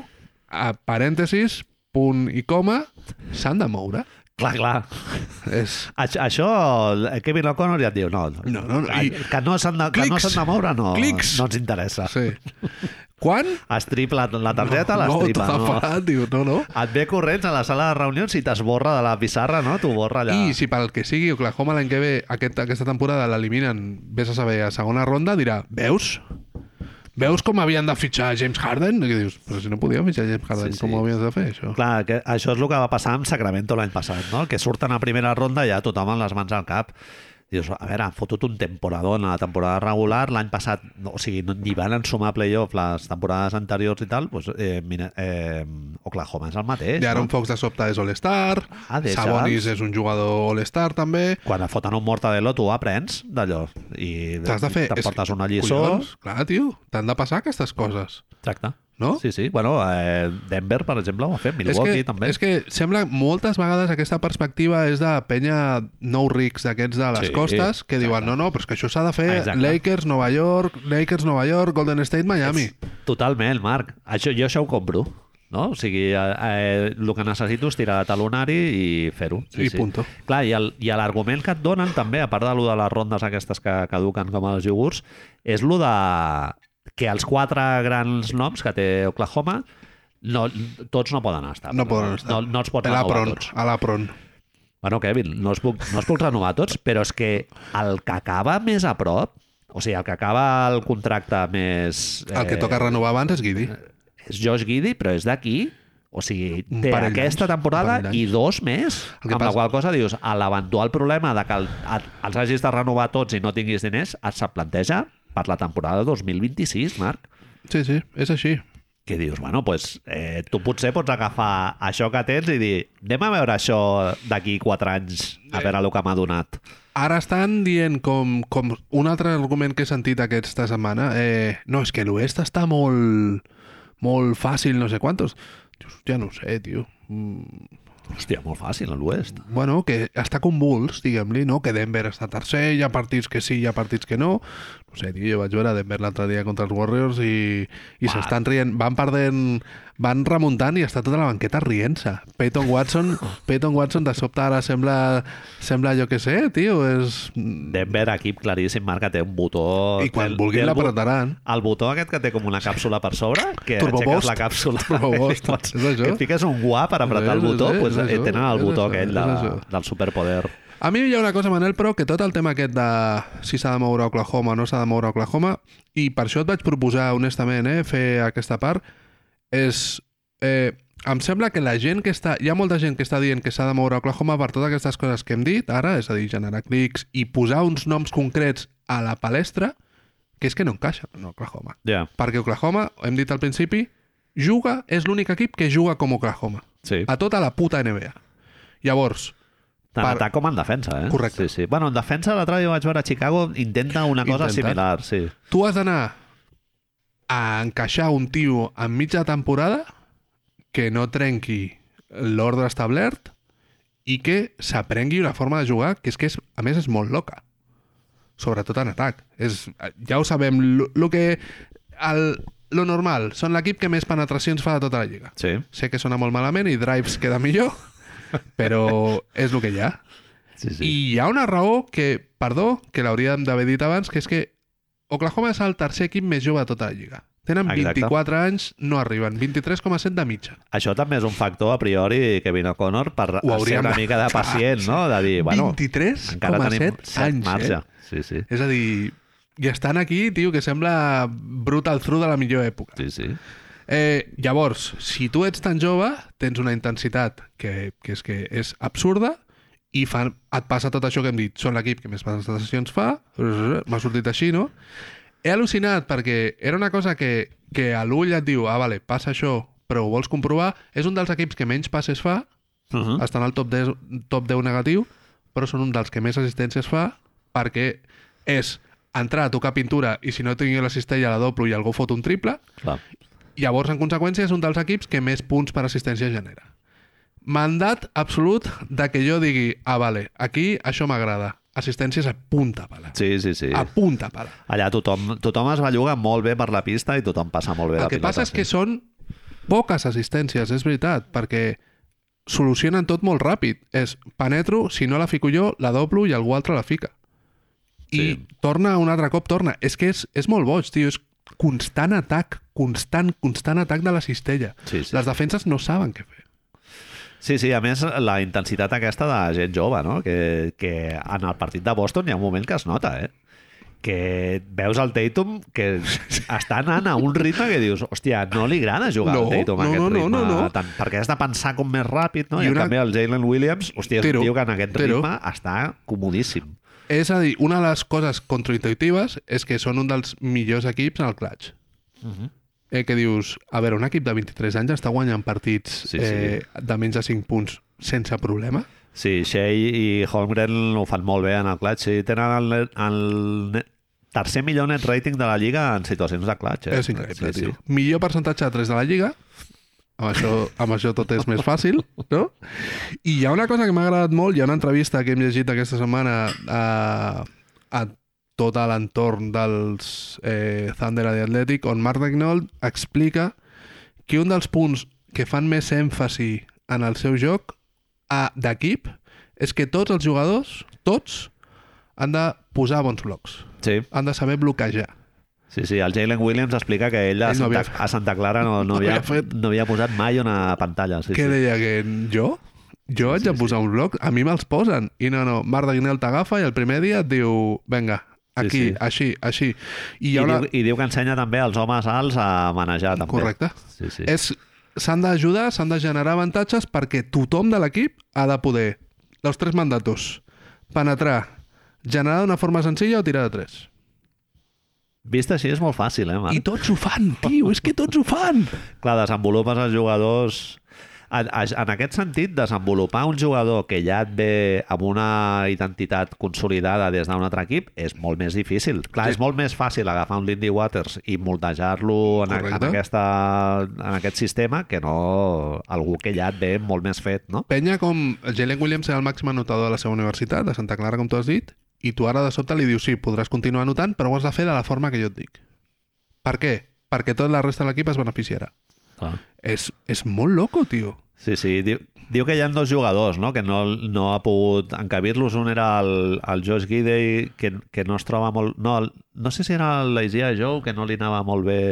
B: a parèntesis, punt i coma, s'han de moure.
A: Clar, clar.
B: És...
A: Això, això el Kevin O'Connor ja et diu, no,
B: No, no, no, i-
A: que no s'han de, que no
B: Clics.
A: s'han de moure no,
B: Clics.
A: no ens interessa.
B: Sí. Quan?
A: Estrip la, la targeta,
B: no,
A: l'estripa.
B: t'ha parat, diu, no, no.
A: Et ve corrents a la sala de reunions i t'esborra de la pissarra, no? T'ho borra allà.
B: I si pel que sigui Oklahoma l'any que ve aquest, aquesta temporada l'eliminen, vés a saber, a segona ronda, dirà, veus? Veus com havien de fitxar James Harden? I dius, però si no podia fitxar James Harden,
A: Sí,
B: sí, sí. com
A: sí.
B: ho havies de fer, això?
A: Clar, que això és el que va passar amb Sacramento l'any passat, no? Que surten a primera ronda i ja tothom amb les mans al cap. Dius, a veure, han fotut un temporadón a la temporada regular, l'any passat, no, o sigui, no- ni van ensumar playoff les temporades anteriors i tal, doncs, eh, mira, eh, Oklahoma és el mateix,
B: I ara un
A: no?
B: Fox de sobte és All-Star,
A: Ah, deixa'ls.
B: Sabonis és un jugador All-Star també,
A: Quan et foten un mortadelo, tu aprens d'allò i
B: t'has de fer... és-
A: t'emportes una lliçó.
B: Collons, clar, tio, t'han de passar aquestes coses.
A: Exacte.
B: No?
A: Sí, sí. Bueno, eh, Denver, per exemple, ho ha fet. Milwaukee,
B: és que,
A: també.
B: És que sembla moltes vegades aquesta perspectiva és de penya no rics d'aquests de les
A: Sí,
B: sí, costes que diuen, no, no, però és que això s'ha de fer
A: Exacte.
B: Lakers, Nova York, Lakers, Nova York, Golden State, Miami.
A: Totalment, Marc. Això, jo això ho compro. No? O sigui, eh, eh, el que necessito és tirar de talonari i fer-ho.
B: I punto.
A: Clar, i el- i l'argument que et donen també, a part de, lo de les rondes aquestes que caduquen com els iogurts, és lo de que els quatre grans noms que té Oklahoma no, tots no poden estar.
B: No poden estar.
A: Ah, No, no els pots
B: a
A: renovar
B: l'Apron,
A: tots.
B: a l'Apron.
A: Bueno, Kevin, no els, puc, no els puc renovar tots, però és que el que acaba més a prop, o sigui, el que acaba el contracte més... eh,
B: El que toca renovar abans és Guidi.
A: És Josh Giddy, però és d'aquí. O sigui,
B: Un
A: té
B: parell
A: aquesta
B: d'anys, un
A: temporada
B: parell
A: i
B: d'anys.
A: dos més.
B: El que
A: Amb la
B: passa-
A: qual cosa dius, a l'eventual problema de que el, a, els hagis de renovar tots i no tinguis diners, et se planteja per la temporada 2026, Marc
B: Sí, sí, és així.
A: que dius, bueno, pues, eh, tu potser pots agafar això que tens i dir anem a veure això d'aquí quatre anys a veure el que m'ha donat
B: Ara estan dient com, com un altre argument que he sentit aquesta setmana, eh, no, és que l'Oest està molt, molt fàcil, no sé quantos. Dius, Ja no ho sé, tio.
A: hòstia, molt fàcil a l'oest
B: bueno, que està convuls, diguem-li, no? Que Denver està tercer, hi ha partits que sí, hi ha partits que no. No sé, tio, jo vaig veure Denver l'altre dia contra els Warriors i, i s'estan rient, van perdent, van remuntant i està tota la banqueta rient-se. Peyton Watson, Peyton Watson de sobte ara sembla, sembla jo que sé, tio, és...
A: Denver, equip claríssim, Marc, que té un botó...
B: I quan
A: té el- té
B: vulguin
A: el bo-
B: l'apretaran.
A: el botó aquest que té com una càpsula per sobre, que
B: Turbo
A: aixeques
B: Boost.
A: la càpsula [LAUGHS]
B: Turbo
A: i
B: Boost,
A: pots-
B: és això.
A: que et fiques un guà per apretar el
B: És, és,
A: botó,
B: és,
A: doncs,
B: és
A: eh,
B: això,
A: tenen el
B: és
A: botó
B: això,
A: aquell
B: és
A: de,
B: això.
A: del superpoder.
B: A mi hi ha una cosa, Manel, però, que tot el tema aquest de si s'ha de moure a Oklahoma o no s'ha de moure a Oklahoma, i per això et vaig proposar, honestament, eh, fer aquesta part, és... Eh, em sembla que la gent que està... Hi ha molta gent que està dient que s'ha de moure a Oklahoma per totes aquestes coses que hem dit ara, és a dir, generar clics i posar uns noms concrets a la palestra, que és que no encaixen en Oklahoma.
A: Ja,
B: Perquè Oklahoma, hem dit al principi, juga, és l'únic equip que juga com Oklahoma.
A: sí.
B: A tota la puta NBA. Llavors,
A: Tant
B: per-
A: per... atac com en defensa, eh?
B: Correcte.
A: Sí, sí. Bueno, en defensa l'altre dia vaig veure a Chicago intenta una cosa
B: Intenta.
A: similar, sí.
B: tu has d'anar a encaixar un tio en mitja temporada que no trenqui l'ordre establert i que s'aprengui una forma de jugar que és que és, a més és molt loca sobretot en atac és, ja ho sabem el que el, Lo normal, són l'equip que més penetracions fa de tota la lliga.
A: Sí.
B: Sé que sona molt malament i drives queda millor, [LAUGHS] però és el que hi ha.
A: sí, sí.
B: I hi ha una raó que, perdó, que l'hauríem d'haver dit abans, que és que Oklahoma és el tercer equip més jove de tota la lliga. Tenen
A: Exacte.
B: 24 anys, no arriben, 23,7 de mitja.
A: Això també és un factor a priori, Kevin O'Connor, per
B: Ho
A: ser
B: hauríem
A: una
B: de-
A: mica de pacient, no? De dir, Eh, bueno,
B: 23,7
A: cert
B: anys, eh?
A: Sí, sí.
B: És a dir, i estan aquí, tio, que sembla Brutal Through de la millor època.
A: Sí, sí.
B: Eh, llavors, si tu ets tan jove, tens una intensitat que, que és que és absurda i fan, et passa tot això que hem dit. Són l'equip que més sensacions fa, m'ha sortit així, no? He al·lucinat perquè era una cosa que, que a l'ull et diu, ah, vale, passa això, però ho vols comprovar. És un dels equips que menys passes fa,
A: Uh -huh.
B: estan al top 10, top 10 negatiu, però són un dels que més assistències fa perquè és entrar, tocar pintura i si no tingui la cistella la doblo i algú fot un triple,
A: Clar.
B: Llavors, en conseqüència, és un dels equips que més punts per assistència genera. Mandat absolut de que jo digui, ah, vale, aquí això m'agrada. Assistències a punta pala.
A: Sí, sí, sí.
B: A punta pala.
A: Allà tothom, tothom es belluga molt bé per la pista i tothom passa molt bé
B: El
A: la
B: que
A: pilota.
B: passa és que
A: sí.
B: són poques assistències, és veritat, perquè solucionen tot molt ràpid. És, penetro, si no la fico jo, la doblo i algú altre la fica. I
A: Sí.
B: torna un altre cop, torna. És que és, és molt boig, tio. És constant atac, constant, constant atac de la cistella.
A: Sí, sí.
B: Les defenses no saben què fer.
A: Sí, sí, a més, la intensitat aquesta de gent jove, no? Que, que en el partit de Boston hi ha un moment que es nota, eh? que veus el Tatum que està anant a un ritme que dius, hòstia, no li agrada jugar
B: No,
A: al Tatum a
B: no,
A: aquest
B: no, no,
A: ritme,
B: no, no.
A: Tant, perquè has de pensar com més ràpid, no?
B: I
A: I, I
B: una-
A: una... també el Jalen Williams, hòstia, és
B: Tero,
A: un tio que en aquest
B: Tero.
A: ritme està comodíssim.
B: És a dir, una de les coses contraintuitives és que són un dels millors equips en el clutch.
A: Mhm.
B: eh, que dius, a veure, un equip de 23 anys està guanyant partits
A: Sí, sí.
B: Eh, de menys de 5 punts sense problema.
A: Sí, Shea i Holmgren ho fan molt bé en el clutch. Sí, tenen el, net- el net- tercer millor net rating de la Lliga en situacions de clutch. Eh?
B: és increïble,
A: sí,
B: tio. Millor percentatge de 3 de la Lliga. Amb això, amb això tot és més fàcil, no? I hi ha una cosa que m'ha agradat molt, hi ha una entrevista que hem llegit aquesta setmana a, a tot l'entorn dels eh, Thunder i Athletic, on Mark Regnold explica que un dels punts que fan més èmfasi en el seu joc a- d'equip és que tots els jugadors, tots, han de posar bons blocs,
A: Sí,
B: han de saber bloquejar.
A: sí, sí. El Jalen Williams explica que ell a
B: Ell no
A: Santa,
B: havia fet.
A: a Santa Clara no,
B: [LAUGHS]
A: no, havia,
B: havia fet.
A: no havia posat mai una pantalla. Sí,
B: que
A: sí.
B: deia que jo? Jo haig de posar un blog, a mi me'ls posen. I no, no, Marc de Guinel t'agafa i el primer dia et diu, venga, aquí, sí,
A: sí.
B: sí. així, així.
A: I,
B: I hi ha una...
A: diu, I diu que ensenya també als homes alts a manejar, també.
B: Correcte.
A: Sí, sí.
B: És- S'han d'ajudar, s'han de generar avantatges perquè tothom de l'equip ha de poder els tres mandatos. Penetrar, generar d'una forma senzilla o tirar de tres.
A: Vist així és molt fàcil, eh, Marc?
B: I tots ho fan, tio, és que tots ho fan!
A: Clar, desenvolupes els jugadors... En, a- en aquest sentit, desenvolupar un jugador que ja et ve amb una identitat consolidada des d'un altre equip és molt més difícil. Clar,
B: Sí.
A: és molt més fàcil agafar un Lindy Waters i moltejar-lo en, a- en,
B: Correcte.
A: aquesta, en aquest sistema que no algú que ja et ve molt més fet, no?
B: Penya com Jalen Williams era el màxim anotador de la seva universitat, de Santa Clara, com tu has dit, i tu ara de sobte li dius, sí, podràs continuar anotant, però ho has de fer de la forma que jo et dic. Per què? Perquè tota la resta de l'equip es beneficiarà.
A: Clar.
B: És, és molt loco, tio.
A: Sí, sí. Diu, diu que hi ha dos jugadors, no? Que no, no ha pogut encabir-los. Un era el, el Josh Gidey, que, que no es troba molt... No, el, no sé si era l'Isia Joe, que no li anava molt bé...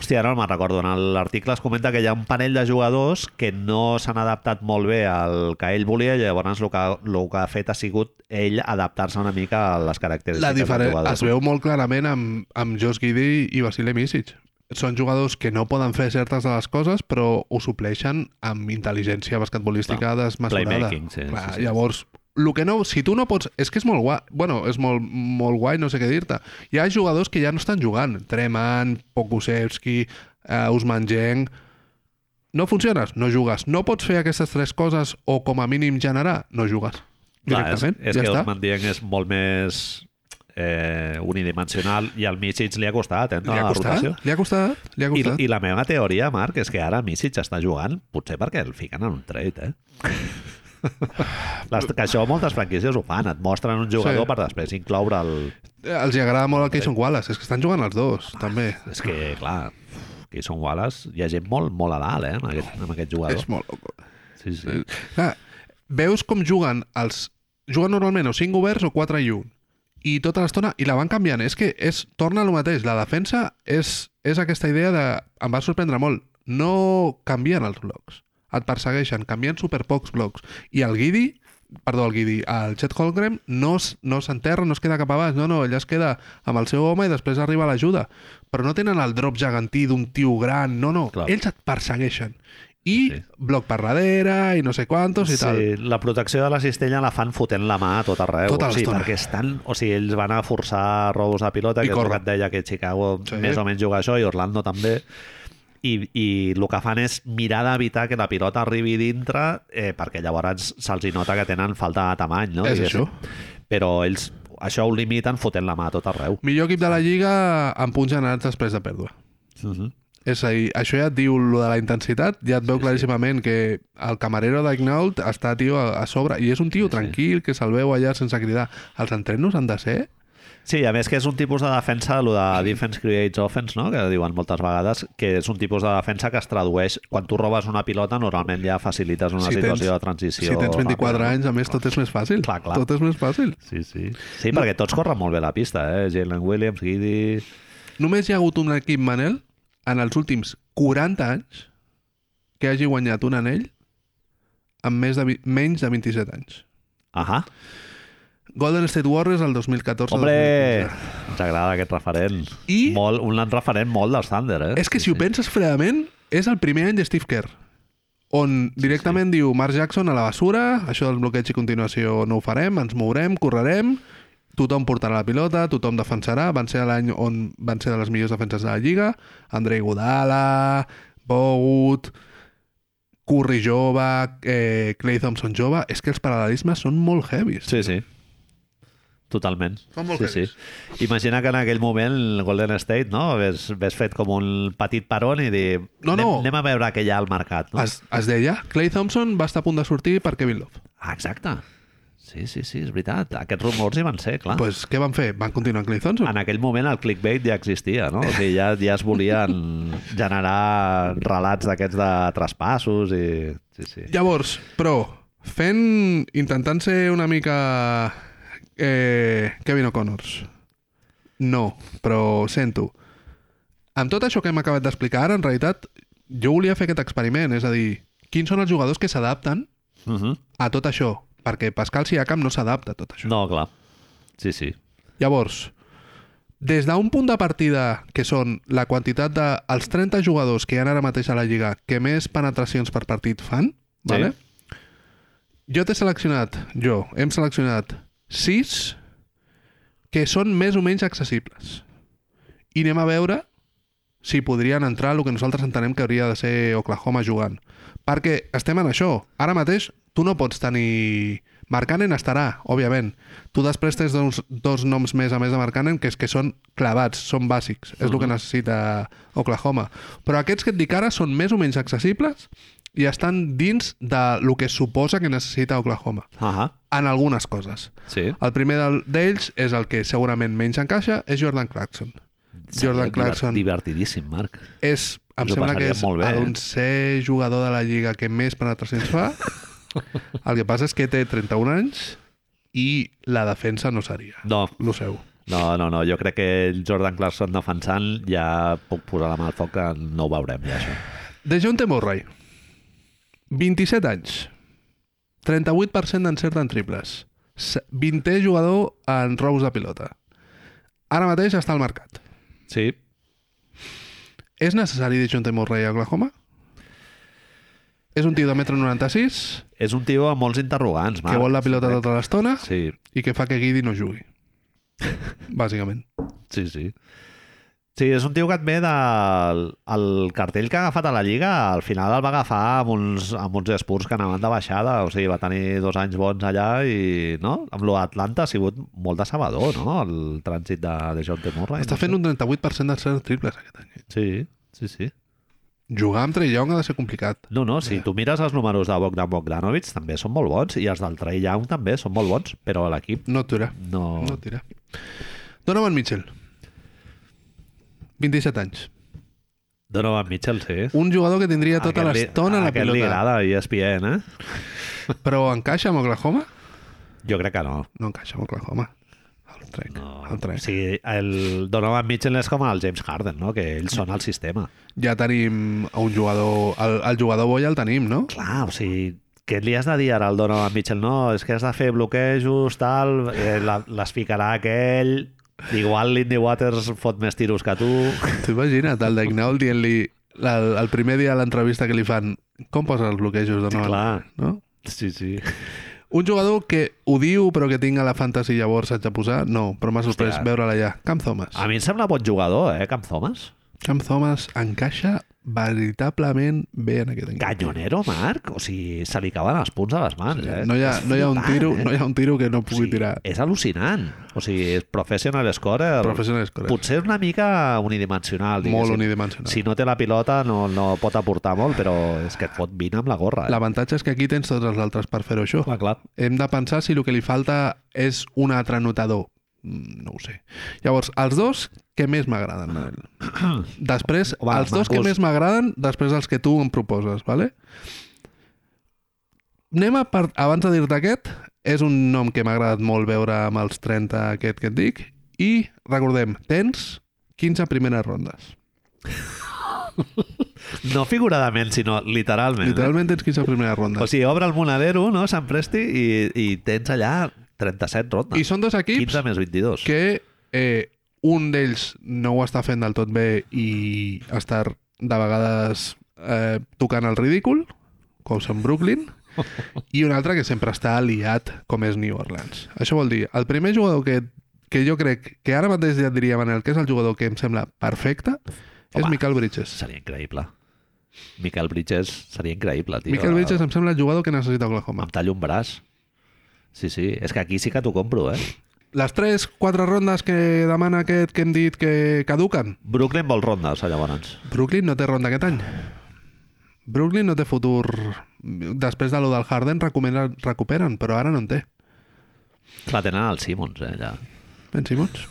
A: Hòstia, ara no me'n recordo. En l'article es comenta que hi ha un parell de jugadors que no s'han adaptat molt bé al que ell volia i llavors el que, el que ha fet ha sigut ell adaptar-se una mica a les característiques
B: La
A: del
B: diferència
A: jugador.
B: es veu molt clarament amb, amb Josh Giddy i Vasile Misic. Són jugadors que no poden fer certes de les coses, però ho supleixen amb intel·ligència basquetbolística desmesurada.
A: playmaking, sí,
B: Clar,
A: sí, sí.
B: Llavors, lo que no, si tu no pots... És que és molt guai, bueno, és molt, molt guai, no sé què dir-te. Hi ha jugadors que ja no estan jugant. Treman, Pokusevski, eh, Usman Geng... No funciones, no jugues. No pots fer aquestes tres coses o com a mínim generar, no jugues. Directament,
A: Clar, és, és
B: ja
A: que
B: està.
A: Osman Dieng és molt més eh, unidimensional i al Misic li ha costat, eh?
B: Li ha
A: la
B: costat,
A: rotació.
B: li ha costat, li ha
A: I,
B: costat.
A: I la meva teoria, Marc, és que ara Misic està jugant potser perquè el fiquen en un
B: [SIGHS]
A: trade, eh? Les, que això moltes franquícies ho fan, et mostren un jugador
B: Sí.
A: per després incloure'l
B: Eh, Els hi agrada molt el Cason Wallace, és que estan jugant els dos, també.
A: És que, clar, que són Wallace, hi ha gent molt, molt a dalt, eh, amb aquest, amb aquest jugador.
B: És eh, molt loco.
A: Sí, sí.
B: Sí. Clar, veus com juguen els... Juguen normalment o 5 oberts o 4 i 1. I tota l'estona... I la van canviant. És que és, torna al mateix. La defensa és, és aquesta idea de... Em va sorprendre molt. No canvien els blocs. Et persegueixen. Canvien super pocs blocs. I el Guidi... Perdó, el Guidi. El Chet Holmgren no, s- no s'enterra, no es queda cap avall. No, no, ell es queda amb el seu home i després arriba l'ajuda. Però no tenen el drop gegantí d'un tio gran. No, no.
A: Clar.
B: Ells et persegueixen. I
A: Sí.
B: bloc per darrere i no sé quantos i sí. tal.
A: Sí, la protecció de la cistella la fan fotent la mà a tot arreu.
B: Tota
A: o sigui,
B: l'estona.
A: perquè estan... O sigui, ells van a forçar robos a pilota,
B: I
A: que és el
B: corre.
A: que et deia que Chicago
B: Sí.
A: sí. més o menys juga això, i Orlando també. I, i el que fan és mirar d'evitar que la pilota arribi dintre eh, perquè llavors se'ls hi nota que tenen falta de tamany, no?
B: És
A: Diguéssim.
B: això.
A: Però ells això ho limiten fotent la mà a tot arreu.
B: Millor equip de la Lliga amb punts generats després de pèrdua.
A: Uh
B: Mhm.
A: -huh.
B: És a dir, això ja et diu lo de la intensitat, ja et veu claríssimament que el camarero d'Ignault està, tio, a, a sobre, i és un tio tranquil, que se'l veu allà sense cridar. Els entrenos han de ser...
A: Sí, a més que és un tipus de defensa, el de defense creates offense, no? que diuen moltes vegades, que és un tipus de defensa que es tradueix... Quan tu robes una pilota, normalment ja facilites una situació de transició.
B: si tens
A: ràpida,
B: 24
A: no?
B: anys, a més, tot és més fàcil.
A: Clar, clar.
B: Tot és més fàcil.
A: Sí, sí. Sí, perquè tots corren molt bé la pista, eh? Jalen Williams, Giddy...
B: Només hi ha hagut un equip, Manel, en els últims 40 anys que hagi guanyat un anell amb més de, vi- menys de 27 anys.
A: Ahà.
B: Golden State Warriors el 2014.
A: Hombre! Ens agrada aquest referent.
B: I-
A: Molt, un referent molt dels Thunder, eh?
B: És que si ho penses fredament, és el primer any de Steve Kerr, on directament diu Mark Jackson a la basura, això del bloqueig i continuació no ho farem, ens mourem, correrem, tothom portarà la pilota, tothom defensarà, van ser l'any on van ser de les millors defenses de la Lliga, Andrei Godala, Bogut, Curry jove, eh, Clay Thompson jove, és que els paral·lelismes són molt heavies.
A: Sí, sí. Totalment.
B: Són molt
A: sí,
B: heavies.
A: sí. Imagina que en aquell moment el Golden State no? hagués, hagués fet com un petit parón i dir
B: No,
A: anem,
B: no.
A: anem a veure què hi ha al mercat. No?
B: Es, es deia, Clay Thompson va estar a punt de sortir per Kevin Love.
A: Ah, exacte. Sí, sí, sí, és veritat. Aquests rumors hi van ser, clar. Pues...
B: pues, què van fer? Van continuar amb Clay Thompson?
A: En aquell moment el clickbait ja existia, no? O sigui, ja, ja es volien generar relats d'aquests de traspassos i... Sí, sí.
B: Llavors, però, fent... intentant ser una mica... Eh, Kevin O'Connors. No, però ho sento. Amb tot això que hem acabat d'explicar ara, en realitat, jo volia fer aquest experiment, és a dir, quins són els jugadors que s'adapten
A: Uh -huh.
B: a tot això? Perquè Pascal Siakam no s'adapta a tot això.
A: No, clar. Sí, sí.
B: Llavors, des d'un punt de partida que són la quantitat dels de, els 30 jugadors que hi ha ara mateix a la Lliga que més penetracions per partit fan,
A: Sí.
B: vale? jo t'he seleccionat, jo, hem seleccionat 6 que són més o menys accessibles. I anem a veure si podrien entrar el que nosaltres entenem que hauria de ser Oklahoma jugant. Perquè estem en això. Ara mateix tu no pots tenir... Marcanen estarà, òbviament. Tu després tens dos, dos noms més a més de Marcanen que és que són clavats, són bàsics. És el que necessita Oklahoma. Però aquests que et dic ara són més o menys accessibles i estan dins de lo que suposa que necessita Oklahoma.
A: Ahà.
B: En algunes coses.
A: Sí.
B: El primer del- d'ells és el que segurament menys encaixa, és Jordan Clarkson. Jordan
A: Seria
B: Clarkson
A: Divertidíssim, Marc.
B: és, em
A: Us ho
B: sembla que
A: passaries
B: és
A: molt bé, eh?
B: l'onzè jugador de la Lliga que més penetracions
A: [LAUGHS]
B: fa. El que passa és que té 31 anys i la defensa no seria.
A: No,
B: Lo seu.
A: no, no, no. Jo crec que el Jordan Clarkson defensant ja puc posar la mà al foc que no ho veurem, ja, això.
B: De John T. Murray, 27 anys, 38% d'encert en triples, se- 20è jugador en robos de pilota. Ara mateix està al mercat.
A: Sí,
B: És necessari de John T. Murray a Oklahoma? És un tio de 1,96 m
A: És un tio amb molts interrogants, Marc.
B: que vol la pilota
A: Sí,
B: tota l'estona
A: Sí,
B: i que fa que Guidi no
A: [LAUGHS]
B: jugui. Bàsicament.
A: sí, sí. Sí, és un tio que et ve del el cartell que ha agafat a la Lliga. Al final el va agafar amb uns, amb uns espurs que anaven de baixada. O sigui, va tenir dos anys bons allà i, no? Amb lo d'Atlanta ha sigut molt decebedor, no? El trànsit de, de John T. Murray.
B: Està
A: no
B: fent
A: sé.
B: un 38% de ser triples aquest any. eh?
A: Sí, sí, sí.
B: Jugar amb Trey Young ha de ser complicat.
A: No, no, si tu mires els números de Bogdan Bogdanovic també són molt bons i els del Trey Young també són molt bons, però l'equip
B: No et dura.
A: no...
B: No et dura. Donovan Mitchell. 27 anys.
A: Donovan Mitchell, sí.
B: Un jugador que tindria tota
A: Aquest li-
B: l'estona la
A: aquest li
B: pilota.
A: agrada ESPN, eh?
B: Però encaixa amb Oklahoma?
A: Jo crec que no.
B: No encaixa amb Oklahoma. El trec,
A: No.
B: el trec.
A: O sigui, el Donovan Mitchell és com el James Harden, no? que ells són el sistema.
B: Ja tenim un jugador... El, el jugador bo ja el tenim, no?
A: Clar, o sigui, què li has de dir ara al Donovan Mitchell? No, és que has de fer bloquejos, tal, eh, la, les ficarà aquell... Igual Lindy Waters fot més tiros
B: [LAUGHS]
A: que tu.
B: T'ho imagina't, el Daignaul dient-li... El, el primer dia a l'entrevista que li fan com posen els bloquejos de nou?
A: Clar,
B: No?
A: sí, sí.
B: Un jugador que ho diu però que tinga la fantasy llavors haig de posar? No, però m'ha sorprès
A: Hòstia.
B: veure'l allà. Cam Thomas.
A: A mi em sembla bon jugador, eh, Camp Thomas?
B: Cam Thomas encaixa veritablement bé en aquest equip.
A: Canyonero, Marc? O sigui, se li cauen els punts a les mans, eh?
B: No hi ha,
A: És
B: no hi ha, un,
A: flipant,
B: tiro,
A: eh?
B: no hi ha un tiro que no pugui
A: Sí,
B: tirar.
A: És al·lucinant. O sigui, és professional scorer.
B: Professional scorer.
A: Potser una mica unidimensional.
B: Molt
A: diguéssim.
B: unidimensional.
A: Si no té la pilota no, no pot aportar molt, però és que et pot vina amb la gorra. Eh?
B: L'avantatge és que aquí tens tots els altres per fer-ho això.
A: Clar, clar.
B: Hem de pensar si el que li falta és un altre notador. Mm, No ho sé. Llavors, els dos que més m'agraden, Manel. Després,
A: Home,
B: els dos que
A: macos.
B: més m'agraden, després els que tu em proposes, vale? Anem a part... Abans de dir-te aquest, és un nom que m'ha agradat molt veure amb els 30 aquest que et dic. I, recordem, tens 15 primeres rondes.
A: No figuradament, sinó literalment.
B: Literalment tens 15 primeres
A: Eh? O
B: rondes.
A: sigui, obre el monadero, no?, Sant Presti, i, i tens allà 37
B: I
A: rondes.
B: són dos equips
A: 15 més 22.
B: que eh, un d'ells no ho està fent del tot bé i està de vegades eh, tocant el ridícul, com en Brooklyn, i un altre que sempre està aliat, com és New Orleans. Això vol dir, el primer jugador que, que jo crec que ara mateix ja et diria, Manel, que és el jugador que em sembla perfecte, és
A: Home.
B: Michael Bridges.
A: Seria increïble. Miquel Bridges seria increïble, tio.
B: Michael Bridges em sembla el jugador que necessita Oklahoma.
A: Em tallo un braç. Sí, sí. És que aquí sí que t'ho compro, eh?
B: Les 3, 4 rondes que demana aquest que hem dit que caduquen,
A: Brooklyn vol rondes, llavors.
B: Brooklyn no té ronda aquest any. Brooklyn no té futur. Després de lo del Harden recuperen, recuperen però ara no en té.
A: La tenen els Simmons, eh, ja.
B: Ben Simons.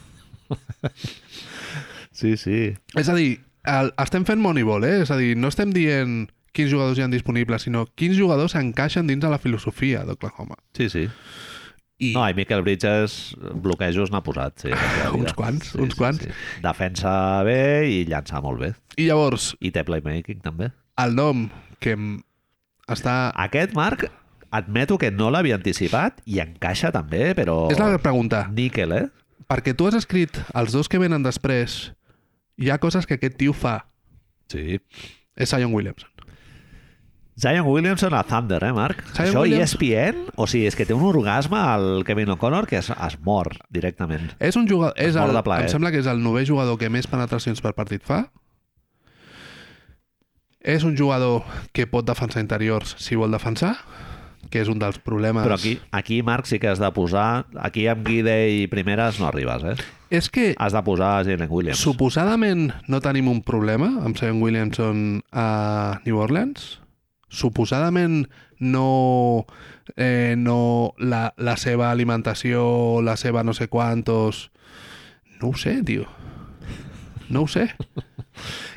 A: Sí, sí.
B: És a dir, el, estem fent Moneyball, eh? És a dir, no estem dient quins jugadors hi ha disponibles, sinó quins jugadors s'encaixen dins de la filosofia d'Oklahoma.
A: Sí, sí.
B: I
A: No, eh. i Miquel Bridges bloquejos n'ha posat, sí. la vida.
B: [LAUGHS] Uns quants, uns quants.
A: sí. Defensa bé i llança molt bé.
B: I llavors,
A: I té playmaking, també.
B: el nom que em- està...
A: Aquest, Marc, admeto que no l'havia anticipat i encaixa també, però...
B: És la pregunta.
A: Níquel, eh?
B: Perquè tu has escrit els dos que venen després, hi ha coses que aquest tio fa.
A: Sí.
B: És Zion Williamson.
A: Zion Williamson a Thunder, eh, Marc?
B: Zion
A: Això
B: Williams-
A: ESPN, o sigui, és que té un orgasme al Kevin O'Connor que es, es mor directament.
B: És un jugador... És
A: mor
B: el,
A: de eh? plaer.
B: em sembla que és el novè jugador que més penetracions per partit fa. És un jugador que pot defensar interiors si vol defensar, que és un dels problemes...
A: Però aquí, aquí, Marc, sí que has de posar... Aquí amb Guide i primeres no arribes, eh?
B: És que
A: Has de posar Jalen Williams.
B: suposadament no tenim un problema amb Sam Williamson a New Orleans. Suposadament no, eh, no la, la seva alimentació, la seva no sé quantos... No ho sé, tio. No ho sé.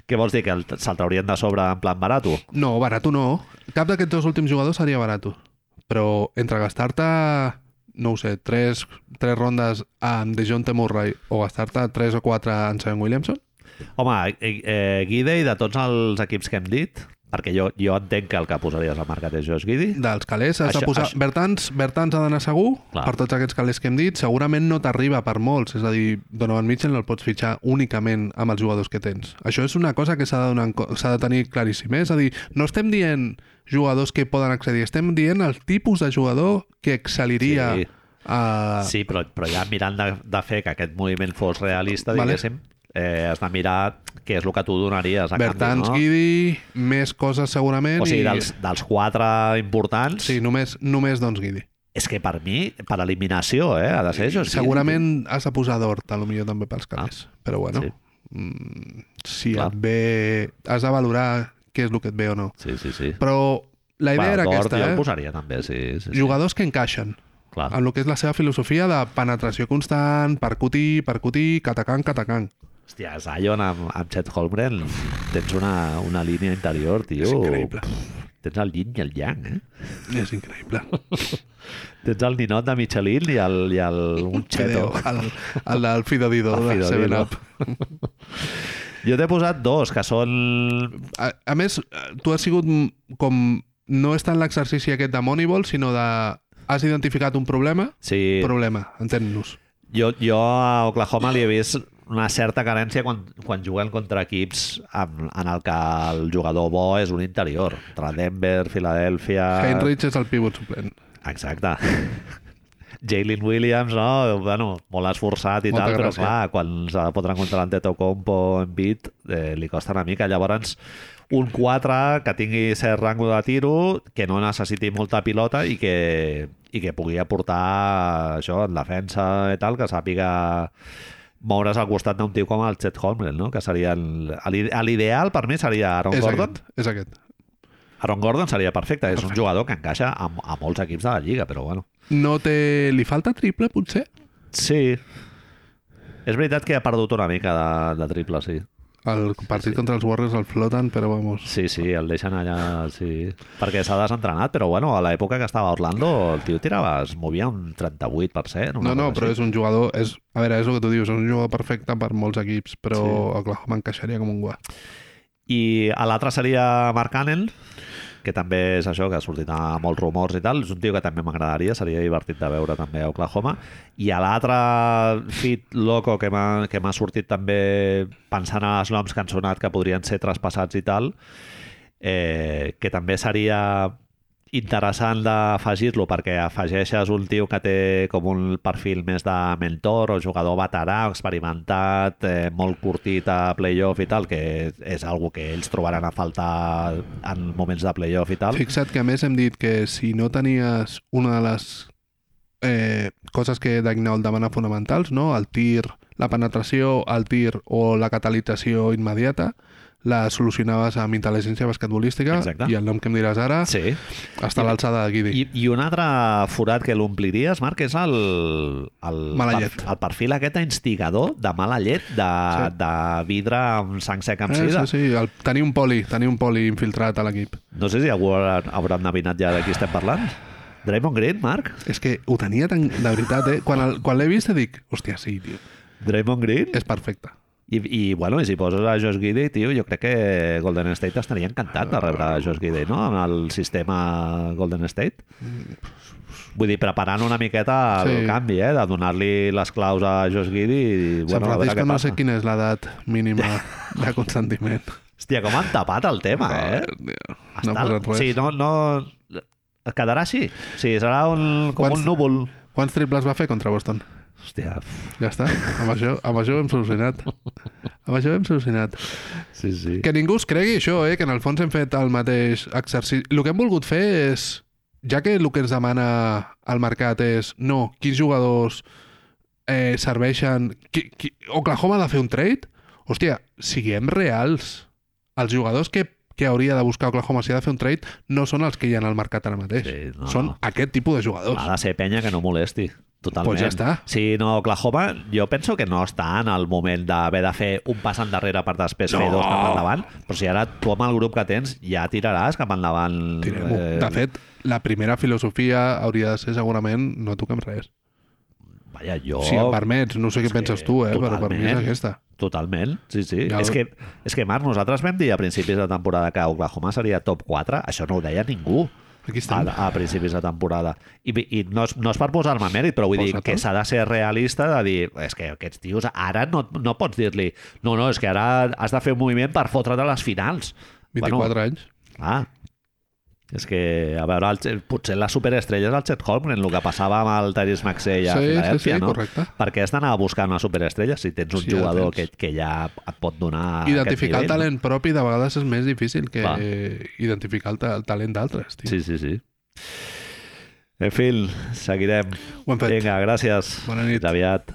A: Què vols dir, que el- se'l traurien de sobre en plan barato?
B: No, barato no. Cap d'aquests dos últims jugadors seria barato. Però entre gastar-te, no ho sé, tres, tres rondes amb DeJounte Murray o gastar-te tres o quatre en Sam Williamson,
A: Home, eh, eh, Guidey, de tots els equips que hem dit, perquè jo, jo entenc que el que posaries al mercat és Josh Guidi,
B: dels calés has
A: Això-
B: de posar...
A: això-
B: Bertans, Bertans ha d'anar segur
A: Clar.
B: per tots aquests calés que hem dit. Segurament no t'arriba per molts. És a dir, Donovan Mitchell no el pots fitxar únicament amb els jugadors que tens. Això és una cosa que s'ha de, donar en co- s'ha de tenir claríssim. eh? És a dir, no estem dient jugadors que poden accedir, estem dient el tipus de jugador que excel·liria
A: Sí.
B: a...
A: Sí, però, però ja mirant de, de fer que aquest moviment fos realista,
B: Vale.
A: diguéssim, eh, has de mirar què és el que tu donaries a canvi,
B: Bertans,
A: no?
B: Guidi, més coses segurament.
A: O sigui,
B: i-
A: dels, dels quatre importants,
B: Sí, només, només doncs Guidi.
A: és que per mi, per eliminació, eh, ha de ser Josh Giddey.
B: Segurament has de posar d'hort, a lo millor també pels calés. Però bueno,
A: Ah, sí.
B: sí. mm, si
A: Clar.
B: et ve... Has de valorar què és el que et ve o no.
A: Sí, sí, sí.
B: Però la idea
A: Bueno,
B: era
A: Dort
B: aquesta,
A: Jo el
B: eh?
A: posaria també, sí. Ah. sí, sí.
B: Jugadors que encaixen.
A: Clar.
B: Amb el que és la seva filosofia de penetració constant, percutir, percutir, catacan, catacan.
A: Hòstia, Zion amb, amb Chet Holmgren tens una, una línia interior, tio.
B: És increïble.
A: Tens el yin i el yang, eh?
B: És
A: [LAUGHS]
B: increïble.
A: Tens el ninot de Michelin i el, i el
B: [LAUGHS]
A: un cheto.
B: Déu, El, el del Fido Dido
A: El
B: de
A: Fido
B: 7
A: Dido.
B: Up.
A: Jo t'he posat dos, que són...
B: A, a més, eh, tu has sigut m- com... No és tant l'exercici aquest de Moneyball, sinó de... Has identificat un problema?
A: Sí,
B: Problema, entén-nos.
A: Jo, jo a Oklahoma li he vist una certa carència quan, quan juguen contra equips en, en el que el jugador bo és un interior. Tra Denver, Filadèlfia...
B: Uh... Heinrich és el pivot suplent.
A: Exacte. [LAUGHS] Jalen Williams, no? Bueno, molt esforçat i
B: Molta
A: tal,
B: gràcia.
A: però clar, quan s'ha de fotre contra l'Antetokounmpo en bit, eh, li costa una mica. Llavors, un 4 que tingui cert rango de tiro, que no necessiti molta pilota i que, i que pugui aportar això en defensa i tal, que sàpiga moure's al costat d'un tio com el Chet Holmgren, no? que seria el- el- l'ideal per mi seria Aaron
B: és
A: Gordon.
B: aquest, és aquest.
A: Aaron Gordon seria perfecte, és un jugador que encaixa a, a molts equips de la Lliga, però bueno.
B: No té... Li falta triple, potser?
A: Sí. És veritat que ha perdut una mica de, de triple, sí.
B: El partit sí. contra els Warriors el floten, però vamos...
A: Sí, sí, el deixen allà, sí. Perquè s'ha desentrenat, però bueno, a l'època que estava a Orlando, el tio tirava, es movia un 38%. una
B: No, no,
A: cosa
B: però
A: així.
B: és un jugador... És, a veure, és el que tu dius, és un jugador perfecte per molts equips, però
A: Sí.
B: sí. Oklahoma encaixaria com un guà.
A: I a l'altre seria Mark Cannon, que també és això, que ha sortit a molts rumors i tal. És un tio que també m'agradaria, seria divertit de veure també a Oklahoma. I a l'altre fit loco que m'ha que m'ha sortit també pensant en els noms que han sonat que podrien ser traspassats i tal, eh, que també seria interessant d'afegir-lo perquè afegeixes un tio que té com un perfil més de mentor o jugador veterà, experimentat, eh, molt curtit a playoff i tal, que és algo que ells trobaran a faltar en moments de playoff i tal.
B: Fixa't que a més hem dit que si no tenies una de les eh, coses que Dagnall demana fonamentals, no? el tir, la penetració, el tir o la catalització immediata, la solucionaves amb intel·ligència basquetbolística
A: Exacte.
B: i el nom que em diràs ara sí.
A: Sí.
B: està a l'alçada de Guidi.
A: I, I un altre forat que l'ompliries, Marc, és el, el,
B: Mala llet.
A: el perfil aquest instigador de mala llet, de, sí.
B: Sí.
A: de vidre amb sang seca amb
B: Eh,
A: sida.
B: sí, sí, el, tenir un poli, tenir un poli infiltrat a l'equip.
A: No sé si algú haurà, haurà endevinat ja de qui estem parlant. Draymond Green, Marc?
B: És que ho tenia tan... De veritat, eh? Quan, el, quan l'he vist et dic, hòstia, sí, tio,
A: Draymond Green?
B: és perfecte.
A: I, i bueno, i si poses a Josh Gidey, tio, jo crec que Golden State estaria encantat de rebre a Josh Gidey, no?, amb el sistema Golden State. Vull dir, preparant una miqueta el
B: Sí.
A: sí. canvi, eh?, de donar-li les claus a Josh Gidey i,
B: San
A: bueno, a veure
B: Francisco
A: què
B: no
A: passa.
B: sé quina és l'edat mínima de consentiment.
A: Hòstia, com han tapat el tema, eh?
B: No ha posat res.
A: Sí, no, no... Es quedarà així. Sí, serà un, com
B: Quants-
A: un núvol.
B: Quants triples va fer contra Boston?
A: Hòstia, pf,
B: Ja està, amb això, amb això ho hem solucionat. Amb això ho hem solucionat.
A: sí, sí.
B: Que ningú es cregui això, eh? que en el fons hem fet el mateix exercici. El que hem volgut fer és, ja que el que ens demana el mercat és no, quins jugadors eh, serveixen... Qui, qui, Oklahoma ha de fer un trade? Hòstia, siguem reals. Els jugadors que, que hauria de buscar Oklahoma si ha de fer un trade no són els que hi ha al mercat ara mateix.
A: Sí, no,
B: Són
A: no.
B: aquest tipus de jugadors.
A: Ha de ser penya que no molesti. Totalment.
B: Pues ja està.
A: Sí, no, Oklahoma, jo penso que no està en el moment d'haver de fer un pas endarrere per després fer
B: No.
A: dos cap endavant, però si ara tu amb el grup que tens ja tiraràs cap endavant.
B: Tirem-ho.
A: eh,
B: De fet, la primera filosofia hauria de ser segurament no toquem res.
A: Vaja, jo...
B: Oh, si em permets, no sé què
A: és
B: penses
A: que
B: tu, eh, però per mi és
A: totalment.
B: aquesta.
A: Totalment, sí, sí.
B: Ja
A: Ja
B: ho-
A: és, que, és que, Marc, nosaltres vam dir a principis de temporada que Oklahoma seria top 4, això no ho deia ningú
B: Aquí estem.
A: a, a principis de temporada. I, i no, és, no és per posar-me mèrit, però vull dir que
B: Posa-te'l.
A: s'ha de ser realista de dir, és que aquests tios ara no, no pots dir-li, no, no, és que ara has de fer un moviment per fotre't a les finals.
B: 24 anys.
A: Ah, és que, a veure, el, Chet- potser la superestrella és el Chet Holmgren, el que passava amb el Tyrese Maxey a
B: Sí, sí,
A: Filadèlfia,
B: sí,
A: no?
B: correcte.
A: Per què has d'anar a buscar una superestrella si tens un
B: Sí,
A: sí,
B: ja
A: jugador
B: tens.
A: que, que ja et pot donar
B: Identificar el
A: aquest nivell?
B: talent propi de vegades és més difícil que
A: Va.
B: eh, identificar el, ta el talent d'altres. tio.
A: Sí, sí, sí. En fi, seguirem.
B: Ho hem fet.
A: Vinga, gràcies.
B: Bona nit.
A: Fins aviat.